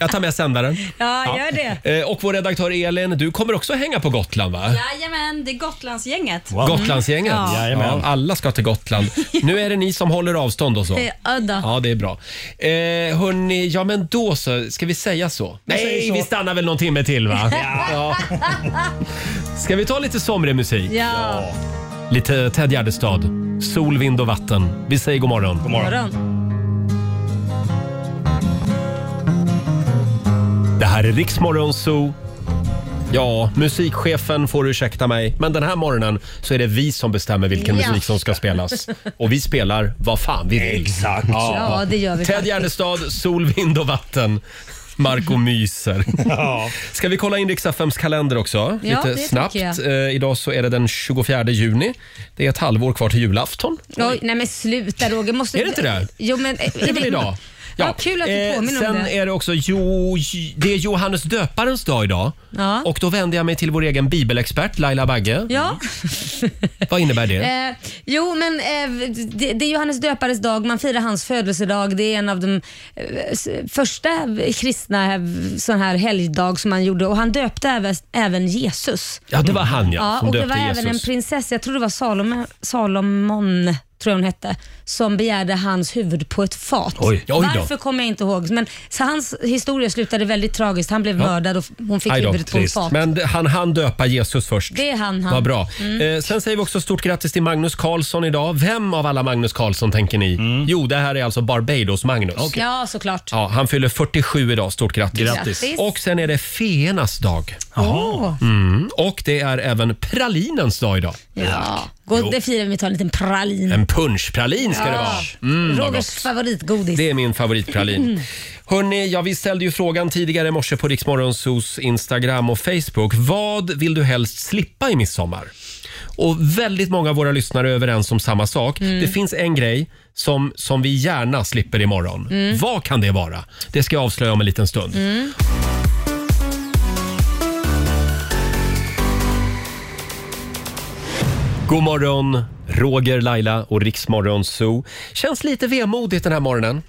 Speaker 1: Jag tar med sändaren.
Speaker 3: Ja, gör det.
Speaker 1: Eh, Och vår redaktör Elin, du kommer också hänga på Gotland va?
Speaker 3: Jajamän, det är Gotlandsgänget.
Speaker 1: Gotlandsgänget.
Speaker 3: Mm. Ja.
Speaker 1: Ja, alla ska till Gotland. Nu är det ni som håller avstånd och så.
Speaker 2: Det- Eh, ja, då.
Speaker 1: Ja, det är bra. Eh, hörni, ja men då så. Ska vi säga så?
Speaker 2: Vi säger
Speaker 1: Nej,
Speaker 2: så.
Speaker 1: vi stannar väl någon timme till
Speaker 2: *laughs*
Speaker 1: va? Ja. Ska vi ta lite somrig musik?
Speaker 2: Ja.
Speaker 1: Lite Ted Gärdestad. Sol, vind och vatten. Vi säger god morgon. God
Speaker 2: Morgon.
Speaker 1: Det här är Riksmorgon Zoo. Ja, musikchefen får ursäkta mig, men den här morgonen så är det vi som bestämmer vilken
Speaker 2: Ja.
Speaker 1: musik som ska spelas. Och vi spelar vad fan vi vill. Exakt.
Speaker 2: Ja, det gör vi
Speaker 1: Ted
Speaker 2: faktiskt.
Speaker 1: Gärdestad, Sol, vind och vatten. Marco myser.
Speaker 10: Ja.
Speaker 1: Ska vi kolla in Riksaffems kalender också?
Speaker 2: Ja, det
Speaker 1: lite
Speaker 2: tycker
Speaker 1: snabbt.
Speaker 2: jag.
Speaker 1: Eh, idag så är det den 24 juni. Det är ett halvår kvar till julafton.
Speaker 2: Oj, nej men sluta Roger. Måste...
Speaker 1: Är det inte det?
Speaker 2: Jo, men, är
Speaker 1: Det är väl idag?
Speaker 2: Ja, kul att du påminner
Speaker 1: Eh, sen
Speaker 2: om det.
Speaker 1: är det också jo, det är Johannes döparens dag idag.
Speaker 2: Ja.
Speaker 1: Och då vänder jag mig till vår egen bibelexpert Laila Bagge.
Speaker 2: Ja.
Speaker 1: Vad innebär det?
Speaker 2: Eh, jo, men eh, det, det är Johannes döpares dag, man firar hans födelsedag. Det är en av de eh, s- första kristna eh, sån här helgdag som han gjorde och han döpte även, även Jesus.
Speaker 1: Ja, det var han ja, som
Speaker 2: och det
Speaker 1: döpte
Speaker 2: var
Speaker 1: Jesus.
Speaker 2: även en prinsessa, jag tror det var Salome, Salomon, tror jag hon hette, som begärde hans huvud på ett fat.
Speaker 1: Oj, oj då.
Speaker 2: Varför kommer jag inte ihåg. Men, så hans historia slutade väldigt tragiskt. Han blev
Speaker 1: Ja.
Speaker 2: mördad och f- hon fick
Speaker 1: Aj då,
Speaker 2: huvudet på ett
Speaker 1: trist.
Speaker 2: fat.
Speaker 1: Men d- han hann döpa Jesus först.
Speaker 2: Det är han, han.
Speaker 1: Vad bra.
Speaker 2: Mm.
Speaker 1: Eh, sen säger vi också stort grattis till Magnus Carlsson idag. Vem av alla Magnus Carlsson tänker ni? Jo, det här är alltså Barbados-Magnus.
Speaker 2: Ja, såklart.
Speaker 1: Ja, han fyller 47 idag. Stort grattis.
Speaker 2: Grattis. Grattis.
Speaker 1: Och sen är det feernas dag.
Speaker 2: Åh.
Speaker 1: Mm. Och det är även pralinens dag idag.
Speaker 2: Ja. Gå, det firar vi med att ta en liten pralin.
Speaker 1: En punschpralin ska det
Speaker 2: Ja.
Speaker 1: vara. Mm, vad
Speaker 2: Rogers
Speaker 1: gott.
Speaker 2: favoritgodis.
Speaker 1: Det är min favoritpralin.
Speaker 2: Mm.
Speaker 1: Hörni, ja, vi ställde ju frågan tidigare i morse på Riksmorgonsos Instagram och Facebook. Vad vill du helst slippa i midsommar? Och väldigt många av våra lyssnare är överens om samma sak.
Speaker 21: Mm.
Speaker 1: Det finns en grej som, som vi gärna slipper imorgon.
Speaker 21: Mm.
Speaker 1: Vad kan det vara? Det ska jag avslöja om en liten stund.
Speaker 21: Mm.
Speaker 1: God morgon, Roger, Laila och Riksmorgon Zoo. Känns lite vemodigt den här morgonen.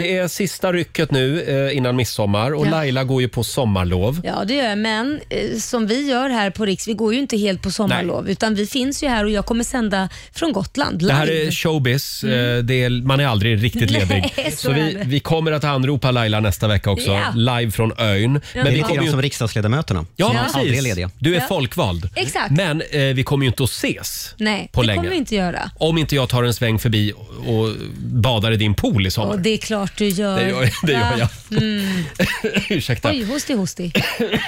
Speaker 1: Det är sista rycket nu eh, innan midsommar och
Speaker 2: Mm. Ja.
Speaker 1: Laila går ju på sommarlov.
Speaker 2: Ja, det gör jag. Men eh, som vi gör här på Riks, vi går ju inte helt på sommarlov, utan vi finns ju här och jag kommer sända från Gotland.
Speaker 1: Det
Speaker 2: Live.
Speaker 1: här är showbiz. Eh, Det är, man är aldrig riktigt
Speaker 2: Mm. Nej,
Speaker 1: ledig.
Speaker 2: *laughs* så
Speaker 1: så
Speaker 2: är
Speaker 1: vi,
Speaker 2: det.
Speaker 1: vi kommer att anropa Laila nästa vecka också,
Speaker 2: Ja.
Speaker 1: live från ön.
Speaker 12: Det är lite grann som
Speaker 1: riksdagsledamöterna. Ja,
Speaker 12: som
Speaker 1: precis.
Speaker 12: aldrig är lediga.
Speaker 1: Du är
Speaker 2: Ja.
Speaker 1: folkvald.
Speaker 2: Exakt.
Speaker 1: Men eh, vi kommer ju inte att ses
Speaker 2: Nej,
Speaker 1: på
Speaker 2: det
Speaker 1: länge.
Speaker 2: kommer vi inte göra.
Speaker 1: Om inte jag tar en sväng förbi och, och badar i din pool i sommar.
Speaker 2: Och det är klart du gör.
Speaker 1: Det gör- det gör
Speaker 2: Ja. Mm.
Speaker 1: *laughs* Ursäkta.
Speaker 2: Oj, hosti, hosti.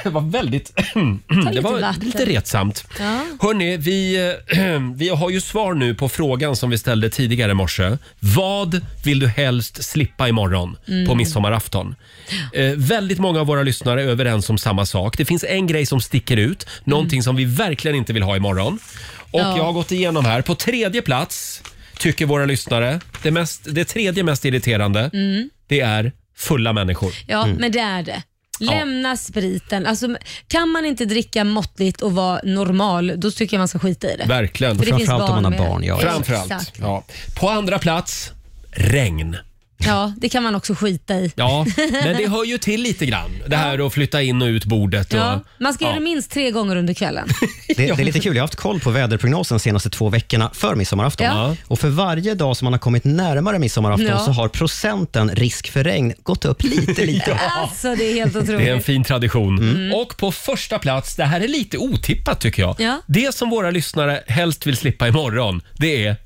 Speaker 1: Det var väldigt... *clears throat* det
Speaker 2: lite
Speaker 1: var
Speaker 2: vatten.
Speaker 1: lite retsamt.
Speaker 2: Ja.
Speaker 1: Hörni, vi, *clears throat* eh, vi har ju svar nu på frågan som vi ställde tidigare i morse. Vad vill du helst slippa imorgon
Speaker 21: Mm.
Speaker 1: på midsommarafton? Eh, väldigt många av våra lyssnare är överens om samma sak. Det finns en grej som sticker ut,
Speaker 2: Mm.
Speaker 1: någonting som vi verkligen inte vill ha imorgon. Och
Speaker 21: Ja.
Speaker 1: jag har gått igenom här. På tredje plats tycker våra lyssnare, det, mest, det tredje mest irriterande,
Speaker 2: Mm.
Speaker 1: det är fulla människor.
Speaker 2: Ja, men det är det.
Speaker 1: Mm. Ja.
Speaker 2: Lämna spriten. Alltså, kan man inte dricka måttligt och vara normal, då tycker jag man ska skita i det.
Speaker 1: Verkligen.
Speaker 2: För det finns barn med.
Speaker 1: Framförallt.
Speaker 2: Exakt.
Speaker 1: Ja. På andra plats, regn.
Speaker 2: Ja, det kan man också skita i.
Speaker 1: Ja, men det hör ju till lite grann. Det här att flytta in och ut bordet. Och,
Speaker 2: Ja, man ska
Speaker 1: Ja.
Speaker 2: göra det minst tre gånger
Speaker 1: *laughs*
Speaker 2: under kvällen.
Speaker 12: Det, det är lite kul. Jag har haft koll på väderprognosen de senaste två veckorna för midsommarafton.
Speaker 2: Ja.
Speaker 12: Och för varje dag som man har kommit närmare midsommarafton
Speaker 2: Ja.
Speaker 12: så har procenten risk för regn gått
Speaker 10: *laughs*
Speaker 12: upp lite, lite.
Speaker 2: Alltså det är helt otroligt.
Speaker 1: Det är en fin tradition.
Speaker 2: Mm.
Speaker 1: Och på första plats, det här är lite otippat tycker jag.
Speaker 2: Ja.
Speaker 1: Det som våra lyssnare helst vill slippa imorgon, det är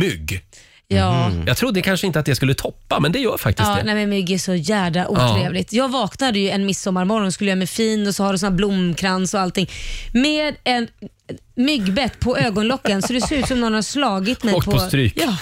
Speaker 1: mygg.
Speaker 2: Ja.
Speaker 1: Jag trodde kanske inte att det skulle toppa, men det gör faktiskt
Speaker 2: Ja,
Speaker 1: det.
Speaker 2: nej men mygg är så jädra otrevligt. Jag vaknade ju en midsommarmorgon, skulle göra mig fin och så har du sån här blomkrans och allting. Med en myggbett på ögonlocken så det ser ut som någon har slagit mig
Speaker 1: Och på stryk.
Speaker 2: Ja.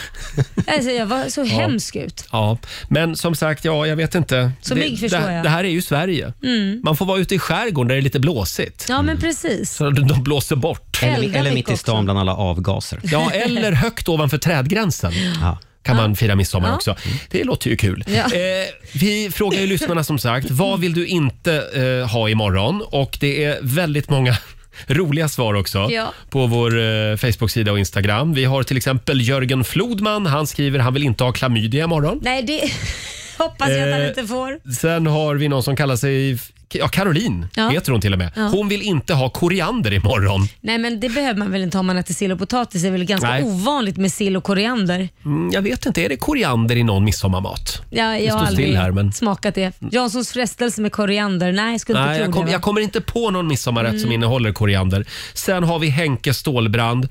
Speaker 2: Alltså, jag var så
Speaker 1: Ja.
Speaker 2: hemsk ut.
Speaker 1: Ja, men som sagt, ja, jag vet inte.
Speaker 2: Så
Speaker 1: det,
Speaker 2: mygg förstår
Speaker 1: det,
Speaker 2: jag.
Speaker 1: det här är ju Sverige.
Speaker 2: Mm.
Speaker 1: Man får vara ute i skärgården där det är lite blåsigt.
Speaker 2: Ja men precis.
Speaker 1: Mm. Så de blåser bort.
Speaker 2: Eller- Elda eller mitt mycket i stan också.
Speaker 1: bland alla avgaser.
Speaker 12: *laughs*
Speaker 1: Ja, eller högt ovanför trädgränsen.
Speaker 12: Ja.
Speaker 1: Kan man fira midsommar
Speaker 12: Ja.
Speaker 1: också. Det låter ju kul.
Speaker 12: Ja.
Speaker 1: Eh, vi frågar ju lyssnarna som sagt, vad vill du inte eh, ha imorgon? Och det är väldigt många *laughs* roliga svar också
Speaker 21: Ja.
Speaker 1: på vår eh, Facebook-sida och Instagram. Vi har till exempel Jörgen Flodman. Han skriver han vill inte ha klamydia imorgon.
Speaker 2: Nej, det *laughs* hoppas jag att han
Speaker 1: Eh,
Speaker 2: inte får.
Speaker 1: Sen har vi någon som kallar sig ja, Caroline,
Speaker 2: Ja.
Speaker 1: heter hon till och med.
Speaker 2: Ja.
Speaker 1: Hon vill inte ha koriander imorgon.
Speaker 2: Nej men det behöver man väl inte ha om man äter sill och potatis. Det är väl ganska
Speaker 1: Nej.
Speaker 2: ovanligt med sill och koriander.
Speaker 1: Mm, jag vet inte, är det koriander i någon midsommarmat?
Speaker 2: Ja,
Speaker 1: det
Speaker 2: jag
Speaker 1: står
Speaker 2: har aldrig
Speaker 1: still här men...
Speaker 2: smakat det. Janssons frestelse med koriander. Nej, jag skulle inte
Speaker 1: Nej,
Speaker 2: tro
Speaker 1: jag, kom,
Speaker 2: det. va?
Speaker 1: jag kommer inte på någon midsommarrätt som
Speaker 2: Mm.
Speaker 1: innehåller koriander. Sen har vi Henke Stålbrand.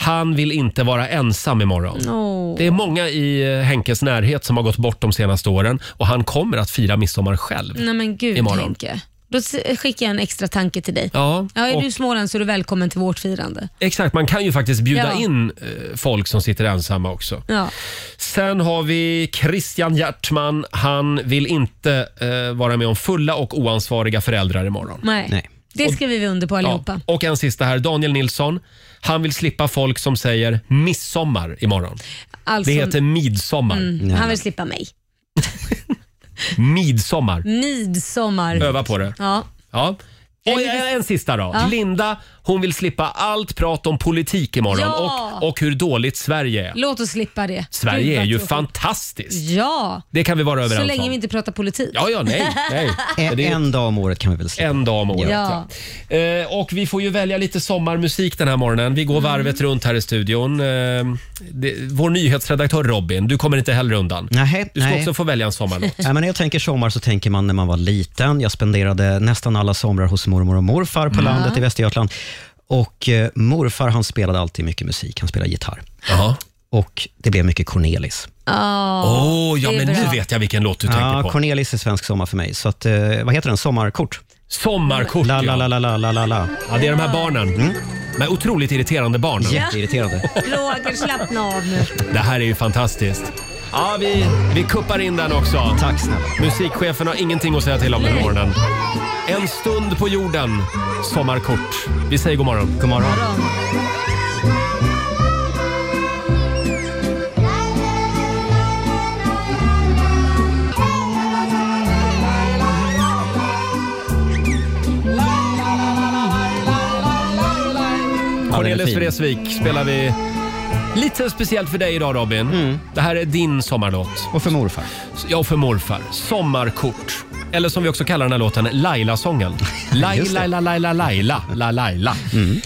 Speaker 1: Han vill inte vara ensam imorgon.
Speaker 2: Åh.
Speaker 1: Det är många i eh, Henkes närhet som har gått bort de senaste åren och han kommer att fira midsommar själv
Speaker 2: Nej men gud
Speaker 1: imorgon.
Speaker 2: Henke. Då s- skickar jag en extra tanke till dig.
Speaker 1: Ja,
Speaker 2: Ja, är
Speaker 1: och-
Speaker 2: du i Småland så är du välkommen till vårt firande.
Speaker 1: Exakt, man kan ju faktiskt bjuda
Speaker 2: Ja.
Speaker 1: in eh, folk som sitter ensamma också.
Speaker 2: Ja.
Speaker 1: Sen har vi Christian Hjertman. Han vill inte eh, vara med om fulla och oansvariga föräldrar imorgon.
Speaker 2: Nej. Det skriver vi under på allihopa.
Speaker 1: Ja. Och en sista här, Daniel Nilsson. Han vill slippa folk som säger midsommar imorgon.
Speaker 2: Alltså-
Speaker 1: det heter midsommar.
Speaker 2: Mm, han vill slippa mig.
Speaker 1: Midsommar.
Speaker 2: Midsommar.
Speaker 1: Öva på det.
Speaker 2: Ja.
Speaker 1: Ja. Och en, en sista då.
Speaker 2: Ja.
Speaker 1: Linda, hon vill slippa allt prat om politik imorgon
Speaker 2: Ja.
Speaker 1: och, och hur dåligt Sverige är.
Speaker 2: Låt oss slippa det. Gud,
Speaker 1: Sverige
Speaker 2: vad
Speaker 1: är ju
Speaker 2: tråkigt.
Speaker 1: fantastiskt.
Speaker 2: Ja,
Speaker 1: Det kan vi vara
Speaker 2: så
Speaker 1: överens
Speaker 2: länge
Speaker 1: om.
Speaker 2: vi inte pratar politik.
Speaker 1: Ja, ja, nej. nej.
Speaker 12: En dag om året kan vi väl
Speaker 1: slippa. En dag om året, ja. Eh, och vi får ju välja lite sommarmusik den här morgonen. Vi går varvet runt här i studion. Eh, det, vår nyhetsredaktör Robin, du kommer inte heller undan.
Speaker 12: Nej,
Speaker 1: du ska
Speaker 12: nej.
Speaker 1: också få välja en sommarlåt.
Speaker 12: Ja, men när jag tänker sommar så tänker man när man var liten. Jag spenderade nästan alla somrar hos mormor och morfar på
Speaker 1: Mm.
Speaker 12: landet i Västergötland. Och eh, morfar han spelade alltid mycket musik. Han spelade gitarr. Och det blev mycket Cornelis.
Speaker 1: Oh.
Speaker 2: Åh, det är bra.
Speaker 1: jag vilken låt du tänker på.
Speaker 12: Cornelis är svensk sommar för mig. Så att, eh, vad heter den? Sommarkort.
Speaker 1: Sommarkort,
Speaker 12: la, la, la, la, la, la, la, la.
Speaker 1: Ja, det är de här barnen. Men otroligt irriterande barn.
Speaker 2: *laughs*
Speaker 12: Jätteirriterande.
Speaker 2: Roger, slappna av nu.
Speaker 1: Det här är ju fantastiskt. Ja, vi, vi kuppar in den också.
Speaker 12: Tack snälla.
Speaker 1: Musikchefen har ingenting att säga till om den här morgonen. En stund på jorden, sommarkort. Vi säger god morgon.
Speaker 12: God morgon.
Speaker 1: Cornelis Vreeswijk spelar vi lite speciellt för dig idag Robin. Det här är din sommarlåt.
Speaker 12: Mm. Och för morfar.
Speaker 1: Ja, och för morfar. Sommarkort. Eller som vi också kallar den här låten, Laila-sången.
Speaker 12: *laughs* Just det. Mm.
Speaker 1: Laila, Laila, Laila, Laila, la, Laila.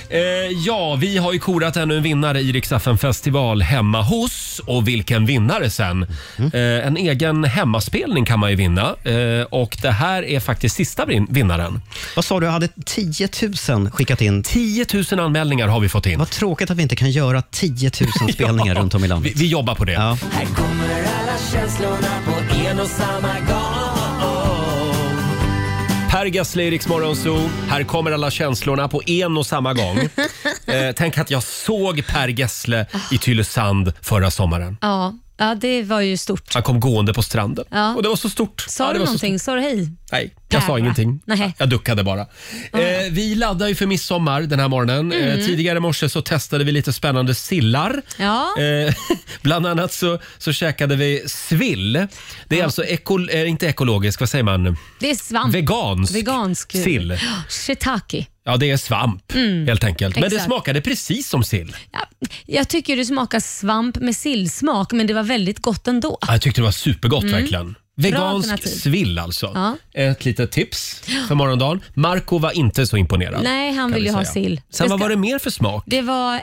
Speaker 1: Eh, ja, vi har ju korat ännu en vinnare i Rix FM festival hemma hos. Och vilken vinnare sen!
Speaker 12: Mm.
Speaker 1: Eh, en egen hemmaspelning kan man ju vinna. Eh, och det här är faktiskt sista vin- vinnaren.
Speaker 12: Vad sa du? Jag hade 10 000 skickat in.
Speaker 1: 10 000 anmälningar har vi fått in.
Speaker 12: Vad tråkigt att vi inte kan göra 10
Speaker 10: *laughs*
Speaker 12: 000 spelningar runt om i landet.
Speaker 1: Vi, vi jobbar på det.
Speaker 12: Ja.
Speaker 6: Här kommer alla känslorna på en och samma gång.
Speaker 1: Per Gessle i Rix Morgonzoo. Här kommer alla känslorna på en och
Speaker 6: *laughs*
Speaker 1: samma gång. eh, tänk att jag såg Per Gessle i Tylösand förra sommaren.
Speaker 2: Ja. ja, det var ju stort.
Speaker 1: Han kom gående på stranden.
Speaker 2: Ja.
Speaker 1: Och det var så stort.
Speaker 2: Sa
Speaker 1: Ja, det
Speaker 2: du
Speaker 1: var så
Speaker 2: någonting? Sa du hej?
Speaker 1: Nej, jag sa
Speaker 2: Där, va?
Speaker 1: ingenting.
Speaker 2: Nej.
Speaker 1: Jag duckade bara. Eh, vi laddar ju för midsommar den här morgonen.
Speaker 2: Mm.
Speaker 1: Eh, tidigare i morse så testade vi lite spännande sillar.
Speaker 2: Ja.
Speaker 1: Eh, *laughs* bland annat så, så käkade vi svill. Det är alltså eko, eh, inte ekologisk, vad säger man?
Speaker 2: Det är svamp.
Speaker 1: Vegansk
Speaker 2: Vegansk.
Speaker 1: sill.
Speaker 2: Shiitake.
Speaker 1: Ja, det är svamp
Speaker 2: Mm.
Speaker 1: helt enkelt. Men det
Speaker 2: Exakt.
Speaker 1: smakade precis som sill.
Speaker 2: Jag tycker det smakar svamp med sillsmak, men det var väldigt gott ändå.
Speaker 1: Ja, Jag tyckte det var supergott
Speaker 2: Mm.
Speaker 1: verkligen.
Speaker 2: Bra
Speaker 1: Vegansk
Speaker 2: alternativ.
Speaker 1: svill alltså.
Speaker 2: Ja.
Speaker 1: Ett litet tips för morgondagen. Marco var inte så imponerad.
Speaker 2: Nej, han
Speaker 1: kan
Speaker 2: vill
Speaker 1: vi
Speaker 2: ju ha
Speaker 1: säga.
Speaker 2: sill.
Speaker 1: Sen vad
Speaker 2: ska-
Speaker 1: var det mer för smak?
Speaker 2: Det var eh,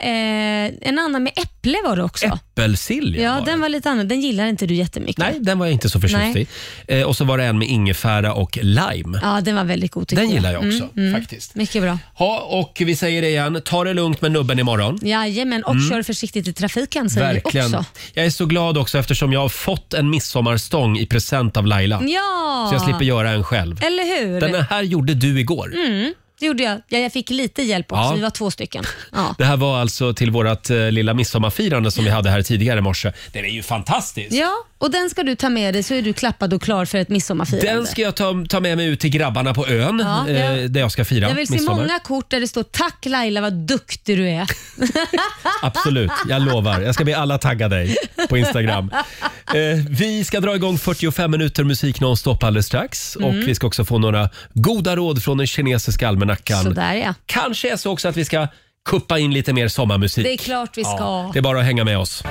Speaker 2: en annan med äpple var det också.
Speaker 1: Äppelsill
Speaker 2: ja,
Speaker 1: var det.
Speaker 2: den var lite annan. Den gillar inte du jättemycket.
Speaker 1: Nej, den var jag inte så förtjust
Speaker 2: Nej.
Speaker 1: i. Eh, och så var det en med ingefära och lime.
Speaker 2: Ja, den var väldigt god tycker Mm,
Speaker 1: Den gillar jag också, faktiskt.
Speaker 2: Mycket bra.
Speaker 1: Ja, och vi säger det igen, ta det lugnt med nubben imorgon.
Speaker 2: Jajamän, och
Speaker 1: Mm.
Speaker 2: kör försiktigt i trafiken säger
Speaker 1: Verkligen.
Speaker 2: vi också.
Speaker 1: Jag är så glad också eftersom jag har fått en midsommarstång i present av Laila.
Speaker 2: Ja!
Speaker 1: Så jag slipper göra en själv.
Speaker 2: Eller hur?
Speaker 1: Den här gjorde du igår.
Speaker 2: Mm, det gjorde jag. Ja, jag fick lite hjälp också.
Speaker 1: Ja.
Speaker 2: Vi var två stycken.
Speaker 1: *laughs*
Speaker 2: Ja.
Speaker 1: Det här var alltså till vårt eh, lilla midsommarfirande som vi hade här tidigare i morse. Den är ju fantastisk.
Speaker 2: ja, och den ska du ta med dig så är du klappad och klar för ett midsommarfirande.
Speaker 1: Den ska jag ta, ta med mig ut till grabbarna på ön
Speaker 2: Ja,
Speaker 1: eh,
Speaker 2: ja.
Speaker 1: där jag ska fira
Speaker 2: jag vill se
Speaker 1: midsommar.
Speaker 2: många kort där det står “Tack Laila, vad duktig du är”.
Speaker 1: Absolut, jag lovar. Jag ska be alla tagga dig på Instagram. Eh, vi ska dra igång 45 minuter musik nonstop alldeles strax.
Speaker 2: Mm.
Speaker 1: Och vi ska också få några goda råd från den kinesiska almanackan.
Speaker 2: Sådär ja.
Speaker 1: Kanske är så också att vi ska kuppa in lite mer sommarmusik.
Speaker 2: Det är klart vi ska.
Speaker 1: Ja, det är bara att hänga med oss.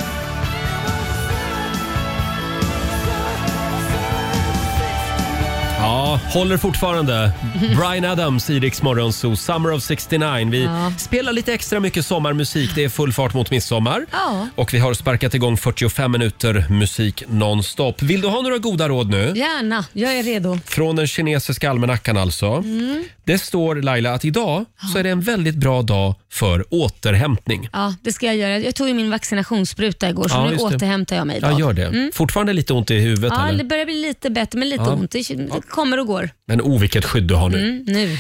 Speaker 1: Ja, håller fortfarande. Brian Adams i Rix Morgonzoo, Summer of 69. Vi
Speaker 2: Ja.
Speaker 1: spelar lite extra mycket sommarmusik. Det är full fart mot midsommar.
Speaker 2: Ja.
Speaker 1: Och vi har sparkat igång 45 minuter musik nonstop. Vill du ha några goda råd nu?
Speaker 2: Gärna, jag är redo.
Speaker 1: Från den kinesiska almanackan alltså.
Speaker 2: Mm.
Speaker 1: Det står Laila att idag så är det en väldigt bra dag för återhämtning.
Speaker 2: Ja, det ska jag göra. Jag tog ju min vaccinationsspruta igår, så
Speaker 1: Ja,
Speaker 2: nu
Speaker 1: just det.
Speaker 2: återhämtar jag mig idag.
Speaker 1: Ja, gör det.
Speaker 2: Mm.
Speaker 1: Fortfarande lite ont i huvudet
Speaker 2: Ja,
Speaker 1: eller?
Speaker 2: det börjar bli lite bättre, men lite
Speaker 1: Ja.
Speaker 2: ont. Det det kommer och går.
Speaker 1: Men o vilket skydd du har nu.
Speaker 2: Mm, nu.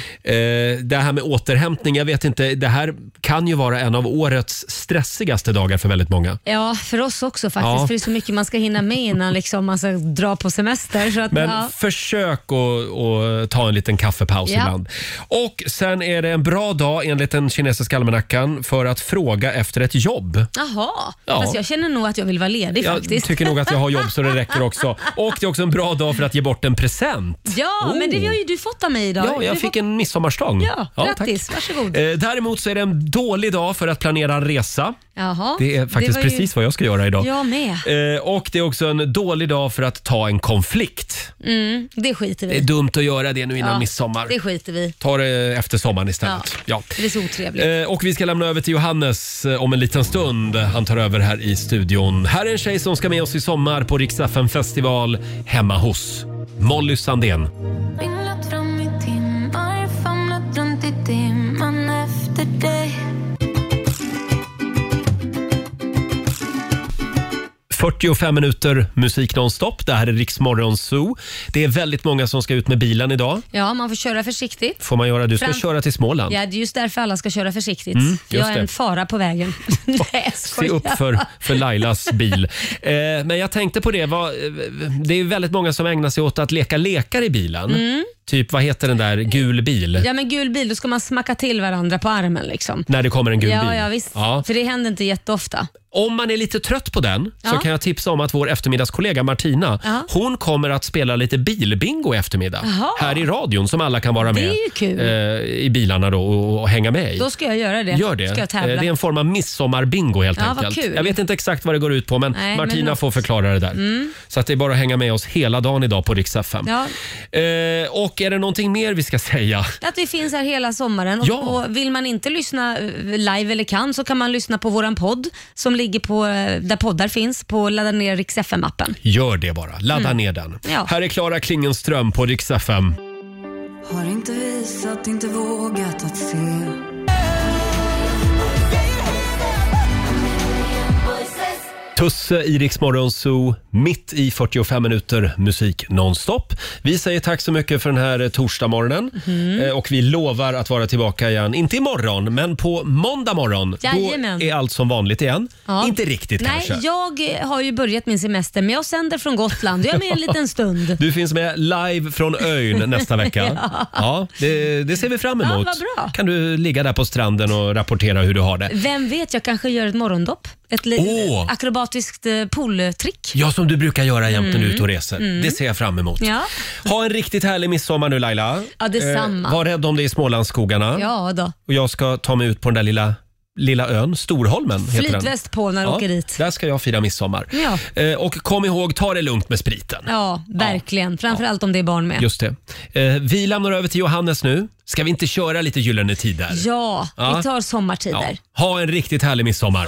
Speaker 1: Eh, det här med återhämtning, jag vet inte. Det här kan ju vara en av årets stressigaste dagar för väldigt många.
Speaker 2: Ja, för oss också faktiskt.
Speaker 1: Ja.
Speaker 2: För det är så mycket man ska hinna med innan liksom, man ska dra på semester. Så att,
Speaker 1: Men
Speaker 2: ja.
Speaker 1: försök att, att ta en liten kaffepaus
Speaker 2: Ja.
Speaker 1: ibland. Och sen är det en bra dag enligt den kinesiska almanackan för att fråga efter ett jobb.
Speaker 2: Jaha,
Speaker 1: Ja.
Speaker 2: fast jag känner nog att jag vill vara ledig
Speaker 1: jag
Speaker 2: faktiskt.
Speaker 1: tycker nog att jag har jobb så det räcker
Speaker 2: *laughs*
Speaker 1: också. Och det är också en bra dag för att ge bort en present.
Speaker 2: Ja, men det
Speaker 1: Oh.
Speaker 2: har ju du fått av mig idag.
Speaker 1: Ja, jag
Speaker 2: Du
Speaker 1: fick en midsommarstång.
Speaker 2: Ja,
Speaker 1: tack.
Speaker 2: grattis. Varsågod.
Speaker 1: Eh, Däremot så är det en dålig dag för att planera en resa.
Speaker 2: Jaha.
Speaker 1: Det är faktiskt
Speaker 2: var ju-
Speaker 1: precis vad jag ska göra idag.
Speaker 2: Jag med.
Speaker 1: Eh, Och det är också en dålig dag för att ta en konflikt.
Speaker 2: Mm, det skiter vi
Speaker 1: Det är
Speaker 2: i.
Speaker 1: dumt att göra det nu innan
Speaker 2: Ja,
Speaker 1: midsommar.
Speaker 2: Det skiter vi i.
Speaker 1: Ta det efter sommaren istället. Ja.
Speaker 2: Det är så otrevligt.
Speaker 1: Eh, Och vi ska lämna över till Johannes eh, om en liten stund. Han tar över här i studion. Här är en tjej som ska med oss i sommar på Rix FM festival hemma hos. Molly Sandén.
Speaker 6: Vinglat fram i timmar, famlat runt i dimman efter dig
Speaker 1: 45 minuter musik nonstop. Det här är Rix Morgon Zoo. Det är väldigt många som ska ut med bilen idag.
Speaker 2: Ja, man får köra försiktigt.
Speaker 1: Får man göra. Du ska
Speaker 2: Fram-
Speaker 1: köra till Småland.
Speaker 2: Ja, det är just därför alla ska köra försiktigt.
Speaker 1: Mm, just
Speaker 2: jag är
Speaker 1: det.
Speaker 2: en fara
Speaker 1: *laughs*
Speaker 2: på vägen. Nej, jag
Speaker 1: Se
Speaker 2: skojar.
Speaker 1: upp för, för Lailas
Speaker 2: *laughs*
Speaker 1: bil. Eh, men jag tänkte på det. Vad, eh, det är väldigt många som ägnar sig åt att leka lekar i bilen.
Speaker 2: Mm.
Speaker 1: Typ, vad heter den där gul bil?
Speaker 2: Ja, men gul bil, då ska man smacka till varandra på armen. Liksom.
Speaker 1: När det kommer en gul
Speaker 2: ja,
Speaker 1: bil.
Speaker 2: Ja, visst.
Speaker 1: Ja.
Speaker 2: För det händer inte jätteofta.
Speaker 1: Om man är lite trött på den så
Speaker 2: Ja.
Speaker 1: kan jag tipsa om att vår eftermiddagskollega Martina,
Speaker 2: Ja.
Speaker 1: hon kommer att spela lite bilbingo i eftermiddag
Speaker 2: Jaha.
Speaker 1: här i radion som alla kan vara
Speaker 2: Det
Speaker 1: med
Speaker 2: är ju kul.
Speaker 1: eh, i bilarna då och, och hänga med i.
Speaker 2: Då ska jag göra det.
Speaker 1: Gör det.
Speaker 2: Ska jag
Speaker 1: Eh,
Speaker 2: tävla.
Speaker 1: det är en form av midsommarbingo helt
Speaker 2: Ja, vad
Speaker 1: enkelt.
Speaker 2: kul.
Speaker 1: Jag vet inte exakt vad det går ut på men
Speaker 2: Nej,
Speaker 1: Martina
Speaker 2: men-
Speaker 1: får förklara det där.
Speaker 2: Mm.
Speaker 1: Så att det är bara att hänga med oss hela dagen idag på Rix FM.
Speaker 2: Ja.
Speaker 1: Eh, och är det någonting mer vi ska säga?
Speaker 2: Att vi finns här hela sommaren. Och,
Speaker 1: Ja.
Speaker 2: och Vill man inte lyssna eh, live eller kan så kan man lyssna på våran podd som ligger på, eh, där poddar finns, på ladda ner Rix FM-appen.
Speaker 1: Gör det bara. Ladda
Speaker 2: Mm.
Speaker 1: ner den.
Speaker 2: Ja.
Speaker 1: Här är Klara Klingenström på Rix FM.
Speaker 7: Har inte visat, inte vågat att se
Speaker 1: Tusse i Rix Morgon Zoo, mitt i 45 minuter musik nonstop. Vi säger tack så mycket för den här eh, torsdagmorgonen.
Speaker 2: Mhm.
Speaker 1: Eh, Och vi lovar att vara tillbaka igen, inte imorgon, men på måndag morgon.
Speaker 2: Jajamän.
Speaker 1: Då är allt som vanligt igen.
Speaker 2: Ja.
Speaker 1: Inte riktigt
Speaker 2: Nej,
Speaker 1: kanske.
Speaker 2: jag eh, har ju börjat min semester men jag sänder från Gotland. Jag är med en liten stund.
Speaker 1: Du finns med live från ön nästa vecka.
Speaker 2: *laughs* Ja.
Speaker 1: det, det ser vi fram emot.
Speaker 2: Ja, vad bra. Mm.
Speaker 1: Kan du ligga där på stranden och rapportera hur du har det?
Speaker 2: Vem vet, jag kanske gör ett morgondopp. Ett litet
Speaker 1: Åh.
Speaker 2: akrobatiskt eh, pooltrick.
Speaker 1: Ja, som du brukar göra jämt när du är ute och reser.
Speaker 2: Mm.
Speaker 1: Det ser jag fram emot.
Speaker 2: Ja.
Speaker 1: Ha en riktigt härlig midsommar nu Laila. Eh,
Speaker 2: Ja, detsamma.
Speaker 1: var rädd om dig i Smålandsskogarna.
Speaker 2: Ja då.
Speaker 1: Och jag ska ta mig ut på den där lilla, lilla ön, Storholmen heter den.
Speaker 2: Flytväst på när du åker dit.
Speaker 1: Där ska jag fira midsommar.
Speaker 2: Ja,
Speaker 1: Eh, och kom ihåg, ta det lugnt med spriten.
Speaker 2: ja verkligen. Framförallt om det är barn med.
Speaker 1: Just det. Eh, vi lämnar över till Johannes nu. Ska vi inte köra lite Gyllene Tider?
Speaker 2: Ja,
Speaker 1: Ja.
Speaker 2: vi tar sommartider.
Speaker 1: Ja. Ha en riktigt härlig midsommar.